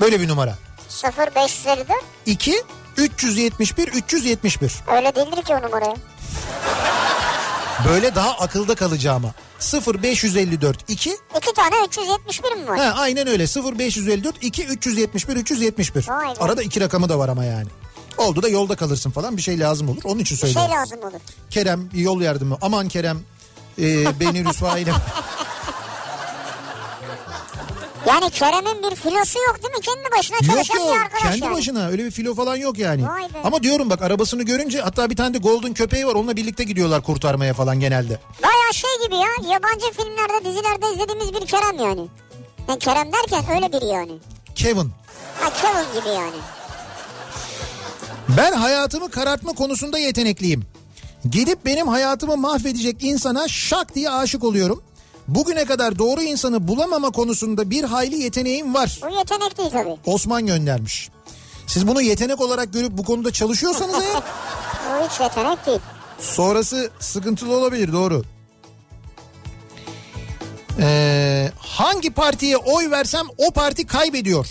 A: Böyle bir numara.
B: 0554
A: 2 371 371.
B: öyle değildir ki o numarayı.
A: Böyle daha akılda kalacağıma. 0554 2
B: İki tane 371 mi var?
A: Ha, aynen öyle 0554 2 371 371.
B: Vay be.
A: Arada iki rakamı da var ama yani. Oldu da yolda kalırsın falan bir şey lazım olur. Onun için
B: Bir şey
A: söylüyorum.
B: lazım olur.
A: Kerem bir yol yardımı. Aman Kerem e, beni rüsva ile.
B: Yani Kerem'in bir filosu yok değil mi? Kendi başına
A: yok
B: çalışan
A: yok
B: bir arkadaş
A: kendi
B: yani.
A: başına öyle bir filo falan yok yani.
B: Vay be.
A: Ama diyorum bak arabasını görünce hatta bir tane de golden köpeği var onunla birlikte gidiyorlar kurtarmaya falan genelde.
B: Baya şey gibi ya yabancı filmlerde dizilerde izlediğimiz bir Kerem yani. Yani Kerem derken öyle biri yani.
A: Kevin.
B: Ha Kevin gibi yani.
A: Ben hayatımı karartma konusunda yetenekliyim. Gidip benim hayatımı mahvedecek insana şak diye aşık oluyorum. Bugüne kadar doğru insanı bulamama konusunda bir hayli yeteneğim var.
B: Bu yetenek değil tabii.
A: Osman göndermiş. Siz bunu yetenek olarak görüp bu konuda çalışıyorsanız eğer
B: Bu hiç yetenek değil.
A: sonrası sıkıntılı olabilir doğru. Ee, hangi partiye oy versem o parti kaybediyor.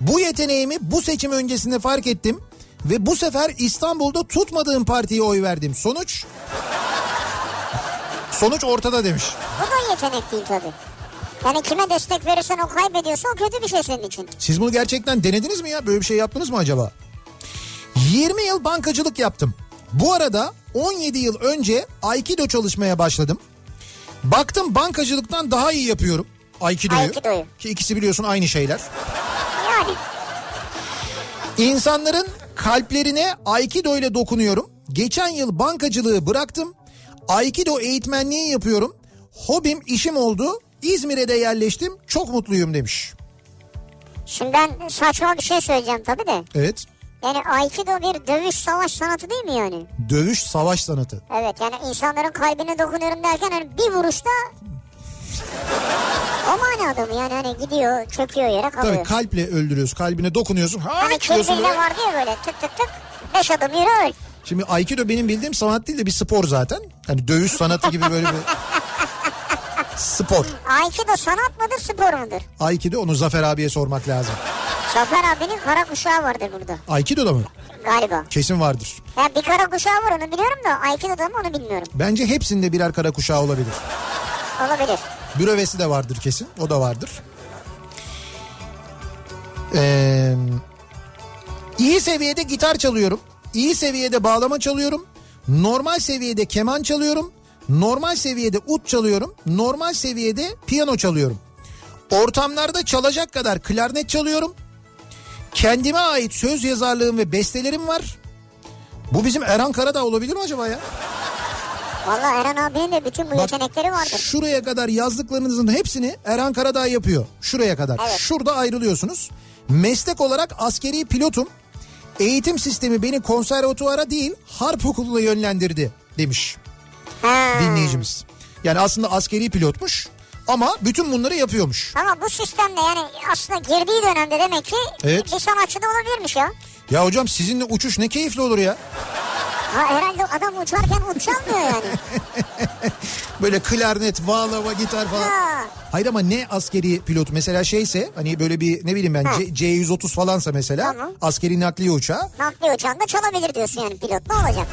A: Bu yeteneğimi bu seçim öncesinde fark ettim ve bu sefer İstanbul'da tutmadığım partiye oy verdim. Sonuç Sonuç ortada demiş.
B: Bu da yetenek değil tabii. Yani kime destek verirsen o kaybediyorsa o kötü bir şey senin için.
A: Siz bunu gerçekten denediniz mi ya? Böyle bir şey yaptınız mı acaba? 20 yıl bankacılık yaptım. Bu arada 17 yıl önce Aikido çalışmaya başladım. Baktım bankacılıktan daha iyi yapıyorum Aikido'yu.
B: Aikido'yu.
A: Ki ikisi biliyorsun aynı şeyler.
B: Yani
A: İnsanların kalplerine Aikido ile dokunuyorum. Geçen yıl bankacılığı bıraktım. Aikido eğitmenliği yapıyorum. Hobim işim oldu. İzmir'e de yerleştim. Çok mutluyum demiş.
B: şimdi ben saçma bir şey söyleyeceğim tabii de.
A: Evet.
B: Yani Aikido bir dövüş savaş sanatı değil mi yani?
A: Dövüş savaş sanatı.
B: Evet yani insanların kalbine dokunuyorum derken hani bir vuruşta o manada mı yani hani gidiyor çöküyor yere kalıyor.
A: Tabii kalple öldürüyorsun. Kalbine dokunuyorsun. Ha
B: Hani
A: diyorsun
B: kilbille
A: böyle.
B: vardı ya böyle tık tık tık. Beş adım yürü öl.
A: Şimdi Aikido benim bildiğim sanat değil de bir spor zaten. Hani dövüş sanatı gibi böyle bir spor.
B: Aikido sanat mıdır spor mudur?
A: Aikido onu Zafer abiye sormak lazım.
B: Zafer abinin kara kuşağı vardır burada
A: Aikido'da mı?
B: galiba.
A: Kesin vardır.
B: Ya bir kara kuşağı var onu biliyorum da Aikido'da mı onu bilmiyorum.
A: Bence hepsinde birer kara kuşağı olabilir.
B: Olabilir.
A: Bürövesi de vardır kesin. O da vardır. Ee, iyi seviyede gitar çalıyorum. İyi seviyede bağlama çalıyorum. Normal seviyede keman çalıyorum. Normal seviyede ut çalıyorum. Normal seviyede piyano çalıyorum. Ortamlarda çalacak kadar klarnet çalıyorum. Kendime ait söz yazarlığım ve bestelerim var. Bu bizim Erhan Karadağ olabilir mi acaba ya?
B: Valla Eren abinin de bütün bu
A: Bak,
B: yetenekleri vardır.
A: Şuraya kadar yazdıklarınızın hepsini Erhan Karadağ yapıyor. Şuraya kadar.
B: Evet.
A: Şurada ayrılıyorsunuz. Meslek olarak askeri pilotum. Eğitim sistemi beni konservatuvara değil harp okuluna yönlendirdi demiş
B: Ha.
A: dinleyicimiz. Yani aslında askeri pilotmuş ama bütün bunları yapıyormuş.
B: Ama bu sistemle yani aslında girdiği dönemde demek ki
A: Evet.
B: bir sanatçı da olabilirmiş ya.
A: Ya hocam sizinle uçuş ne keyifli olur ya.
B: Ha, herhalde adam uçarken uçamıyor yani.
A: Böyle klarnet, bağlama, gitar falan.
B: Ha.
A: Hayır ama ne askeri pilot mesela şeyse hani böyle bir ne bileyim ben
B: Ha.
A: C- C-130 falansa mesela
B: Tamam.
A: askeri nakliye uçağı.
B: Nakli uçağında çalabilir diyorsun yani pilot ne olacak?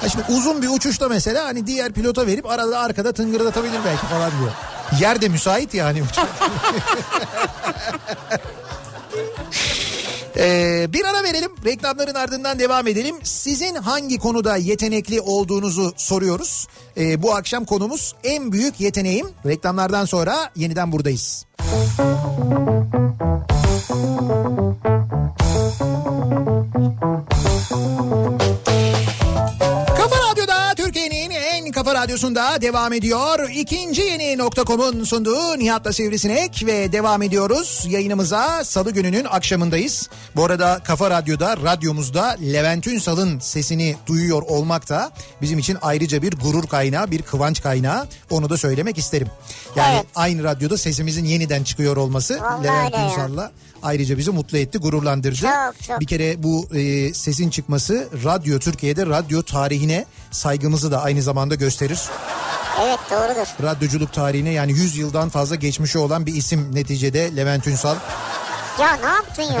A: Ha şimdi uzun bir uçuşta mesela hani diğer pilota verip arada arkada tıngırdatabilir belki falan diyor. Yer de müsait yani uçak. Ee, bir ara verelim reklamların ardından devam edelim. Sizin hangi konuda yetenekli olduğunuzu soruyoruz. Ee, bu akşam konumuz en büyük yeteneğim. Reklamlardan sonra yeniden buradayız. Kafa Radyo'da Türkiye'nin en kafa radyosunda devam ediyor. İkinci yeni nokta.com'un sunduğu Nihat'la Sivrisinek ve devam ediyoruz. Yayınımıza salı gününün akşamındayız. Bu arada Kafa Radyo'da radyomuzda Levent Ünsal'ın sesini duyuyor olmak da bizim için ayrıca bir gurur kaynağı, bir kıvanç kaynağı. Onu da söylemek isterim. Yani
B: Evet.
A: aynı radyoda sesimizin yeniden çıkıyor olması
B: Vallahi
A: Levent
B: öyle ya.
A: Ünsal'la ayrıca bizi mutlu etti, gururlandırdı.
B: Çok, çok.
A: Bir kere bu e, sesin çıkması radyo Türkiye'de radyo tarihine saygımızı da aynı zamanda gösterir.
B: Evet doğrudur.
A: Radyoculuk tarihine yani 100 yıldan fazla geçmişi olan bir isim neticede Levent Ünsal.
B: Ya ne yaptın ya?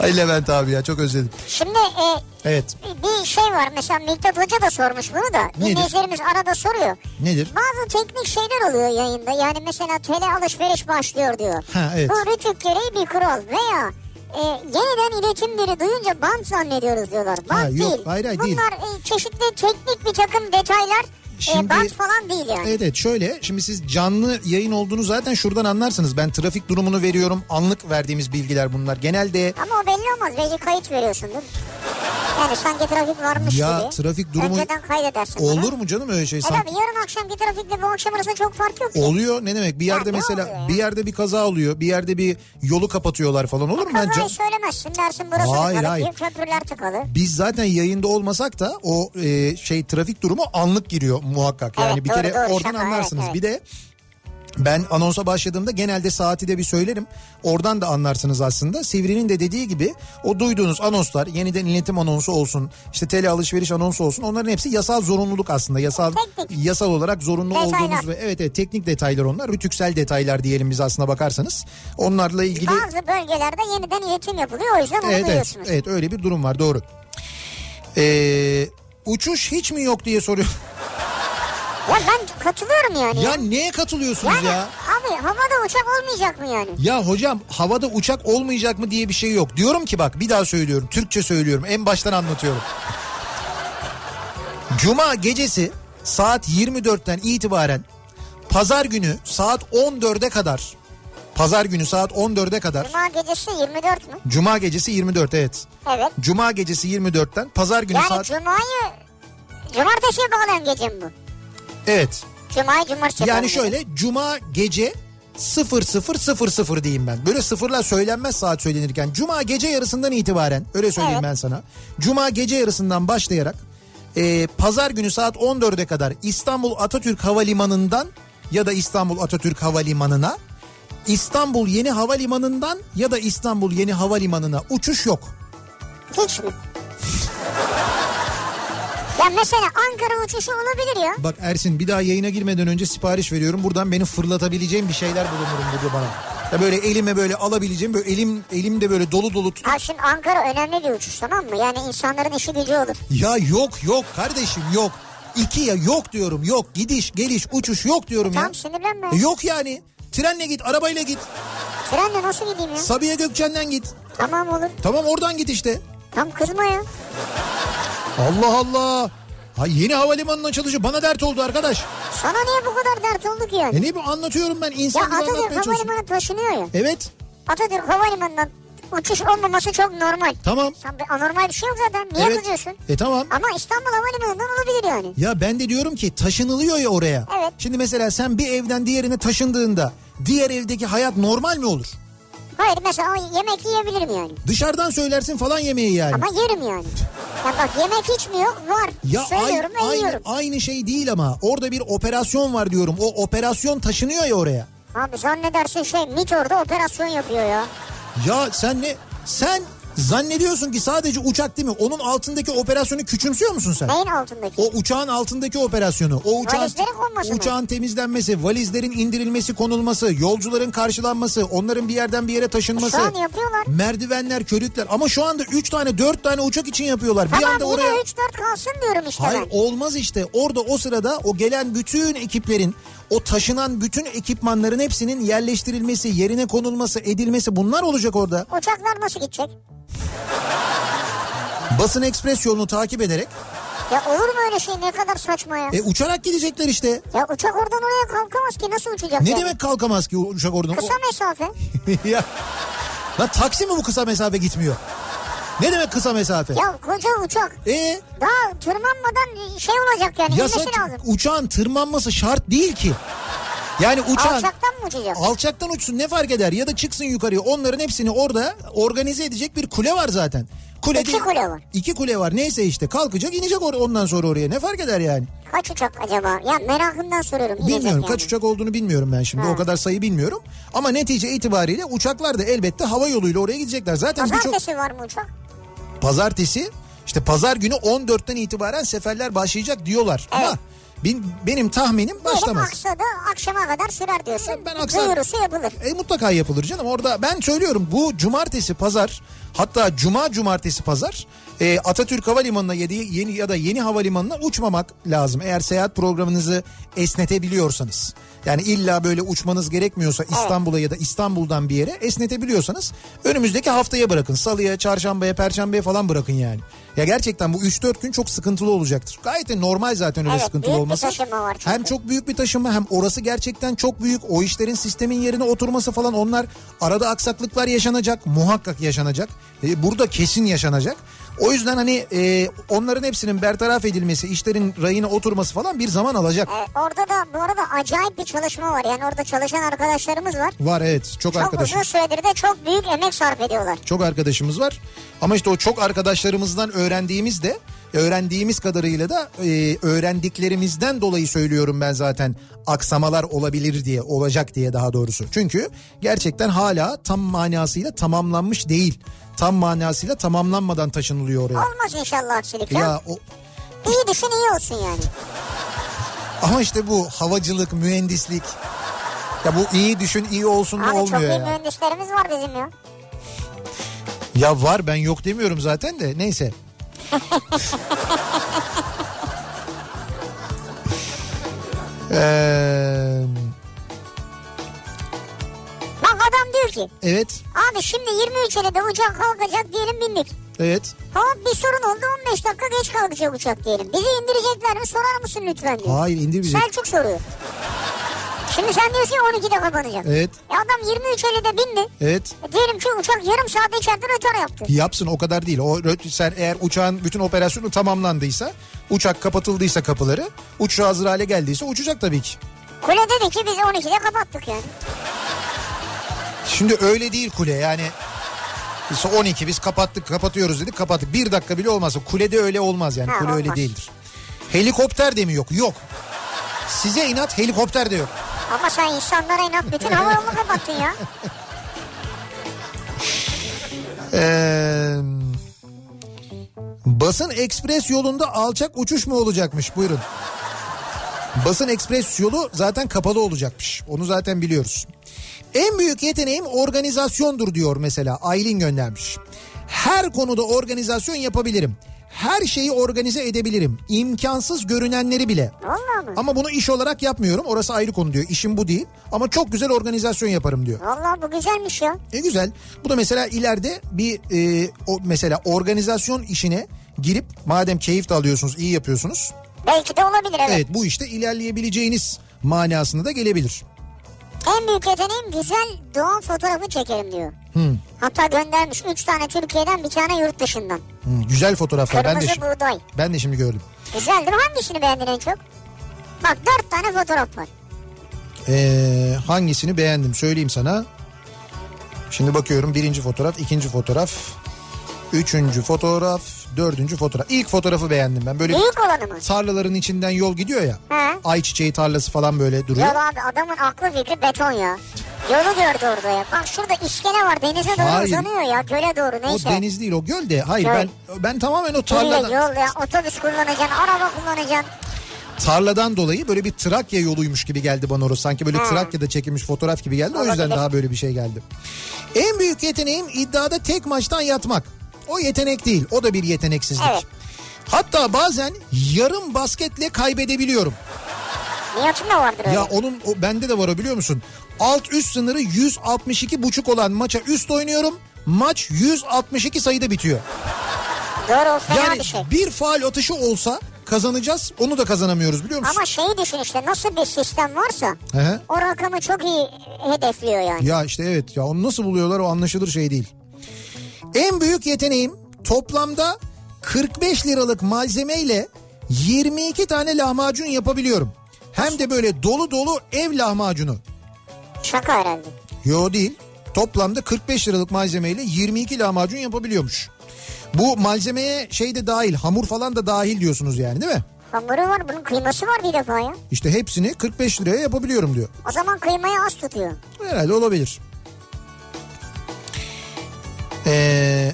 A: Ay Levent abi ya çok özledim.
B: Şimdi e,
A: Evet
B: bir şey var mesela Miktat Hoca da sormuş bunu da. Dinleyicilerimiz arada soruyor.
A: nedir?
B: Bazı teknik şeyler oluyor yayında. Yani mesela tele alışveriş başlıyor diyor.
A: Ha, evet.
B: Bu rütük gereği bir kural veya e, yeniden iletimleri duyunca bant zannediyoruz diyorlar. Bant
A: Ha, yok,
B: değil.
A: hayır, hayır, değil.
B: Bunlar e, çeşitli teknik bir takım detaylar.
A: Şimdi-
B: E, bant falan değil yani.
A: Evet evet şöyle şimdi siz canlı yayın olduğunu zaten şuradan anlarsınız. Ben trafik durumunu veriyorum anlık verdiğimiz bilgiler bunlar. Genelde
B: Ama o belli olmaz. Belki kayıt veriyorsundur. Yani sanki trafik varmış
A: Ya,
B: gibi.
A: trafik durumu-
B: Önceden kaydedersin. bunu.
A: olur mu canım öyle şey
B: E
A: sanki?
B: tabii yarın akşamki trafikle bu akşam arasında çok fark yok. ki.
A: Oluyor ne demek bir yerde
B: ne oluyor
A: mesela
B: ya?
A: bir yerde bir kaza oluyor bir yerde bir yolu kapatıyorlar falan olur mu? Ben
B: Kazayı
A: ca-
B: söylemezsin dersin burası
A: Hayır,
B: tıkalı,
A: hayır.
B: büyük köprüler tıkalı.
A: biz zaten yayında olmasak da o e, şey trafik durumu anlık giriyor muhakkak. Yani
B: Evet,
A: bir
B: doğru,
A: kere
B: doğru,
A: oradan
B: şaka,
A: anlarsınız.
B: evet,
A: Bir de ben anonsa başladığımda genelde saati de bir söylerim. Oradan da anlarsınız aslında. Sivri'nin de dediği gibi o duyduğunuz anonslar yeniden iletim anonsu olsun, işte tele alışveriş anonsu olsun. Onların hepsi yasal zorunluluk aslında. Yasal
B: Teknik.
A: yasal olarak zorunlu
B: Detaylar.
A: olduğunuz ve evet evet teknik detaylar onlar. Rütüksel detaylar diyelim biz aslına bakarsanız. Onlarla ilgili
B: Bazı bölgelerde yeniden iletim yapılıyor o yüzden onu
A: Evet, evet,
B: duyuyorsunuz.
A: evet öyle bir durum var doğru. Ee, uçuş hiç mi yok diye soruyor.
B: Ya ben katılıyorum yani.
A: ya neye katılıyorsunuz
B: yani
A: ya?
B: abi havada uçak olmayacak mı yani?
A: Ya hocam havada uçak olmayacak mı diye bir şey yok. Diyorum ki bak bir daha söylüyorum. Türkçe söylüyorum. En baştan anlatıyorum. Cuma gecesi saat 24'ten itibaren pazar günü saat 14'e kadar pazar günü saat 14'e kadar
B: Cuma gecesi 24 mü?
A: Cuma gecesi 24 evet.
B: Evet.
A: Cuma gecesi 24'ten pazar günü
B: Yani
A: saat
B: cumayı cumartesiye bağlayan gece mi bu?
A: evet.
B: Cumayı cumartesiye bağlayan
A: Yani
B: gece.
A: şöyle cuma gece 0000 diyeyim ben. Böyle sıfırla söylenmez saat söylenirken. Cuma gece yarısından itibaren öyle söyleyeyim
B: Evet.
A: ben sana. Cuma gece yarısından başlayarak e, pazar günü saat 14'e kadar İstanbul Atatürk Havalimanı'ndan ya da İstanbul Atatürk Havalimanı'na İstanbul Yeni Havalimanı'ndan ya da İstanbul Yeni Havalimanı'na uçuş yok.
B: Hiç mi? ya mesela Ankara uçuşu olabilir ya.
A: Bak Ersin bir daha yayına girmeden önce sipariş veriyorum. Buradan beni fırlatabileceğim bir şeyler bulunur burada bana. Ya böyle elime böyle alabileceğim böyle elim elim de böyle dolu dolu tut-
B: Ha şimdi Ankara önemli bir uçuş tamam mı? Yani insanların işi gücü olur.
A: Ya yok yok kardeşim yok. İki ya yok diyorum yok gidiş geliş uçuş yok diyorum ya.
B: Tamam sinirlenme.
A: E Yok yani. Trenle git, arabayla git.
B: Trenle nasıl gideyim ya?
A: Sabiha Gökçen'den git.
B: Tamam olur.
A: Tamam oradan git işte.
B: Tam kızma ya.
A: Allah Allah. Ha yeni havalimanının açılışı bana dert oldu arkadaş.
B: Sana niye bu kadar dert olduk yani?
A: E ne bu anlatıyorum ben
B: Ya
A: insanlara anlatmaya
B: Atatürk
A: çalışıyorum.
B: Havalimanı taşınıyor ya.
A: Evet
B: Atatürk Havalimanı'ndan uçuş olmaması çok normal.
A: tamam.
B: Tam bir anormal bir şey yok zaten. Niye
A: evet.
B: kızıyorsun?
A: E tamam.
B: Ama İstanbul Havalimanı'ndan olabilir yani.
A: Ya ben de diyorum ki taşınılıyor ya oraya.
B: Evet.
A: Şimdi mesela sen bir evden diğerine taşındığında diğer evdeki hayat normal mi olur?
B: Hayır mesela o yemek yiyebilirim yani.
A: Dışarıdan söylersin falan yemeği yani.
B: Ama yerim yani. Ya bak yemek hiç mi yok? Var.
A: Ya
B: Söylüyorum
A: aynı,
B: ve
A: aynı,
B: yiyorum.
A: aynı şey değil ama orada bir operasyon var diyorum. O operasyon taşınıyor ya oraya.
B: Abi zannedersin şey MIT orada operasyon yapıyor ya.
A: Ya sen ne? Sen zannediyorsun ki sadece uçak değil mi? Onun altındaki operasyonu küçümsüyor musun sen?
B: Neyin altındaki?
A: O uçağın altındaki operasyonu, o uçağın,
B: Valizlerin konması mı?
A: uçağın temizlenmesi, valizlerin indirilmesi, konulması, yolcuların karşılanması, onların bir yerden bir yere taşınması.
B: Şu an yapıyorlar.
A: Merdivenler, körükler ama şu anda 3 tane 4 tane uçak için yapıyorlar. bir
B: Tamam
A: anda
B: yine
A: oraya
B: 3-4 kalsın diyorum işte
A: Hayır
B: ben.
A: olmaz işte. Orada o sırada o gelen bütün ekiplerin o taşınan bütün ekipmanların hepsinin yerleştirilmesi, yerine konulması, edilmesi bunlar olacak orada.
B: Uçaklar nasıl gidecek?
A: Basın ekspres yolunu takip ederek
B: Ya olur mu öyle şey ne kadar saçma ya.
A: e, uçarak gidecekler işte.
B: Ya uçak oradan oraya kalkamaz ki nasıl uçacak?
A: Ne
B: yani?
A: demek kalkamaz ki uçak oradan?
B: Kısa mesafe.
A: O- ya. Lan taksi mi bu kısa mesafe gitmiyor? Ne demek kısa mesafe?
B: Ya koca uçak.
A: E
B: Daha tırmanmadan şey olacak yani.
A: ya
B: inmesi
A: sen-
B: lazım.
A: uçağın tırmanması şart değil ki. Yani uçağın
B: Alçaktan mı uçacak?
A: Alçaktan uçsun ne fark eder ya da çıksın yukarıya onların hepsini orada organize edecek bir kule var zaten. Kule
B: İki
A: değil-
B: kule var.
A: İki kule var neyse işte kalkacak inecek or- ondan sonra oraya ne fark eder yani.
B: Kaç uçak acaba? Ya merakımdan soruyorum. inecek
A: Bilmiyorum
B: yani.
A: kaç uçak olduğunu bilmiyorum ben şimdi o kadar sayı bilmiyorum. Ama netice itibariyle uçaklar da elbette hava yoluyla oraya gidecekler. Zaten birçok
B: Pazartesi var mı uçak?
A: pazartesi işte pazar günü 14'ten itibaren seferler başlayacak diyorlar.
B: Evet.
A: Ama bin- benim tahminim
B: Diyelim
A: başlamaz.
B: aksa da akşama kadar sürer diyorsun.
A: Ben aksa-
B: Duyurusu yapılır.
A: E, mutlaka yapılır canım. Orada ben söylüyorum bu cumartesi pazar hatta cuma cumartesi pazar e, Atatürk Havalimanı'na ya da yeni ya da yeni havalimanına uçmamak lazım. Eğer seyahat programınızı esnetebiliyorsanız. Yani illa böyle uçmanız gerekmiyorsa İstanbul'a ya da İstanbul'dan bir yere esnetebiliyorsanız önümüzdeki haftaya bırakın. Salıya, çarşambaya, perşembeye falan bırakın yani. Ya gerçekten bu 3-4 gün çok sıkıntılı olacaktır. Gayet de normal zaten öyle
B: Evet,
A: sıkıntılı
B: büyük bir
A: olması.
B: taşınma var çünkü.
A: Hem çok çok büyük bir taşınma hem orası gerçekten çok büyük. O işlerin sistemin yerine oturması falan onlar arada aksaklıklar yaşanacak muhakkak yaşanacak. E, burada kesin yaşanacak. O yüzden hani e, onların hepsinin bertaraf edilmesi, işlerin rayına oturması falan bir zaman alacak.
B: Ee, orada da bu arada acayip bir çalışma var. Yani orada çalışan arkadaşlarımız var.
A: Var evet çok
B: Çok uzun
A: arkadaşım.
B: süredir de çok büyük emek sarf ediyorlar.
A: Çok arkadaşımız var. Ama işte o çok arkadaşlarımızdan öğrendiğimiz de öğrendiğimiz kadarıyla da e, öğrendiklerimizden dolayı söylüyorum ben zaten aksamalar olabilir diye olacak diye daha doğrusu. Çünkü gerçekten hala tam manasıyla tamamlanmış değil. Tam manasıyla tamamlanmadan taşınılıyor oraya.
B: Olmaz inşallah aksilik ya.
A: Ya o,
B: İyi düşün iyi olsun yani.
A: ama işte bu havacılık, mühendislik ya bu iyi düşün iyi olsun da
B: Abi çok iyi
A: olmuyor ya.
B: mühendislerimiz var bizim ya.
A: Ya var ben yok demiyorum zaten de neyse. Ee,
B: Bak adam diyor ki
A: evet,
B: abi şimdi 23 de uçak kalkacak diyelim bindik.
A: evet.
B: Hop bir sorun oldu 15 dakika geç kalkacak uçak diyelim. Bizi indirecekler mi sorar mısın lütfen diyor.
A: Hayır indirmeyecek.
B: Selçuk soruyor. Şimdi sen diyorsun ya 12'de kapanacak.
A: Evet,
B: E adam 23 de bindi.
A: evet.
B: E diyelim ki uçak yarım saat içeriden rötar yaptı.
A: Yapsın o kadar değil. O rö- sen eğer uçağın bütün operasyonu tamamlandıysa, uçak kapatıldıysa kapıları, uçağı hazır hale geldiyse uçacak tabii ki.
B: Kule dedi ki biz 12'de kapattık yani.
A: Şimdi öyle değil kule yani. Biz 12 biz kapattık kapatıyoruz dedik kapattık. Bir dakika bile olmaz. Kulede öyle olmaz yani.
B: Ha,
A: Kule öyle
B: olmaz.
A: değildir. Helikopter de mi yok? Yok. Size inat helikopter de yok.
B: Ama sen insanlara inat bütün hava yolunu kapattın ya.
A: Ee, Basın ekspres yolunda alçak uçuş mu olacakmış? Buyurun. Basın ekspres yolu zaten kapalı olacakmış. Onu zaten biliyoruz. En büyük yeteneğim organizasyondur diyor mesela Aylin göndermiş. Her konuda organizasyon yapabilirim. Her şeyi organize edebilirim. İmkansız görünenleri bile.
B: Valla mı?
A: Ama bunu iş olarak yapmıyorum. Orası ayrı konu diyor. İşim bu değil. Ama çok güzel organizasyon yaparım diyor.
B: Valla bu güzelmiş ya.
A: Ne E, güzel. Bu da mesela ileride bir e, o mesela organizasyon işine girip madem keyif de alıyorsunuz, iyi yapıyorsunuz.
B: Belki de olabilir evet.
A: Evet bu işte ilerleyebileceğiniz manasında da gelebilir.
B: En büyük yeteneğim güzel doğal fotoğrafı çekerim diyor. Hatta göndermiş 3 tane Türkiye'den bir tane yurt dışından.
A: Hı, güzel fotoğraflar. Ben de,
B: Kırmızı
A: şi-
B: buğday.
A: ben de şimdi gördüm.
B: Güzeldir. Hangisini beğendin en çok? Bak 4 tane fotoğraf var.
A: Ee, hangisini beğendim söyleyeyim sana. Şimdi bakıyorum birinci fotoğraf, ikinci fotoğraf, üçüncü fotoğraf, dördüncü fotoğraf. İlk fotoğrafı beğendim ben. Böyle
B: Büyük olanı mı?
A: tarlaların içinden yol gidiyor ya.
B: He.
A: Ayçiçeği tarlası falan böyle duruyor.
B: Ya abi adamın aklı fikri beton ya. Yolu gördü orada ya. Bak şurada iskele var denize doğru
A: Hayır.
B: uzanıyor ya göle doğru
A: O
B: neyse.
A: deniz değil o göl de. Hayır
B: Göl.
A: ben ben tamamen o
B: Yürü ya,
A: tarladan,
B: yol ya otobüs kullanacaksın araba kullanacaksın.
A: tarladan dolayı böyle bir Trakya yoluymuş gibi geldi bana orası. Sanki böyle
B: Ha.
A: Trakya'da çekilmiş fotoğraf gibi geldi. O
B: Olabilir.
A: yüzden daha böyle bir şey geldi. En büyük yeteneğim iddiada tek maçtan yatmak. O yetenek değil. O da bir yeteneksizlik.
B: Evet.
A: Hatta bazen yarım basketle kaybedebiliyorum.
B: Niyetim de vardır öyle.
A: Ya onun o, bende de var o biliyor musun? Alt üst sınırı 162,5 olan maça üst oynuyorum. Maç 162 sayıda bitiyor.
B: doğru o fena
A: Yani
B: bir şey.
A: bir faal atışı olsa kazanacağız. Onu da kazanamıyoruz biliyor musun?
B: Ama şeyi düşün işte nasıl bir sistem varsa
A: Hı hı.
B: o rakamı çok iyi hedefliyor yani.
A: Ya işte evet ya onu nasıl buluyorlar o anlaşılır şey değil. En büyük yeteneğim toplamda 45 liralık malzemeyle 22 tane lahmacun yapabiliyorum. Hem de böyle dolu dolu ev lahmacunu.
B: Şaka herhalde.
A: Yo değil. Toplamda 45 liralık malzemeyle 22 lahmacun yapabiliyormuş. Bu malzemeye şey de dahil hamur falan da dahil diyorsunuz yani değil mi?
B: Hamuru var bunun kıyması var bir defa ya.
A: İşte hepsini 45 liraya yapabiliyorum diyor.
B: O zaman kıymayı az tutuyor.
A: Herhalde olabilir. Ee,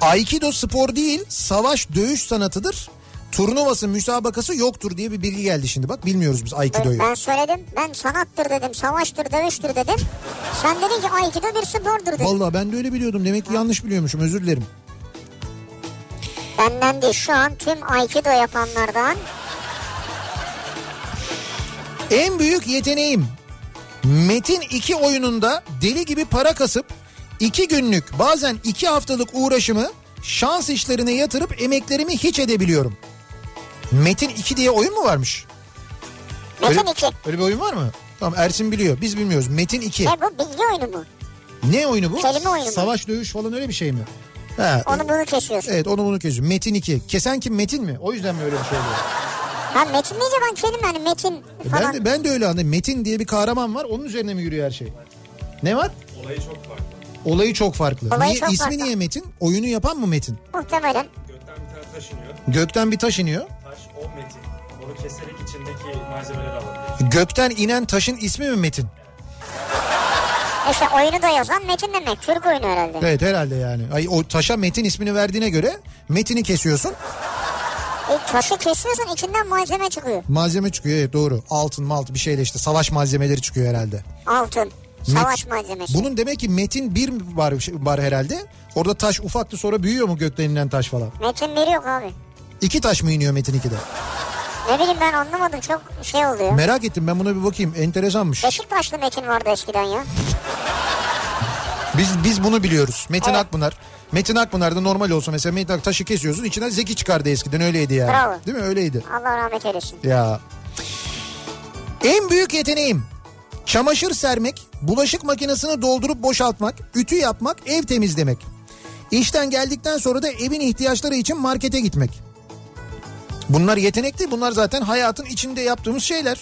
A: Aikido spor değil, savaş dövüş sanatıdır. Turnuvası, müsabakası yoktur diye bir bilgi geldi şimdi. Bak bilmiyoruz biz Aikido'yu.
B: Ben söyledim ben sanattır dedim savaştır dövüştür dedim. Sen dedin ki Aikido bir spordur dedin.
A: Vallahi ben de öyle biliyordum. Demek ki yanlış biliyormuşum. Özür dilerim.
B: Benden değil şu an tüm Aikido yapanlardan
A: En büyük yeteneğim Metin 2 oyununda deli gibi para kasıp 2 günlük bazen 2 haftalık uğraşımı şans işlerine yatırıp emeklerimi hiç edebiliyorum. Metin 2 diye oyun mu varmış?
B: Metin 2.
A: Öyle bir oyun var mı? Tamam Ersin biliyor. Biz bilmiyoruz. Metin 2.
B: Ne bu bilgi oyunu mu?
A: Ne oyunu bu?
B: Kelime oyunu mu?
A: Savaş dövüş falan öyle bir şey mi? Ha,
B: Onu bunu kesiyorsun.
A: evet onu bunu kesiyor. Metin 2. Kesen kim Metin mi? O yüzden mi öyle bir şey oluyor?
B: Ha metin deyince ben kelime hani metin
A: E,
B: falan.
A: Ben de, ben de öyle anladım. Metin diye bir kahraman var. Onun üzerine mi yürüyor her şey? Ne var? Olayı çok farklı.
B: Olayı
A: niye,
B: çok
A: ismi
B: farklı.
A: niye Metin? Oyunu yapan mı Metin?
B: Muhtemelen.
E: Gökten bir tane taş iniyor.
A: Gökten bir taş iniyor.
E: Taş 10 metre. Onu keserek içindeki malzemeleri alabiliyoruz.
A: Gökten inen taşın ismi mi Metin?
B: İşte oyunu da yazan metin demek. Türk oyunu herhalde.
A: Evet herhalde yani. Ay, o taşa Metin ismini verdiğine göre Metin'i kesiyorsun.
B: E, taşı kesiyorsun içinden malzeme çıkıyor.
A: Malzeme çıkıyor evet doğru. Altın malt bir şeyle işte savaş malzemeleri çıkıyor herhalde.
B: Altın. Savaş
A: Met-
B: malzemesi.
A: Bunun demek ki Metin bir var, var herhalde. Orada taş ufaktı sonra büyüyor mu gökten inen taş falan?
B: Metin biri yok abi.
A: İki taş mı iniyor Metin 2'de?
B: Ne bileyim ben anlamadım çok şey oluyor.
A: Merak ettim ben buna bir bakayım. Enteresanmış.
B: Beşiktaşlı Metin vardı eskiden ya.
A: Biz biz bunu biliyoruz. Metin
B: Evet.
A: Akpınar. Metin Akpınar da normal olsa mesela Metin Ak taşı kesiyorsun içinden zeki çıkardı eskiden öyleydi yani.
B: Bravo.
A: Değil mi öyleydi.
B: Allah rahmet eylesin.
A: Ya. En büyük yeteneğim çamaşır sermek, bulaşık makinesini doldurup boşaltmak, ütü yapmak, ev temizlemek. İşten geldikten sonra da evin ihtiyaçları için markete gitmek. Bunlar yetenek değil bunlar zaten hayatın içinde yaptığımız şeyler.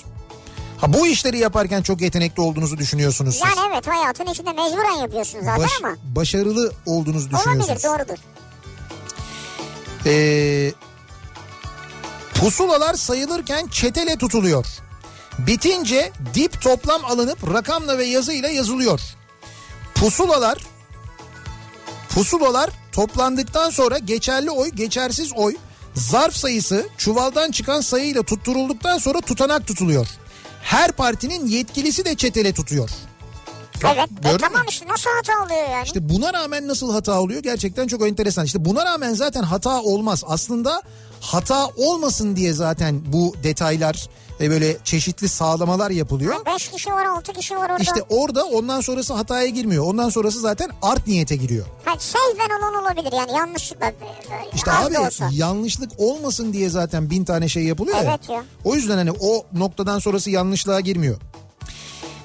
A: Ha bu işleri yaparken çok yetenekli olduğunuzu düşünüyorsunuz siz.
B: Yani evet hayatın içinde mecburen yapıyorsun zaten
A: Baş-
B: ama.
A: başarılı olduğunuzu düşünüyorsunuz.
B: Olabilir doğrudur.
A: Ee, pusulalar sayılırken çetele tutuluyor. Bitince dip toplam alınıp rakamla ve yazıyla yazılıyor. Pusulalar pusulalar toplandıktan sonra geçerli oy, geçersiz oy, zarf sayısı çuvaldan çıkan sayıyla tutturulduktan sonra tutanak tutuluyor. Her partinin yetkilisi de çetele tutuyor. Bak,
B: Evet. E,
A: gördün mü?
B: tamam işte nasıl hata oluyor yani?
A: İşte buna rağmen nasıl hata oluyor gerçekten çok enteresan. İşte buna rağmen zaten hata olmaz. Aslında hata olmasın diye zaten bu detaylar ve böyle çeşitli sağlamalar yapılıyor.
B: 5 kişi var 6 kişi var orada.
A: İşte orada ondan sonrası hataya girmiyor. Ondan sonrası zaten art niyete giriyor.
B: Ha, şeyden olan olabilir yani yanlışlıkla. e,
A: İşte
B: az
A: abi
B: da olsa.
A: yanlışlık olmasın diye zaten bin tane şey yapılıyor
B: Evet ya.
A: O yüzden hani o noktadan sonrası yanlışlığa girmiyor.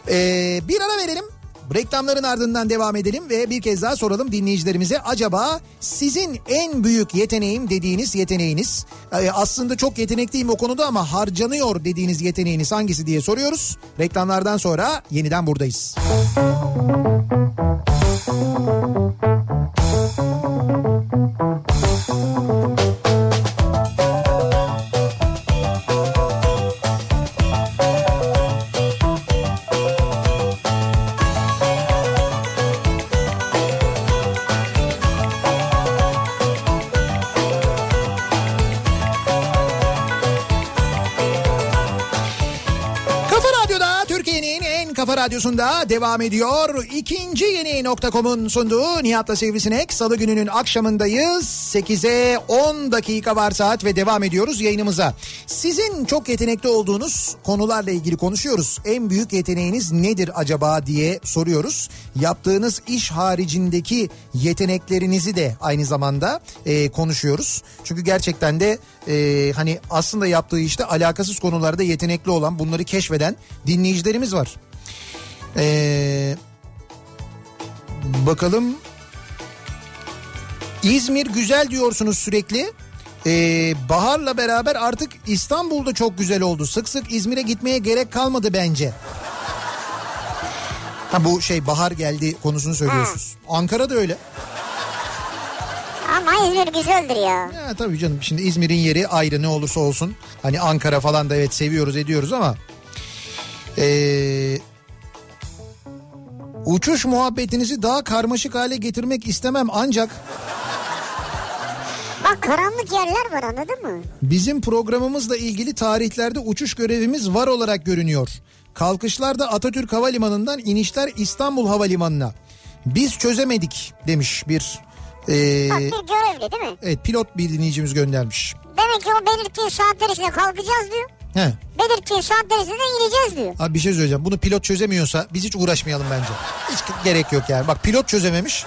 A: Ee, bir ara verelim. Reklamların ardından devam edelim ve bir kez daha soralım dinleyicilerimize. Acaba sizin en büyük yeteneğim dediğiniz yeteneğiniz e, aslında çok yetenekliyim o konuda ama harcanıyor dediğiniz yeteneğiniz hangisi diye soruyoruz. Reklamlardan sonra yeniden buradayız. Kafa Radyo'da Türkiye'nin en kafa radyosunda devam ediyor. İkinci yeni nokta.com'un sunduğu Nihat'la Sivrisinek. Salı gününün akşamındayız. 8'e 10 dakika var saat ve devam ediyoruz yayınımıza. Sizin çok yetenekli olduğunuz konularla ilgili konuşuyoruz. En büyük yeteneğiniz nedir acaba diye soruyoruz. Yaptığınız iş haricindeki yeteneklerinizi de aynı zamanda e, konuşuyoruz. Çünkü gerçekten de e, hani aslında yaptığı işte alakasız konularda yetenekli olan bunları keşfeden dinleyicilerimiz var. E, bakalım İzmir güzel diyorsunuz sürekli. E, baharla beraber artık İstanbul'da çok güzel oldu. Sık sık İzmir'e gitmeye gerek kalmadı bence. Ha bu şey bahar geldi konusunu söylüyorsunuz. Ankara'da öyle.
B: Ama İzmir güzeldir ya.
A: Ya tabii canım şimdi İzmir'in yeri ayrı ne olursa olsun. Hani Ankara falan da evet seviyoruz ediyoruz ama. Ee, uçuş muhabbetinizi daha karmaşık hale getirmek istemem ancak
B: Bak karanlık yerler var anladın mı?
A: bizim programımızla ilgili tarihlerde uçuş görevimiz var olarak görünüyor. Kalkışlarda Atatürk Havalimanı'ndan inişler İstanbul Havalimanı'na. Biz çözemedik demiş bir ee,
B: Bak bir görevli değil mi?
A: evet, pilot bir dinleyicimiz göndermiş.
B: Demek ki o belirttiği saatler içinde kalkacağız diyor.
A: He.
B: Belirttiği saatler içinde ineceğiz diyor.
A: Abi bir şey söyleyeceğim. Bunu pilot çözemiyorsa biz hiç uğraşmayalım bence. Hiç gerek yok yani. Bak pilot çözememiş.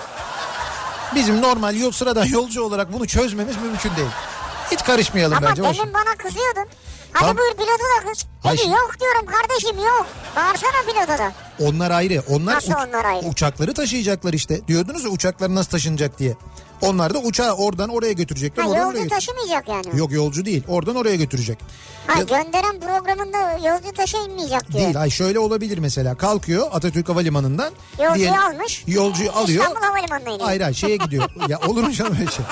A: Bizim normal yol sıradan yolcu olarak bunu çözmemiz mümkün değil. Hiç karışmayalım
B: Ama
A: bence.
B: demin bana kızıyordun. Hadi
A: Tam-
B: buyur pilotu da kız.
A: Hayır.
B: Dedi yok diyorum kardeşim yok. Bağırsana pilota da.
A: Onlar ayrı. Onlar,
B: Nasıl onlar ayrı?
A: uçakları taşıyacaklar işte. Diyordunuz ya uçaklar nasıl taşınacak diye. Onlar da uçağı oradan oraya götürecekler.
B: Ha,
A: oradan oraya
B: yolcu
A: götürecek.
B: taşımayacak yani.
A: Yok yolcu değil. Oradan oraya götürecek.
B: Ha,
A: Ya-
B: gönderen programında yolcu taşımayacak diyor.
A: Değil. Ay şöyle olabilir mesela. Kalkıyor Atatürk Havalimanı'ndan.
B: Yolcuyu
A: diyelim-
B: almış.
A: Yolcuyu alıyor.
B: İstanbul Havalimanı'na iniyor.
A: Hayır hayır şeye gidiyor. ya olur mu canım öyle şey?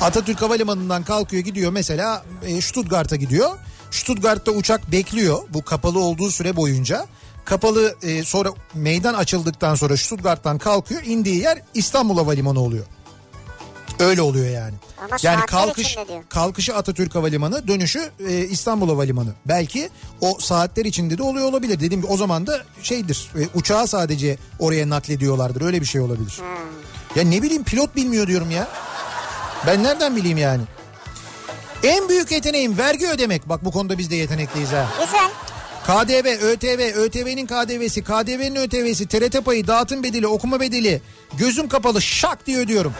A: Atatürk Havalimanı'ndan kalkıyor gidiyor mesela e, Stuttgart'a gidiyor. Stuttgart'ta uçak bekliyor bu kapalı olduğu süre boyunca. Kapalı e, sonra meydan açıldıktan sonra Stuttgart'tan kalkıyor. indiği yer İstanbul Havalimanı oluyor. Öyle oluyor yani.
B: Ama
A: yani
B: saatler
A: kalkış
B: içinde diyor.
A: kalkışı Atatürk Havalimanı, dönüşü e, İstanbul Havalimanı. Belki o saatler içinde de oluyor olabilir. Dediğim gibi o zaman da şeydir. e, uçağı sadece oraya naklediyorlardır. Öyle bir şey olabilir.
B: Hmm.
A: Ya ne bileyim pilot bilmiyor diyorum ya. Ben nereden bileyim yani? En büyük yeteneğim vergi ödemek. Bak bu konuda biz de yetenekliyiz ha.
B: Güzel.
A: KDV, ÖTV, ÖTV'nin KDV'si, KDV'nin ÖTV'si, TRT payı, dağıtım bedeli, okuma bedeli. Gözüm kapalı şak diye ödüyorum.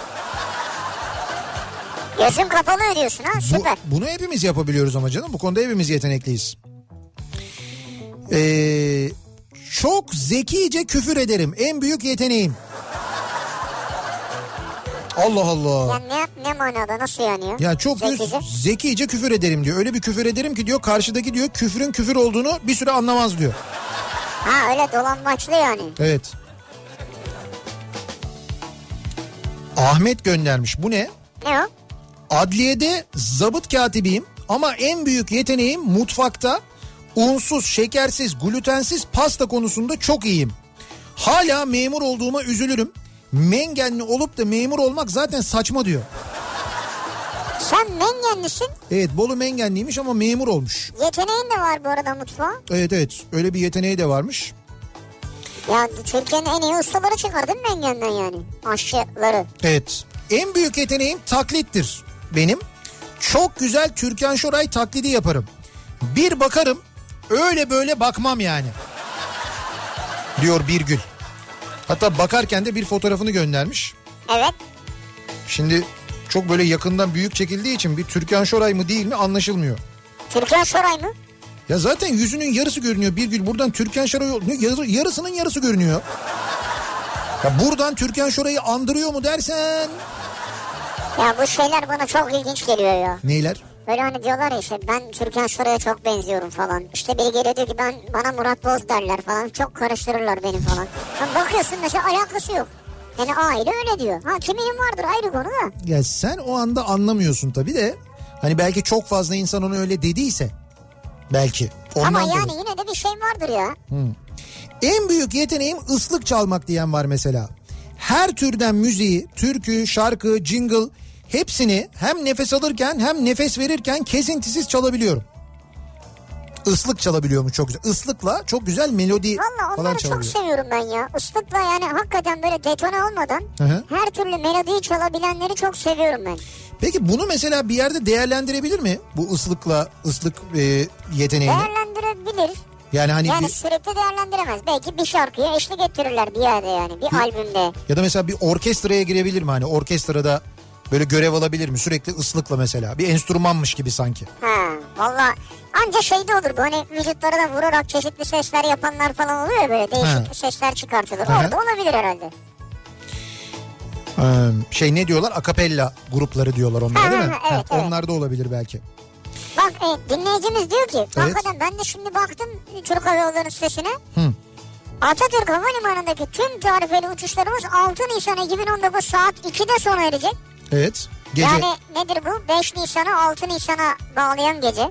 B: Gözüm kapalı ödüyorsun ha
A: Bu,
B: süper.
A: bunu hepimiz yapabiliyoruz ama canım. Bu konuda hepimiz yetenekliyiz. Ee, çok zekice küfür ederim. En büyük yeteneğim. Allah Allah.
B: Yani ne, ne manada nasıl yani ya?
A: Ya çok diyor,
B: Zekice.
A: zekice küfür ederim diyor. Öyle bir küfür ederim ki diyor karşıdaki diyor küfrün küfür olduğunu bir süre anlamaz diyor.
B: Ha öyle dolanmaçlı yani.
A: Evet. Ahmet göndermiş. Bu ne?
B: Ne o?
A: Adliyede zabıt katibiyim ama en büyük yeteneğim mutfakta unsuz, şekersiz, glutensiz pasta konusunda çok iyiyim. Hala memur olduğuma üzülürüm. Mengenli olup da memur olmak zaten saçma diyor.
B: Sen mengenlisin.
A: Evet Bolu Mengenliymiş ama memur olmuş.
B: Yeteneğin de var bu arada mutfağa.
A: Evet evet öyle bir yeteneği de varmış.
B: Ya Türkiye'nin en iyi ustaları çıkardın mengenden yani. Aşçıları.
A: Evet. En büyük yeteneğim taklittir benim. Çok güzel Türkan Şoray taklidi yaparım. Bir bakarım öyle böyle bakmam yani. Diyor bir gün. Hatta bakarken de bir fotoğrafını göndermiş.
B: Evet.
A: Şimdi çok böyle yakından büyük çekildiği için bir Türkan Şoray mı değil mi anlaşılmıyor.
B: Türkan Şoray mı?
A: Ya zaten yüzünün yarısı görünüyor bir gün. Buradan Türkan Şoray ne, yarı- yarısının yarısı görünüyor. Ya buradan Türkan Şoray'ı andırıyor mu dersen
B: Ya bu şeyler bana çok ilginç geliyor ya.
A: neyler?
B: Böyle hani diyorlar ya işte ben Türkan Şoray'a çok benziyorum falan. İşte biri geliyor diyor ki ben bana Murat Boz derler falan. Çok karıştırırlar beni falan. Ya bakıyorsun mesela alakası yok. Yani aile öyle diyor. Ha kiminin vardır ayrı konu da.
A: Ya sen o anda anlamıyorsun tabii de. Hani belki çok fazla insan onu öyle dediyse. Belki. Ondan
B: Ama
A: dolayı.
B: yani yine de bir şey vardır ya.
A: En büyük yeteneğim ıslık çalmak diyen var mesela. Her türden müziği, türkü, şarkı, jingle hepsini hem nefes alırken hem nefes verirken kesintisiz çalabiliyorum. Islık çalabiliyormuş çok güzel. Islıkla çok güzel melodi
B: Valla
A: falan
B: onları
A: çalabiliyor.
B: çok seviyorum ben ya. Islıkla yani hakikaten böyle detone olmadan
A: Hı hı.
B: her türlü melodiyi çalabilenleri çok seviyorum ben.
A: Peki bunu mesela bir yerde değerlendirebilir mi? Bu ıslıkla ıslık e, yeteneğini.
B: Değerlendirebilir.
A: Yani hani
B: Yani
A: bir,
B: sürekli değerlendiremez. Belki bir şarkıya eşlik ettirirler bir yerde yani. Bir albümde.
A: ya da mesela bir orkestraya girebilir mi? Hani orkestrada böyle görev alabilir mi? Sürekli ıslıkla mesela. Bir enstrümanmış gibi sanki.
B: Ha, valla anca şeyde olur bu hani vücutlara da vurarak çeşitli sesler yapanlar falan oluyor ya böyle değişik
A: Ha.
B: sesler çıkartılır.
A: Aha.
B: Orada olabilir herhalde.
A: Ee, şey ne diyorlar? Akapella grupları diyorlar onlara
B: Ha,
A: değil
B: ha,
A: mi?
B: ha, evet, evet.
A: Onlar da olabilir belki.
B: Bak e, dinleyicimiz diyor ki hakikaten ben de şimdi baktım Türk Hava Yolları'nın sitesine.
A: Hı.
B: Atatürk Havalimanı'ndaki tüm tarifeli uçuşlarımız 6 Nisan 2019 saat 2'de sona erecek.
A: Evet. Gece.
B: Yani nedir bu? 5 Nisan'ı 6 Nisan'a bağlayan gece.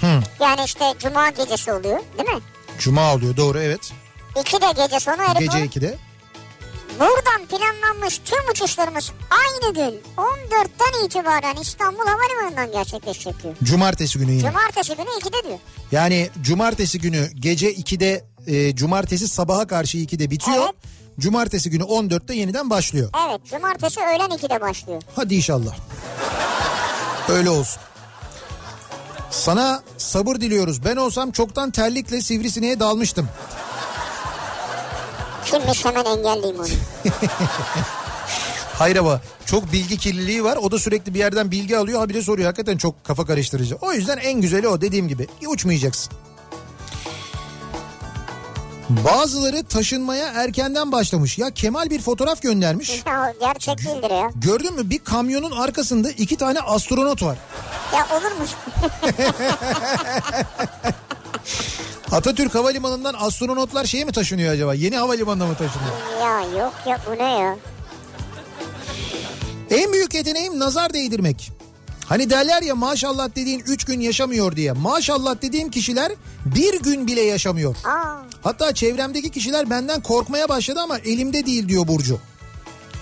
A: Hı.
B: Yani işte Cuma gecesi oluyor değil mi?
A: Cuma oluyor doğru evet.
B: 2'de gece sona erip
A: Gece
B: bu-
A: 2'de.
B: Buradan planlanmış tüm uçuşlarımız aynı gün 14'ten itibaren İstanbul Havalimanı'ndan gerçekleşecek diyor.
A: Cumartesi günü yine.
B: Cumartesi günü 2'de diyor.
A: Yani cumartesi günü gece 2'de e, cumartesi sabaha karşı 2'de bitiyor.
B: Evet.
A: Cumartesi günü 14'te yeniden başlıyor.
B: Evet cumartesi öğlen 2'de başlıyor.
A: Hadi inşallah. Öyle olsun. Sana sabır diliyoruz. Ben olsam çoktan terlikle sivrisineğe dalmıştım.
B: Kimmiş hemen engelleyeyim onu.
A: Hayır ama çok bilgi kirliliği var. O da sürekli bir yerden bilgi alıyor. Ha bir de soruyor. Hakikaten çok kafa karıştırıcı. O yüzden en güzeli o dediğim gibi. Uçmayacaksın. Bazıları taşınmaya erkenden başlamış. Ya Kemal bir fotoğraf göndermiş.
B: Ya, o Gerçek değildir ya.
A: Gördün mü bir kamyonun arkasında iki tane astronot var.
B: Ya olur mu?
A: Atatürk Havalimanı'ndan astronotlar şeye mi taşınıyor acaba? Yeni havalimanına mı taşınıyor?
B: ya yok ya bu ne ya?
A: En büyük yeteneğim nazar değdirmek. Hani derler ya maşallah dediğin 3 gün yaşamıyor diye. Maşallah dediğim kişiler bir gün bile yaşamıyor.
B: Aa,
A: Hatta çevremdeki kişiler benden korkmaya başladı ama elimde değil diyor Burcu.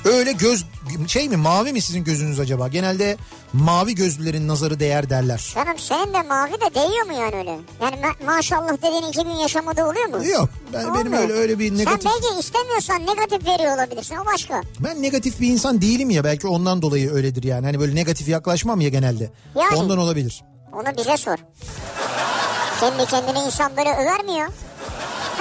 A: Öyle göz şey mi mavi mi sizin gözünüz acaba? Genelde mavi gözlülerin nazarı değer derler.
B: canım senin de mavi de değiyor mu yani öyle? Yani ma- maşallah dediğin iki gün yaşamadı oluyor mu?
A: Yok ben, benim
B: Olmuyor.
A: öyle öyle bir negatif
B: Sen belki istemiyorsan negatif veriyor olabilirsin o başka.
A: ben negatif bir insan değilim ya belki ondan dolayı öyledir yani. Hani böyle negatif yaklaşmam ya genelde.
B: Yani.
A: Ondan olabilir.
B: Onu bize sor. Kendi kendine insan böyle över mi ya?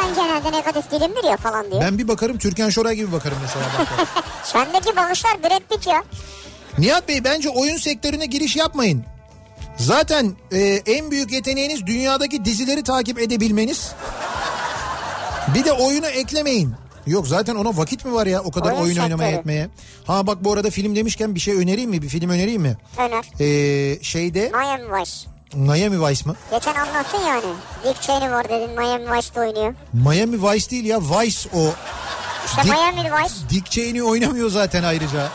B: Ben genelde negatif dilimdir ya falan diyor.
A: Ben bir bakarım Türkan Şoray gibi bakarım mesela. baktığımda.
B: Sendeki bakışlar Brad Pitt ya.
A: Nihat Bey bence oyun sektörüne giriş yapmayın. Zaten e, en büyük yeteneğiniz dünyadaki dizileri takip edebilmeniz. Bir de oyunu eklemeyin. Yok zaten ona vakit mi var ya o kadar
B: Oyun
A: oyun, oynamaya
B: sektörü.
A: etmeye. Ha bak bu arada film demişken bir şey önereyim mi? Bir film önereyim mi?
B: Öner.
A: Ee, şeyde
B: Miami Vice.
A: Miami Vice mı?
B: Geçen anlattın yani. Dick Cheney var dedin Miami Vice'de oynuyor.
A: Miami Vice değil ya Vice o.
B: İşte
A: Dick-
B: Miami Vice.
A: Dick Cheney oynamıyor zaten ayrıca.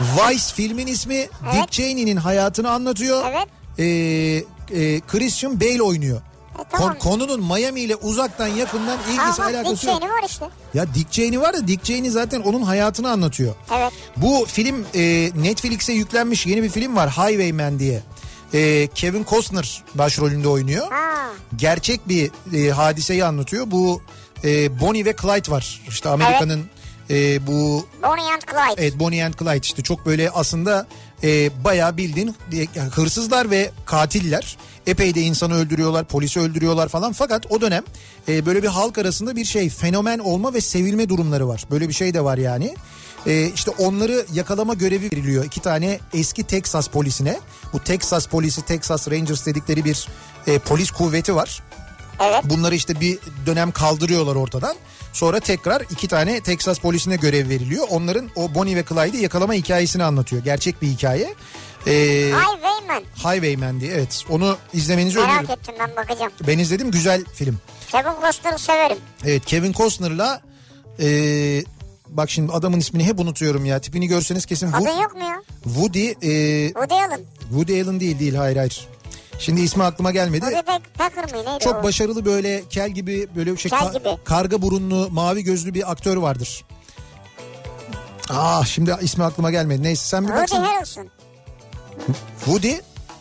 A: Vice filmin ismi Dick Cheney'nin hayatını anlatıyor.
B: Evet.
A: Ee, e, Christian Bale oynuyor.
B: E, tamam.
A: Kon- konunun Miami ile uzaktan yakından ilgisi
B: Ama Dick
A: alakası yok.
B: Cheney var işte.
A: Ya Dick Cheney var da Dick Cheney zaten onun hayatını anlatıyor.
B: Evet.
A: Bu film e, Netflix'e yüklenmiş yeni bir film var Highwayman diye. E, Kevin Costner başrolünde oynuyor.
B: Ha.
A: Gerçek bir e, hadiseyi anlatıyor. Bu e, Bonnie ve Clyde var. İşte Amerika'nın e, bu
B: Bonnie and Clyde.
A: Evet Bonnie and Clyde işte çok böyle aslında e, bayağı bildiğin e, hırsızlar ve katiller. Epey de insanı öldürüyorlar, polisi öldürüyorlar falan. Fakat o dönem e, böyle bir halk arasında bir şey fenomen olma ve sevilme durumları var. Böyle bir şey de var yani. E, işte onları yakalama görevi veriliyor iki tane eski Texas polisine. Bu Texas polisi, Texas Rangers dedikleri bir e, polis kuvveti var. Bunları işte bir dönem kaldırıyorlar ortadan. Sonra tekrar iki tane Texas polisine görev veriliyor. Onların o Bonnie ve Clyde'i yakalama hikayesini anlatıyor. Gerçek bir hikaye. Ee,
B: Highwayman.
A: Highwayman diye evet. Onu izlemenizi
B: Merak
A: öneririm.
B: ettim ben bakacağım.
A: Ben izledim güzel film.
B: Kevin Costner'ı severim.
A: Evet Kevin Costner'la ee, bak şimdi adamın ismini hep unutuyorum ya. Tipini görseniz kesin
B: Adın
A: Wo-
B: yok mu ya?
A: Woody ee,
B: Woody Allen.
A: Woody Allen değil değil hayır hayır. Şimdi ismi aklıma gelmedi.
B: Woody Pack- Packer mı neydi
A: Çok
B: o?
A: başarılı böyle kel gibi böyle bir şey
B: Kel
A: ka-
B: gibi.
A: karga burunlu mavi gözlü bir aktör vardır. Ah şimdi ismi aklıma gelmedi. Neyse sen bir
B: Woody
A: baksana.
B: Harrelson.
A: Woody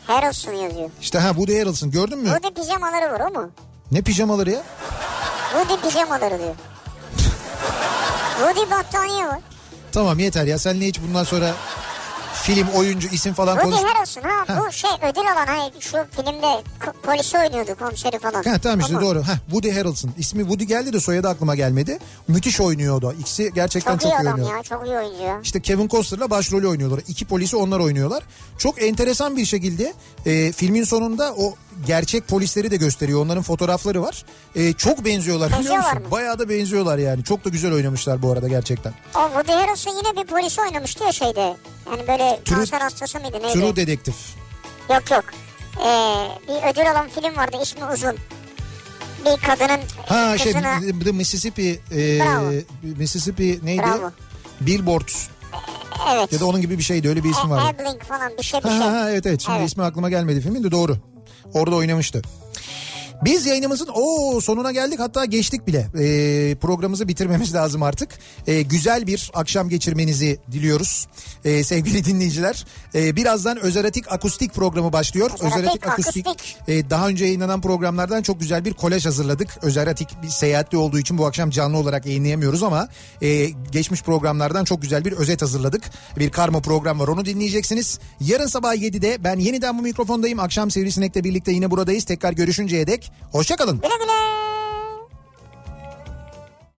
B: Harrelson yazıyor.
A: işte ha Woody Harrelson gördün mü?
B: Woody pijamaları var o mu?
A: Ne pijamaları ya?
B: Woody pijamaları diyor. Woody battaniye var.
A: Tamam yeter ya senle hiç bundan sonra film oyuncu isim falan konuş.
B: Woody Harrelson ha, bu şey ödül alan hani şu filmde ko- polisi oynuyordu komiseri falan.
A: Ha, tamam işte
B: Ama
A: doğru. Ha, Woody Harrelson. İsmi Woody geldi de soyadı aklıma gelmedi. Müthiş oynuyor o da. İkisi gerçekten
B: Çok,
A: çok,
B: iyi adam
A: oynuyor.
B: ya çok iyi oyuncu ya.
A: İşte Kevin Costner'la başrolü oynuyorlar. İki polisi onlar oynuyorlar. Çok enteresan bir şekilde e, filmin sonunda o gerçek polisleri de gösteriyor. Onların fotoğrafları var. E, çok benziyorlar biliyor
B: Benziyorlar
A: musun?
B: mı?
A: Bayağı da benziyorlar yani. Çok da güzel oynamışlar bu arada gerçekten.
B: O Woody Harrelson yine bir polisi oynamıştı ya şeyde. Yani böyle
A: True-
B: kanser hastası mıydı neydi?
A: True Detective.
B: Yok yok. Ee, bir ödül alan film vardı ismi uzun. Bir kadının
A: Ha şey
B: kızına...
A: The Mississippi e,
B: Bravo.
A: Mississippi neydi?
B: Bravo.
A: Billboard
B: evet.
A: ya da onun gibi bir şeydi. Öyle bir
B: E-
A: ismi vardı.
B: Ebling falan bir şey bir
A: Ha,
B: şey.
A: ha, ha, evet evet şimdi
B: Evet.
A: ismi aklıma gelmedi filmin de doğru. Orada oynamıştı. Biz yayınımızın o sonuna geldik hatta geçtik bile. Ee, programımızı bitirmemiz lazım artık. Ee, güzel bir akşam geçirmenizi diliyoruz Ee, sevgili dinleyiciler. Ee, birazdan Özeratik Akustik programı başlıyor.
B: Özeratik Akustik.
A: Ee, daha önce yayınlanan programlardan çok güzel bir kolaj hazırladık. Özeratik bir seyahatli olduğu için bu akşam canlı olarak yayınlayamıyoruz ama e, geçmiş programlardan çok güzel bir özet hazırladık. Bir karma program var onu dinleyeceksiniz. Yarın sabah 7'de ben yeniden bu mikrofondayım. Akşam Sivrisinek'le birlikte yine buradayız. Tekrar görüşünceye dek hoşçakalın.
B: Güle güle.